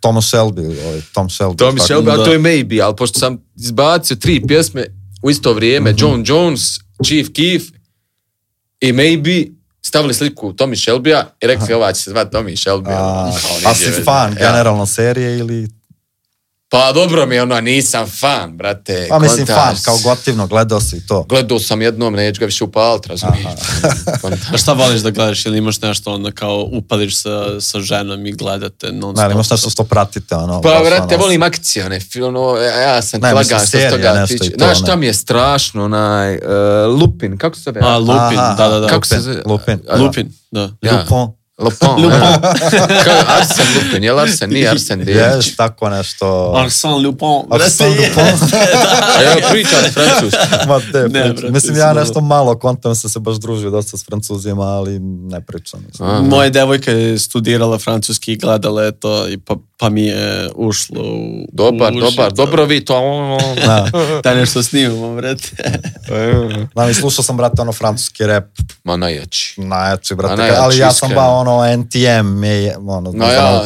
[SPEAKER 1] Tomo Shelby, ovaj, Tom Shelby.
[SPEAKER 3] To mi
[SPEAKER 1] tako?
[SPEAKER 3] se obe,
[SPEAKER 2] Da.
[SPEAKER 3] a to je maybe, ali pošto sam izbacio tri pjesme u isto vrijeme,
[SPEAKER 1] Mhm.
[SPEAKER 3] John Jones, Chief Keef i maybe, stavili sliku Tommy Shelbya i rekli ova će se zvati Tommy Shelby.
[SPEAKER 1] A,
[SPEAKER 3] ono, kao
[SPEAKER 1] a
[SPEAKER 3] niđe
[SPEAKER 1] si
[SPEAKER 3] veze.
[SPEAKER 1] fan
[SPEAKER 3] Ja.
[SPEAKER 1] generalno serije ili...
[SPEAKER 3] Pa dobro mi je ono, nisam fan, brate.
[SPEAKER 1] Pa mislim
[SPEAKER 3] kontaš.
[SPEAKER 1] fan, kao gotivno, gledao si i to.
[SPEAKER 3] Gledao sam jednom, neću ga više upalit, razumiješ. Kontaš.
[SPEAKER 2] a šta voliš da gledaš ili imaš nešto onda kao upališ sa, sa ženom i gledate non
[SPEAKER 1] Ne, ali imaš
[SPEAKER 2] stop?
[SPEAKER 1] nešto što pratite, ono...
[SPEAKER 3] Pa,
[SPEAKER 1] baš
[SPEAKER 3] brate,
[SPEAKER 1] ono,
[SPEAKER 3] volim akcije, one, fi- ono, ja- ja sam
[SPEAKER 1] Ne,
[SPEAKER 3] ne,
[SPEAKER 1] mislim,
[SPEAKER 3] lagan što se
[SPEAKER 1] serija,
[SPEAKER 3] toga
[SPEAKER 1] nešto i
[SPEAKER 3] tiče.
[SPEAKER 1] to,
[SPEAKER 3] Znaš
[SPEAKER 1] ne.
[SPEAKER 3] šta mi je strašno, onaj, uh, Lupin, kako se zove?
[SPEAKER 2] A, Lupin,
[SPEAKER 1] Aha,
[SPEAKER 2] da, da, da.
[SPEAKER 3] Kako se
[SPEAKER 1] Lupin,
[SPEAKER 3] zove?
[SPEAKER 1] Lupin.
[SPEAKER 3] A, da.
[SPEAKER 2] Lupin, da.
[SPEAKER 3] Ja.
[SPEAKER 1] Lupon.
[SPEAKER 3] Lupin. Kao Arsen Lupin, jel Arsen? Nije Arsen Dević.
[SPEAKER 1] Ješ, tako nešto...
[SPEAKER 2] Arsène Lupin.
[SPEAKER 1] Arsène
[SPEAKER 2] brate,
[SPEAKER 1] Lupin.
[SPEAKER 2] jeste, da.
[SPEAKER 3] A ja pričam francuski.
[SPEAKER 1] Ma te, priča.
[SPEAKER 2] Ne, brate,
[SPEAKER 1] mislim, ja
[SPEAKER 2] iskreno.
[SPEAKER 1] nešto malo kontam sam se baš družio dosta s francuzima, ali ne pričam.
[SPEAKER 3] A.
[SPEAKER 2] Moja devojka je studirala francuski i gledala je to i pa, pa mi je ušlo u
[SPEAKER 3] Dobar,
[SPEAKER 2] u uši
[SPEAKER 3] dobar,
[SPEAKER 2] to.
[SPEAKER 3] dobro vi to.
[SPEAKER 1] Da.
[SPEAKER 2] Da nešto snimamo, brate.
[SPEAKER 1] Da, mi slušao sam, brate, ono francuski rap,
[SPEAKER 3] Ma najjači.
[SPEAKER 1] najjači, brate,
[SPEAKER 3] A najjači,
[SPEAKER 1] ali ja sam
[SPEAKER 3] iskreno.
[SPEAKER 1] ba, ono, NTM, mi je, ono,
[SPEAKER 3] No ja,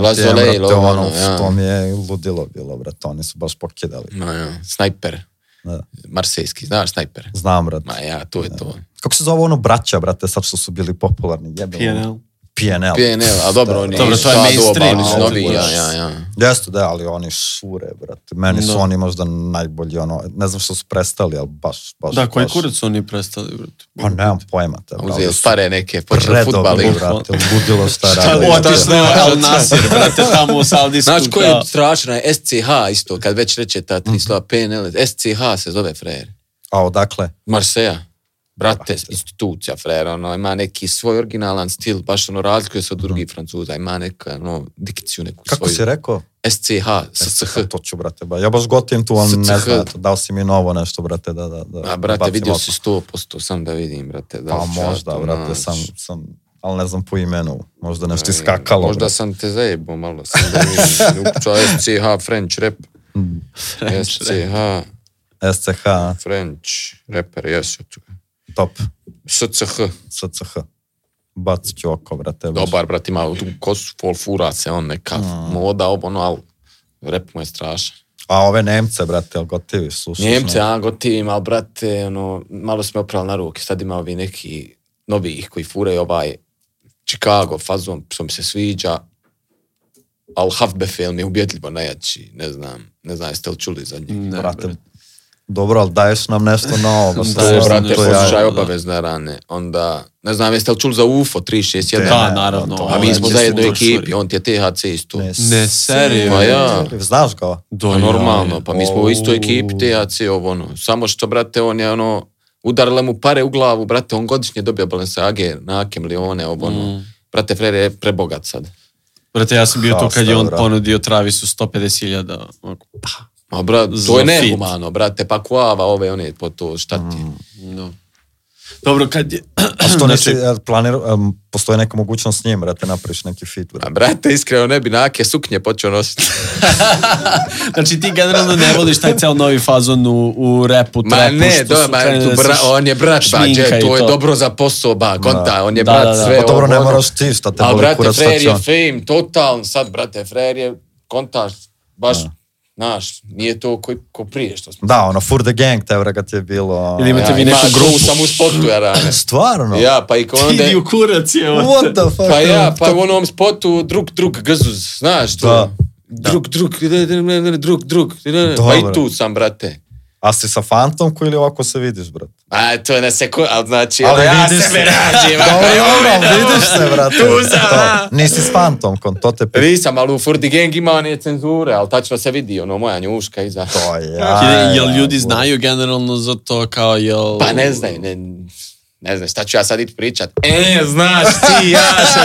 [SPEAKER 3] Lazole i
[SPEAKER 1] brate, ono,
[SPEAKER 3] Lovano, ja.
[SPEAKER 1] to mi je ludilo bilo, brate, oni su baš pokidali.
[SPEAKER 3] No ja, snajper.
[SPEAKER 1] Da.
[SPEAKER 3] Marsejski, znaš snajper.
[SPEAKER 1] Znam, brate.
[SPEAKER 3] Ma ja, to je to.
[SPEAKER 1] Kako se zove ono braća, brate, sad što su bili popularni? jebe, ono,
[SPEAKER 2] PNL.
[SPEAKER 1] PNL.
[SPEAKER 3] PNL, a dobro, oni
[SPEAKER 2] Dobro, to je
[SPEAKER 3] sad
[SPEAKER 2] mainstream,
[SPEAKER 3] doba, oni su
[SPEAKER 1] ali
[SPEAKER 3] novi, ja,
[SPEAKER 1] budeš-
[SPEAKER 3] ja, ja.
[SPEAKER 1] Jeste, da, ali oni šure, brate. Meni su
[SPEAKER 2] Da.
[SPEAKER 1] oni možda najbolji, ono, ne znam što su prestali, ali baš, baš,
[SPEAKER 2] Da, koji
[SPEAKER 1] baš.
[SPEAKER 2] kurac su oni prestali, brate?
[SPEAKER 1] Pa nemam pojma te, brate.
[SPEAKER 3] Uzeli pare neke, počeli futbal
[SPEAKER 1] Predobri,
[SPEAKER 3] igra.
[SPEAKER 1] brate, ludilo šta radi.
[SPEAKER 2] Šta
[SPEAKER 3] otiš
[SPEAKER 2] otiš
[SPEAKER 3] na
[SPEAKER 2] na
[SPEAKER 3] Al
[SPEAKER 2] Al Nasir, brate, tamo u Saudijsku.
[SPEAKER 3] Znaš ko
[SPEAKER 2] da.
[SPEAKER 3] je strašna je SCH isto, kad već reče ta
[SPEAKER 1] Mhm.
[SPEAKER 3] tri slova PNL, SCH se zove frajer.
[SPEAKER 1] A odakle?
[SPEAKER 3] Marseja. Brate, institucija, frajer, ono, ima neki svoj originalan stil, baš ono, razlikuje se od drugih francuza, ima neka, ono, dikciju neku
[SPEAKER 1] Mhm. Kako si
[SPEAKER 3] svoju.
[SPEAKER 1] rekao?
[SPEAKER 3] SCH,
[SPEAKER 1] Е,
[SPEAKER 3] SCH.
[SPEAKER 1] To ću, brate, ba. Ja baš gotivim tu, ali ne
[SPEAKER 3] SCH.
[SPEAKER 1] znam, eto, dao si mi novo nešto, brate, da, da, da.
[SPEAKER 3] A, brate,
[SPEAKER 1] bacim
[SPEAKER 3] vidio
[SPEAKER 1] oko.
[SPEAKER 3] si 100%, sam da vidim, brate. Da
[SPEAKER 1] Pa
[SPEAKER 3] li ću ja
[SPEAKER 1] možda,
[SPEAKER 3] to
[SPEAKER 1] brate,
[SPEAKER 3] naći.
[SPEAKER 1] sam, sam, ali ne znam po imenu. Možda nešto
[SPEAKER 3] Ne,
[SPEAKER 1] iskakalo.
[SPEAKER 3] Možda
[SPEAKER 1] brate.
[SPEAKER 3] sam te zajebao malo, sam da vidim. Upčao SCH, French rap.
[SPEAKER 1] Mm.
[SPEAKER 3] SCH,
[SPEAKER 1] SCH, a?
[SPEAKER 3] French rapper, jesu tu.
[SPEAKER 1] top,
[SPEAKER 3] SCH,
[SPEAKER 1] SCH. Bacit ću oko, brate. baš.
[SPEAKER 3] dobar, brate, ima tu kosu, fol fura se, on neka
[SPEAKER 1] Mm.
[SPEAKER 3] moda, ovo, ono, ali rap mu je strašan.
[SPEAKER 1] A ove Nemce, brate, jel gotivi slušaš?
[SPEAKER 3] Njemce,
[SPEAKER 1] ne?
[SPEAKER 3] a gotivim, ali brate, ono, malo smo oprali na ruke, sad ima ovi neki novih koji furaju ovaj Chicago fazon, što mi se sviđa, ali Hafbefel mi je ubjedljivo najjači, ne znam, ne znam jeste li čuli za njih.
[SPEAKER 2] Ne,
[SPEAKER 1] Brate,
[SPEAKER 2] brate.
[SPEAKER 1] dobro, ali daješ nam nešto novo. Baš
[SPEAKER 2] Da,
[SPEAKER 1] to je,
[SPEAKER 2] brate,
[SPEAKER 3] Brate,
[SPEAKER 1] to je-
[SPEAKER 3] poslušaj
[SPEAKER 2] da.
[SPEAKER 3] obavezne rane, onda, ne znam jeste li čuli za UFO 361,
[SPEAKER 1] Da,
[SPEAKER 2] Da, naravno.
[SPEAKER 1] to-
[SPEAKER 3] a mi smo
[SPEAKER 1] Neće
[SPEAKER 3] zajedno u
[SPEAKER 2] u
[SPEAKER 3] ekipi, on ti je THC isto.
[SPEAKER 1] Ne,
[SPEAKER 2] Ne, serio.
[SPEAKER 3] Pa ja.
[SPEAKER 1] Znaš ga?
[SPEAKER 2] Do
[SPEAKER 3] Pa normalno, pa mi smo u istoj
[SPEAKER 2] O.
[SPEAKER 3] ekipi THC ovo ono. Samo što, brate, on je ono, udarila mu pare u glavu, brate, on godišnje dobija Balenciage, nake milione, ovo
[SPEAKER 2] Mm.
[SPEAKER 3] ono. Brate, Fred je prebogat sad.
[SPEAKER 2] Brate, ja sam bio tu kad je on
[SPEAKER 1] Hasta, brate.
[SPEAKER 2] ponudio Travisu 150.000. onako, pa,
[SPEAKER 3] Ma, brate,
[SPEAKER 2] Za
[SPEAKER 3] to je
[SPEAKER 2] fit.
[SPEAKER 3] nehumano, brate, pa kuava ove one, po to, šta ti.
[SPEAKER 2] Mm.
[SPEAKER 3] je.
[SPEAKER 2] No. Dobro, kad je...
[SPEAKER 1] A što
[SPEAKER 2] Znači-
[SPEAKER 1] nisi znači, postoji neka mogućnost s njim, brate, napraviš neki fit,
[SPEAKER 3] A
[SPEAKER 1] brate.
[SPEAKER 3] brate, iskreno ne bi nake suknje počeo nositi.
[SPEAKER 2] Znači ti generalno ne voliš taj cel novi fazon u, u repu,
[SPEAKER 3] Ma
[SPEAKER 2] trapu,
[SPEAKER 3] ne,
[SPEAKER 2] što
[SPEAKER 3] do,
[SPEAKER 2] su
[SPEAKER 3] ma,
[SPEAKER 2] krenuli da
[SPEAKER 3] tu
[SPEAKER 2] se
[SPEAKER 3] bra, on je brat,
[SPEAKER 2] šminka
[SPEAKER 3] bađe,
[SPEAKER 2] i
[SPEAKER 3] to je
[SPEAKER 2] to.
[SPEAKER 3] dobro za posao, ba, konta, on je
[SPEAKER 2] Da,
[SPEAKER 3] brat
[SPEAKER 2] da, da.
[SPEAKER 3] sve.
[SPEAKER 1] Pa dobro,
[SPEAKER 3] ovo,
[SPEAKER 1] ne
[SPEAKER 3] ono.
[SPEAKER 1] moraš ti, šta te
[SPEAKER 3] Ali,
[SPEAKER 1] boli
[SPEAKER 3] brate,
[SPEAKER 1] kurac, šta
[SPEAKER 3] Frer
[SPEAKER 1] će
[SPEAKER 3] je
[SPEAKER 1] on?
[SPEAKER 3] fame, total, sad, brate, Frer je kontaž, baš Znaš, nije to koji ko prije što smo...
[SPEAKER 1] Da, ono, for the gang, te vraga ti je bilo...
[SPEAKER 2] Ili imate
[SPEAKER 3] Ja,
[SPEAKER 2] vi
[SPEAKER 3] ima-
[SPEAKER 2] neku grupu?
[SPEAKER 3] tu sam u spotu, ja rane.
[SPEAKER 1] Stvarno?
[SPEAKER 3] Ja, pa i ko onda...
[SPEAKER 2] Idi u kurac, evo.
[SPEAKER 1] What the fuck?
[SPEAKER 3] Pa ja, pa u onom spotu drug, drug, grzuz, znaš to.
[SPEAKER 1] Da.
[SPEAKER 3] Drug, drug, ne, ne, ne, ne, drug, drug, ne, ne, ne. pa i
[SPEAKER 1] Dobro.
[SPEAKER 3] tu sam, brate.
[SPEAKER 1] A si sa fantomku ili ovako se vidiš, brat?
[SPEAKER 3] A, to je na seko, ali znači,
[SPEAKER 1] Ali
[SPEAKER 3] ali ja
[SPEAKER 1] vidiš se.
[SPEAKER 3] sebe rađim.
[SPEAKER 1] Dobro, ono, vidiš se, brate.
[SPEAKER 3] Tu sam,
[SPEAKER 1] To.
[SPEAKER 3] a.
[SPEAKER 1] Nisi s fantomkom, to te pita.
[SPEAKER 3] Nisam, ali u Furdi Gang ima one cenzure, ali tačno se vidi, ono, moja njuška iza.
[SPEAKER 1] To je,
[SPEAKER 2] Jel-
[SPEAKER 1] aj,
[SPEAKER 2] Jel ljudi
[SPEAKER 1] aj,
[SPEAKER 2] znaju generalno za to kao jel...
[SPEAKER 3] Pa ne znaju, ne, ne znam, šta ću ja sad ići pričat? E, znaš ti, ja sam...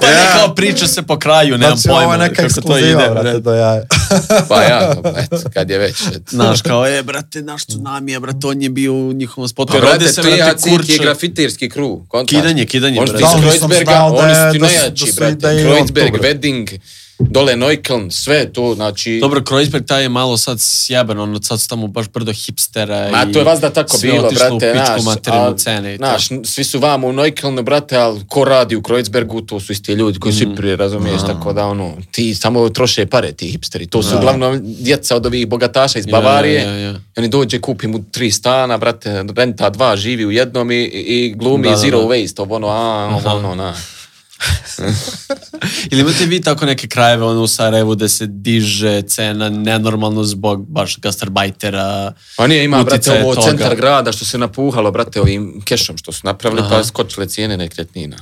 [SPEAKER 2] Pa ne kao priča se po kraju, nemam
[SPEAKER 1] Znači,
[SPEAKER 2] pojma.
[SPEAKER 1] ovo je neka
[SPEAKER 2] kako to
[SPEAKER 1] ekskluziva,
[SPEAKER 2] ide,
[SPEAKER 1] brate,
[SPEAKER 2] brate.
[SPEAKER 1] do jaja.
[SPEAKER 3] Pa ja, eto, kad je već. Eto.
[SPEAKER 2] Znaš, kao, e, brate, naš tsunami, je, brate, on je bio u njihovom spotu.
[SPEAKER 3] Pa,
[SPEAKER 2] Pa,
[SPEAKER 3] brate,
[SPEAKER 2] se,
[SPEAKER 3] to je
[SPEAKER 2] brate,
[SPEAKER 3] jacijki
[SPEAKER 2] kurče.
[SPEAKER 3] grafitirski krug. kontaš.
[SPEAKER 2] Kidanje, kidanje,
[SPEAKER 3] Možda
[SPEAKER 2] brate.
[SPEAKER 3] iz
[SPEAKER 1] Da, nisam
[SPEAKER 3] Kreuzberga,
[SPEAKER 1] znao da
[SPEAKER 3] oni
[SPEAKER 1] je-
[SPEAKER 3] su ti
[SPEAKER 1] da su-
[SPEAKER 3] najjači,
[SPEAKER 1] da su
[SPEAKER 3] brate.
[SPEAKER 1] ideje od
[SPEAKER 3] Kreuzberg,
[SPEAKER 1] toga.
[SPEAKER 3] Wedding, dole Neukeln, sve to, znači...
[SPEAKER 2] Dobro, Kreuzberg taj je malo sad sjaban, ono, sad su tamo baš brdo hipstera
[SPEAKER 3] Ma
[SPEAKER 2] i
[SPEAKER 3] to je vas da tako
[SPEAKER 2] sve
[SPEAKER 3] bilo,
[SPEAKER 2] otišlo
[SPEAKER 3] brate,
[SPEAKER 2] u pičku
[SPEAKER 3] znaš,
[SPEAKER 2] materinu
[SPEAKER 3] al-
[SPEAKER 2] cene i to.
[SPEAKER 3] znaš, svi su vamo u Neukelnu, brate, ali ko radi u Kreuzbergu, to su isti ljudi koji su
[SPEAKER 2] Mhm.
[SPEAKER 3] i prije, razumiješ, tako da, ono, ti samo troše pare, ti hipsteri, to su uglavnom djeca od ovih bogataša iz
[SPEAKER 2] Ja, ja,
[SPEAKER 3] Bavarije,
[SPEAKER 2] ja, ja.
[SPEAKER 3] i oni dođe, kupi mu tri stana, brate, renta dva, živi u jednom i, i glumi
[SPEAKER 2] Da, da,
[SPEAKER 3] zero
[SPEAKER 2] da.
[SPEAKER 3] waste, ovo ono, a, ovo ono, na.
[SPEAKER 2] Ili imate vi tako neke krajeve ono, u Sarajevu da se diže cena nenormalno zbog baš gastarbajtera?
[SPEAKER 3] Pa nije, ima, brate,
[SPEAKER 2] Utjecaje
[SPEAKER 3] ovo
[SPEAKER 2] toga.
[SPEAKER 3] centar grada što se napuhalo, brate, ovim kešom što su napravili,
[SPEAKER 2] Aha. Mhm.
[SPEAKER 3] pa skočile cijene nekretnina.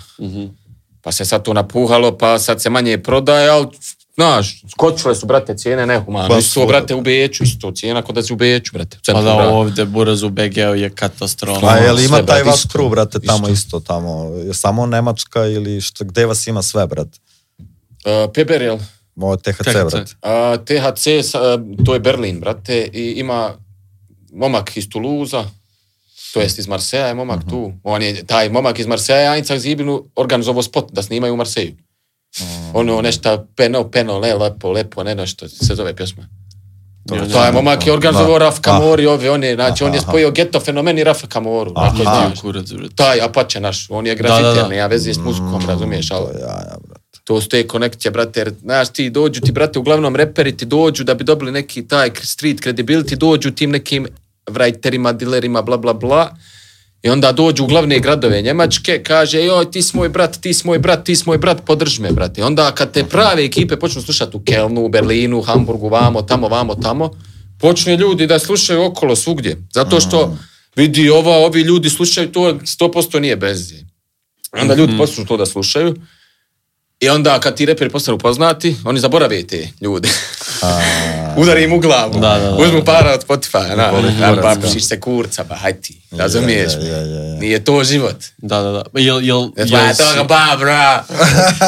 [SPEAKER 3] Pa se sad to napuhalo, pa sad se manje prodaje, ali, znaš, skočile su, brate, cijene nehumano.
[SPEAKER 1] Pa,
[SPEAKER 3] isto,
[SPEAKER 1] svuda.
[SPEAKER 3] brate, u Beču, isto, cijena kod da si u Beču, brate, u
[SPEAKER 2] Pa
[SPEAKER 3] centru
[SPEAKER 2] da,
[SPEAKER 3] grada.
[SPEAKER 2] ovde Buraz u BG-u je katastrofa.
[SPEAKER 1] Pa je li ima
[SPEAKER 3] ono, sve,
[SPEAKER 1] taj
[SPEAKER 3] brate,
[SPEAKER 1] vaš
[SPEAKER 3] isto,
[SPEAKER 1] kru, brate, tamo isto, tamo? Je samo Nemačka ili što, gde vas ima sve, brate?
[SPEAKER 3] E, Peber, jel?
[SPEAKER 1] Ovo je THC,
[SPEAKER 2] THC.
[SPEAKER 1] brate.
[SPEAKER 3] A, THC, sa- e, to je Berlin, brate, i ima momak iz Tuluza, to jest iz Marseja je momak
[SPEAKER 1] Mhm.
[SPEAKER 3] tu. On je, taj momak iz Marseja je Anica Zibinu organizovao spot da snimaju u Marseju.
[SPEAKER 1] Mhm.
[SPEAKER 3] Ono nešto peno, peno, le, lepo, lepo, ne nešto se zove pjesma.
[SPEAKER 1] To je
[SPEAKER 3] Taj
[SPEAKER 1] ono,
[SPEAKER 3] momak je
[SPEAKER 1] da.
[SPEAKER 3] organizovao Raf
[SPEAKER 1] Aha.
[SPEAKER 3] Kamori, ove, one, znači on je
[SPEAKER 1] Aha.
[SPEAKER 3] spojio geto fenomen i Raf Kamoru. Znači,
[SPEAKER 1] Aha.
[SPEAKER 3] znaš,
[SPEAKER 2] Ti kurac, brate.
[SPEAKER 3] taj Apache naš, on je
[SPEAKER 2] da, da.
[SPEAKER 3] grafiter, nema veze s
[SPEAKER 1] Mm.
[SPEAKER 3] muzikom, razumiješ, ali
[SPEAKER 1] To je jaja, brate.
[SPEAKER 3] to su te konekcije, brate, jer, znaš, ti dođu ti, brate, uglavnom reperi ti dođu da bi dobili neki taj street credibility, dođu tim nekim writerima, dilerima, bla, bla, bla, i onda dođu u glavne gradove Njemačke, kaže, joj, ti si moj brat, ti si moj brat, ti si moj brat, podrži me, brate. I onda kad te prave ekipe počnu slušati u Kelnu, u Berlinu, u Hamburgu, vamo, tamo, vamo, tamo, počne ljudi da slušaju okolo svugdje. Zato što vidi ova, ovi ljudi slušaju to, 100% nije bez nje. Onda ljudi
[SPEAKER 2] Mhm.
[SPEAKER 3] počnu to da slušaju. I onda kad ti reperi postanu poznati, oni zaborave te ljude. Udari im u glavu.
[SPEAKER 2] Da, da, da.
[SPEAKER 3] Uzmu para od Spotify, na,
[SPEAKER 1] Voli
[SPEAKER 3] a,
[SPEAKER 1] kurac,
[SPEAKER 3] pa
[SPEAKER 1] da.
[SPEAKER 3] pušiš se kurca, pa haj ti, razumiješ?
[SPEAKER 1] Je,
[SPEAKER 3] me?
[SPEAKER 1] je, je, je.
[SPEAKER 3] Nije to život.
[SPEAKER 2] Da, da, da. Pa Jel, jel,
[SPEAKER 3] Ne
[SPEAKER 2] jel,
[SPEAKER 3] tvoja
[SPEAKER 2] si,
[SPEAKER 3] toga babra.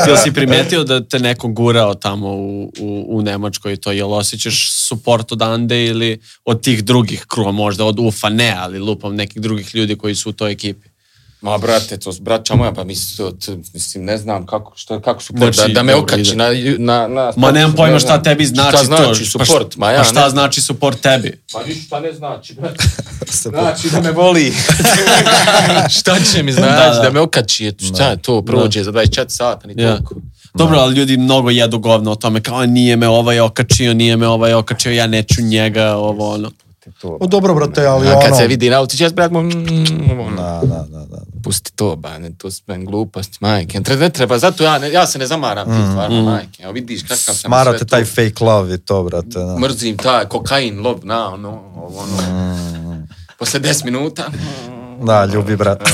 [SPEAKER 2] jel si primetio da te neko gurao tamo u, u, u Nemačkoj i to? Jel osjećaš suport odande ili od tih drugih krua možda? Od UFA ne, ali lupam nekih drugih ljudi koji su u toj ekipi.
[SPEAKER 3] Ma brate, to su braća moja, pa mislim, to, to, mislim ne znam kako, što, kako su
[SPEAKER 2] Znači,
[SPEAKER 3] da, da me
[SPEAKER 2] dobro,
[SPEAKER 3] okači
[SPEAKER 2] ide.
[SPEAKER 3] na, ju- na, na...
[SPEAKER 2] Ma nemam pojma
[SPEAKER 3] ne
[SPEAKER 2] šta
[SPEAKER 3] znam.
[SPEAKER 2] tebi znači
[SPEAKER 3] Pa, šta
[SPEAKER 2] to.
[SPEAKER 3] znači support,
[SPEAKER 2] šta,
[SPEAKER 3] ma ja
[SPEAKER 2] pa šta
[SPEAKER 3] ne-
[SPEAKER 2] znači support tebi?
[SPEAKER 3] Pa ništa ne znači, brate. Znači da me voli. šta će mi znači
[SPEAKER 2] Da,
[SPEAKER 3] da,
[SPEAKER 2] da.
[SPEAKER 3] me okači, eto, šta je to, prođe za 24 sata, ni
[SPEAKER 2] Ja.
[SPEAKER 3] toliko.
[SPEAKER 2] Dobro, ali ljudi mnogo jedu govno o tome, kao "A, nije me ovaj okačio, nije me ovaj okačio, ja neću njega, ovo ono.
[SPEAKER 1] O, dobro, brate, ali ono...
[SPEAKER 3] A kad se vidi na auto, će brat, mo, mm, ono,
[SPEAKER 1] Da, da, da, da.
[SPEAKER 3] pusti to, ba, ne, to su meni gluposti, majke. Ne treba, ne treba, zato ja, ne, ja se ne zamaram ti
[SPEAKER 2] Mm.
[SPEAKER 3] stvarno, majke. Evo vidiš kakav sam. i
[SPEAKER 1] Smarate
[SPEAKER 3] sve to.
[SPEAKER 1] taj fake love i to, brate. Da.
[SPEAKER 3] Mrzim taj kokain, lob, na, ono, ovo, ono.
[SPEAKER 2] Mm.
[SPEAKER 3] Posle 10 minuta,
[SPEAKER 1] Da, ljubi, brate.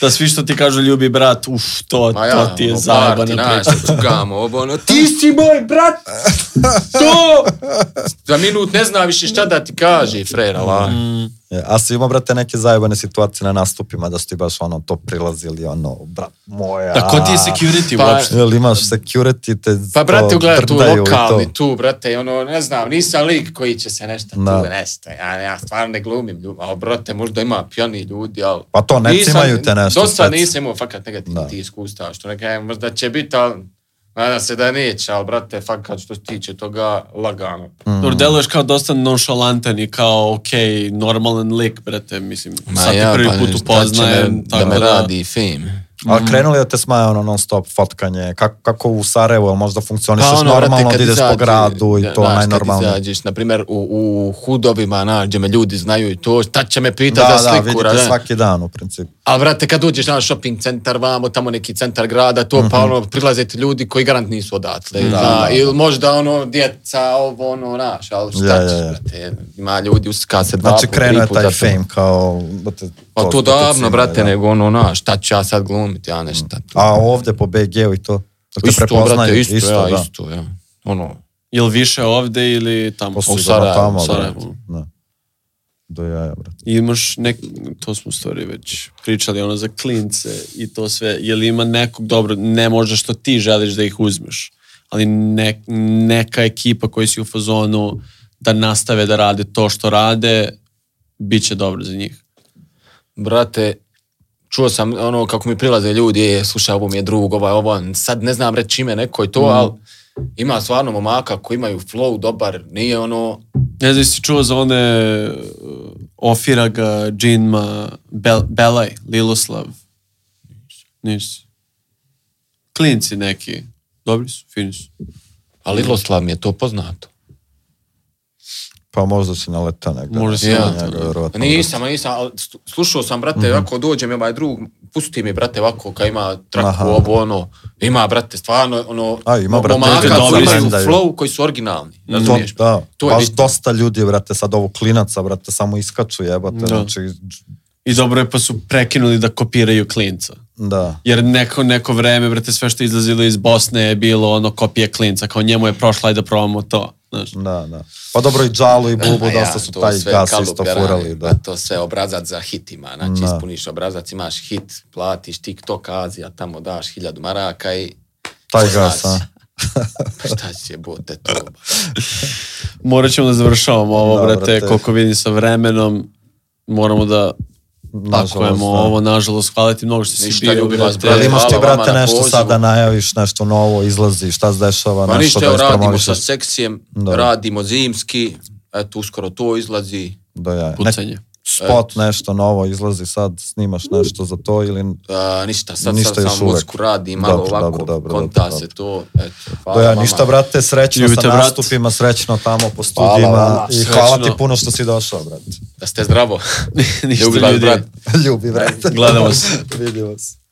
[SPEAKER 2] Da svi što ti kažu ljubi brat, uf, to,
[SPEAKER 3] ma ja,
[SPEAKER 2] to ti je
[SPEAKER 3] ono,
[SPEAKER 2] zajebana
[SPEAKER 3] party, znaš,
[SPEAKER 2] priča.
[SPEAKER 3] se cugamo, ovo, ono, ti si moj brat, to! Za minut ne zna više šta da ti kaže, frera, la.
[SPEAKER 2] Mm.
[SPEAKER 1] Je, A si imao, brate, neke zajebane situacije na nastupima da su ti baš ono to prilazili, ono, brat moja.
[SPEAKER 2] Da, ko ti je security
[SPEAKER 3] Pa,
[SPEAKER 2] uopšte?
[SPEAKER 1] Jel imaš security, te
[SPEAKER 3] Pa brate,
[SPEAKER 1] to
[SPEAKER 3] ugledaj tu
[SPEAKER 1] drdaju i
[SPEAKER 3] lokalni,
[SPEAKER 1] to.
[SPEAKER 3] tu brate, i ono, ne znam, nisam lik koji će se nešto
[SPEAKER 1] Da.
[SPEAKER 3] tu nešto, ja, ja stvarno ne glumim ljudi, ali brate, možda ima pijani ljudi, ali...
[SPEAKER 1] Pa to, ne cimaju te nešto.
[SPEAKER 3] Dosta
[SPEAKER 1] spec.
[SPEAKER 3] nisam imao fakat
[SPEAKER 1] Da.
[SPEAKER 3] negativnih ti iskustava, što ne kažem, možda će biti, ali nadam se da neće, ali brate, fakat što se tiče toga, lagano.
[SPEAKER 2] Dobro, deluješ kao dosta nonšalantan i kao, pa
[SPEAKER 3] pa
[SPEAKER 2] okej, normalan lik, brate, mislim, sad ti prvi put upoznajem, tako da...
[SPEAKER 3] fame.
[SPEAKER 1] Ali krenuli da te smaja ono non stop fotkanje, kako, kako u Sarajevu, jel možda funkcionišeš
[SPEAKER 3] Pa ono, brate,
[SPEAKER 1] normalno
[SPEAKER 3] kad
[SPEAKER 1] da ideš po
[SPEAKER 3] izađe-
[SPEAKER 1] gradu i
[SPEAKER 3] da,
[SPEAKER 1] to
[SPEAKER 3] znaš,
[SPEAKER 1] najnormalnije.
[SPEAKER 3] Kad izađeš, na primjer, u, u hudovima, nađe me ljudi znaju i to, šta će me pitati
[SPEAKER 1] Da,
[SPEAKER 3] za
[SPEAKER 1] da,
[SPEAKER 3] sliku,
[SPEAKER 1] vidite
[SPEAKER 3] da,
[SPEAKER 1] svaki dan u principu.
[SPEAKER 3] A vrate, kad uđeš na shopping centar vamo, tamo neki centar grada, to pa ono, prilaze ti ljudi koji garant nisu odatle. Da,
[SPEAKER 1] Mhm. da.
[SPEAKER 3] Ili možda ono, djeca, ovo, ono, naš, ali šta
[SPEAKER 1] Ja, ja,
[SPEAKER 3] ćeš,
[SPEAKER 1] ja.
[SPEAKER 3] brate, ima ljudi, uska se dva
[SPEAKER 1] Znači,
[SPEAKER 3] put,
[SPEAKER 1] krenuo je
[SPEAKER 3] tri puta
[SPEAKER 1] taj
[SPEAKER 3] to.
[SPEAKER 1] fame kao... brate,
[SPEAKER 3] Pa to,
[SPEAKER 1] to te
[SPEAKER 3] davno,
[SPEAKER 1] cimaju,
[SPEAKER 3] brate,
[SPEAKER 1] da.
[SPEAKER 3] nego ono, na, šta ću ja sad glumiti, ja nešto. tu.
[SPEAKER 1] A ovdje po BG-u i to? Jel te
[SPEAKER 3] isto, brate,
[SPEAKER 1] prepoznaju?
[SPEAKER 3] isto, ja,
[SPEAKER 1] da.
[SPEAKER 3] isto, ja. Ono,
[SPEAKER 2] Jel više ovde ili tamo?
[SPEAKER 1] Poslije
[SPEAKER 3] U
[SPEAKER 1] ga
[SPEAKER 3] Sarajevu,
[SPEAKER 1] tamo, brate.
[SPEAKER 2] u Sarajevu.
[SPEAKER 1] Da. Do jaja, brate.
[SPEAKER 2] Imaš nek... To smo u stvari već pričali, ono za klince i to sve. Jel ima nekog, dobro, ne možda što ti želiš da ih uzmeš, ali ne, neka ekipa koji si u fazonu da nastave da rade to što rade, bit će dobro za njih.
[SPEAKER 3] brate, čuo sam ono kako mi prilaze ljudi, je, slušaj, ovo mi je drug, ovaj, ovo, sad ne znam reći ime neko je to,
[SPEAKER 1] Mhm.
[SPEAKER 3] ali ima stvarno momaka koji imaju flow dobar, nije ono,
[SPEAKER 2] Ne znam, si čuo za one uh, Ofiraga, Džinma, Bel, Belaj, Liloslav. Nisi. Klinci neki. Dobri su, fini su.
[SPEAKER 3] ali Iloslav mi je to poznato.
[SPEAKER 1] Pa možda se naleta negdje.
[SPEAKER 2] Možda se
[SPEAKER 1] Ja,
[SPEAKER 2] naleta,
[SPEAKER 1] njega,
[SPEAKER 2] da.
[SPEAKER 1] vjerovatno,
[SPEAKER 3] Nisam, nisam, ali stu- slušao sam, brate,
[SPEAKER 1] Mhm.
[SPEAKER 3] ovako dođe mi ovaj drug, pusti mi, brate, ovako, kad ima traku,
[SPEAKER 1] Aha.
[SPEAKER 3] ovo, ono, ima, brate, stvarno, ono,
[SPEAKER 1] A, ima, brate,
[SPEAKER 3] momaka
[SPEAKER 2] ljudi
[SPEAKER 3] koji
[SPEAKER 2] dobri
[SPEAKER 3] imaju
[SPEAKER 1] su.
[SPEAKER 3] flow, koji su originalni,
[SPEAKER 1] Mhm. To,
[SPEAKER 3] razumiješ?
[SPEAKER 1] da, Pa
[SPEAKER 3] To je
[SPEAKER 1] baš
[SPEAKER 3] bitno.
[SPEAKER 1] dosta ljudi, brate, sad ovo klinaca, brate, samo iskaču jebate,
[SPEAKER 2] Da.
[SPEAKER 1] znači,
[SPEAKER 2] I dobro je pa su prekinuli da kopiraju klinca.
[SPEAKER 1] da.
[SPEAKER 2] Jer neko, neko vreme, brate, sve što je izlazilo iz Bosne je bilo ono kopije klinca, kao njemu je prošla, ajde da probamo to. Znaš.
[SPEAKER 1] Da, da. Pa dobro i Džalu i Bubu
[SPEAKER 3] A
[SPEAKER 1] dosta su
[SPEAKER 3] to
[SPEAKER 1] taj
[SPEAKER 3] sve
[SPEAKER 1] gas
[SPEAKER 3] kalup
[SPEAKER 1] isto
[SPEAKER 3] garani,
[SPEAKER 1] furali. Da.
[SPEAKER 3] pa To sve obrazac za hit ima, znači
[SPEAKER 1] Da.
[SPEAKER 3] ispuniš obrazac, imaš hit, platiš TikTok Azija, tamo daš hiljadu maraka i pa
[SPEAKER 1] Taj gas, a?
[SPEAKER 3] šta će bote to?
[SPEAKER 2] Morat ćemo da završavamo ovo,
[SPEAKER 1] Da,
[SPEAKER 2] brate,
[SPEAKER 1] brate.
[SPEAKER 2] koliko vidim sa vremenom. Moramo da
[SPEAKER 1] Nažalost,
[SPEAKER 2] pakujemo
[SPEAKER 1] da.
[SPEAKER 2] ovo, nažalost. Hvala ti mnogo što si
[SPEAKER 3] Ništa,
[SPEAKER 2] bio,
[SPEAKER 3] ljubi vas,
[SPEAKER 2] brate.
[SPEAKER 1] Ali imaš ti,
[SPEAKER 3] E, Hvala vama
[SPEAKER 1] brate,
[SPEAKER 3] na
[SPEAKER 1] nešto
[SPEAKER 3] pozivu.
[SPEAKER 1] sad da najaviš, nešto novo, izlazi, šta se dešava,
[SPEAKER 3] Pa
[SPEAKER 1] nešto
[SPEAKER 3] ništa,
[SPEAKER 1] da
[SPEAKER 3] evo, radimo sa
[SPEAKER 1] ispromovišeš.
[SPEAKER 3] seksijem,
[SPEAKER 1] Da.
[SPEAKER 3] radimo zimski, eto, uskoro to izlazi.
[SPEAKER 1] Da, ja. Neki
[SPEAKER 2] Pucanje.
[SPEAKER 3] e.
[SPEAKER 1] spot, nešto novo, izlazi sad, snimaš nešto za to ili...
[SPEAKER 3] A, ništa, sad,
[SPEAKER 1] Ništa
[SPEAKER 3] sad
[SPEAKER 1] još
[SPEAKER 3] samo
[SPEAKER 1] uvek.
[SPEAKER 3] muziku radi, malo
[SPEAKER 1] Dobro,
[SPEAKER 3] ovako,
[SPEAKER 1] dobro, dobro,
[SPEAKER 3] konta
[SPEAKER 1] dobro,
[SPEAKER 3] se to, eto, hvala
[SPEAKER 1] Do ja,
[SPEAKER 3] vama.
[SPEAKER 1] ništa, brate, srećno
[SPEAKER 2] Ljubite,
[SPEAKER 1] sa
[SPEAKER 2] brat.
[SPEAKER 1] nastupima, srećno tamo po studijima
[SPEAKER 3] vama.
[SPEAKER 1] i hvala ti
[SPEAKER 2] Srećno.
[SPEAKER 1] puno što si došao, brate.
[SPEAKER 3] Da ste zdravo.
[SPEAKER 2] Ništa,
[SPEAKER 3] Ljubi vas,
[SPEAKER 2] ljudi.
[SPEAKER 3] brate.
[SPEAKER 1] Ljubi, brate.
[SPEAKER 2] Gledamo se.
[SPEAKER 1] Vidimo se.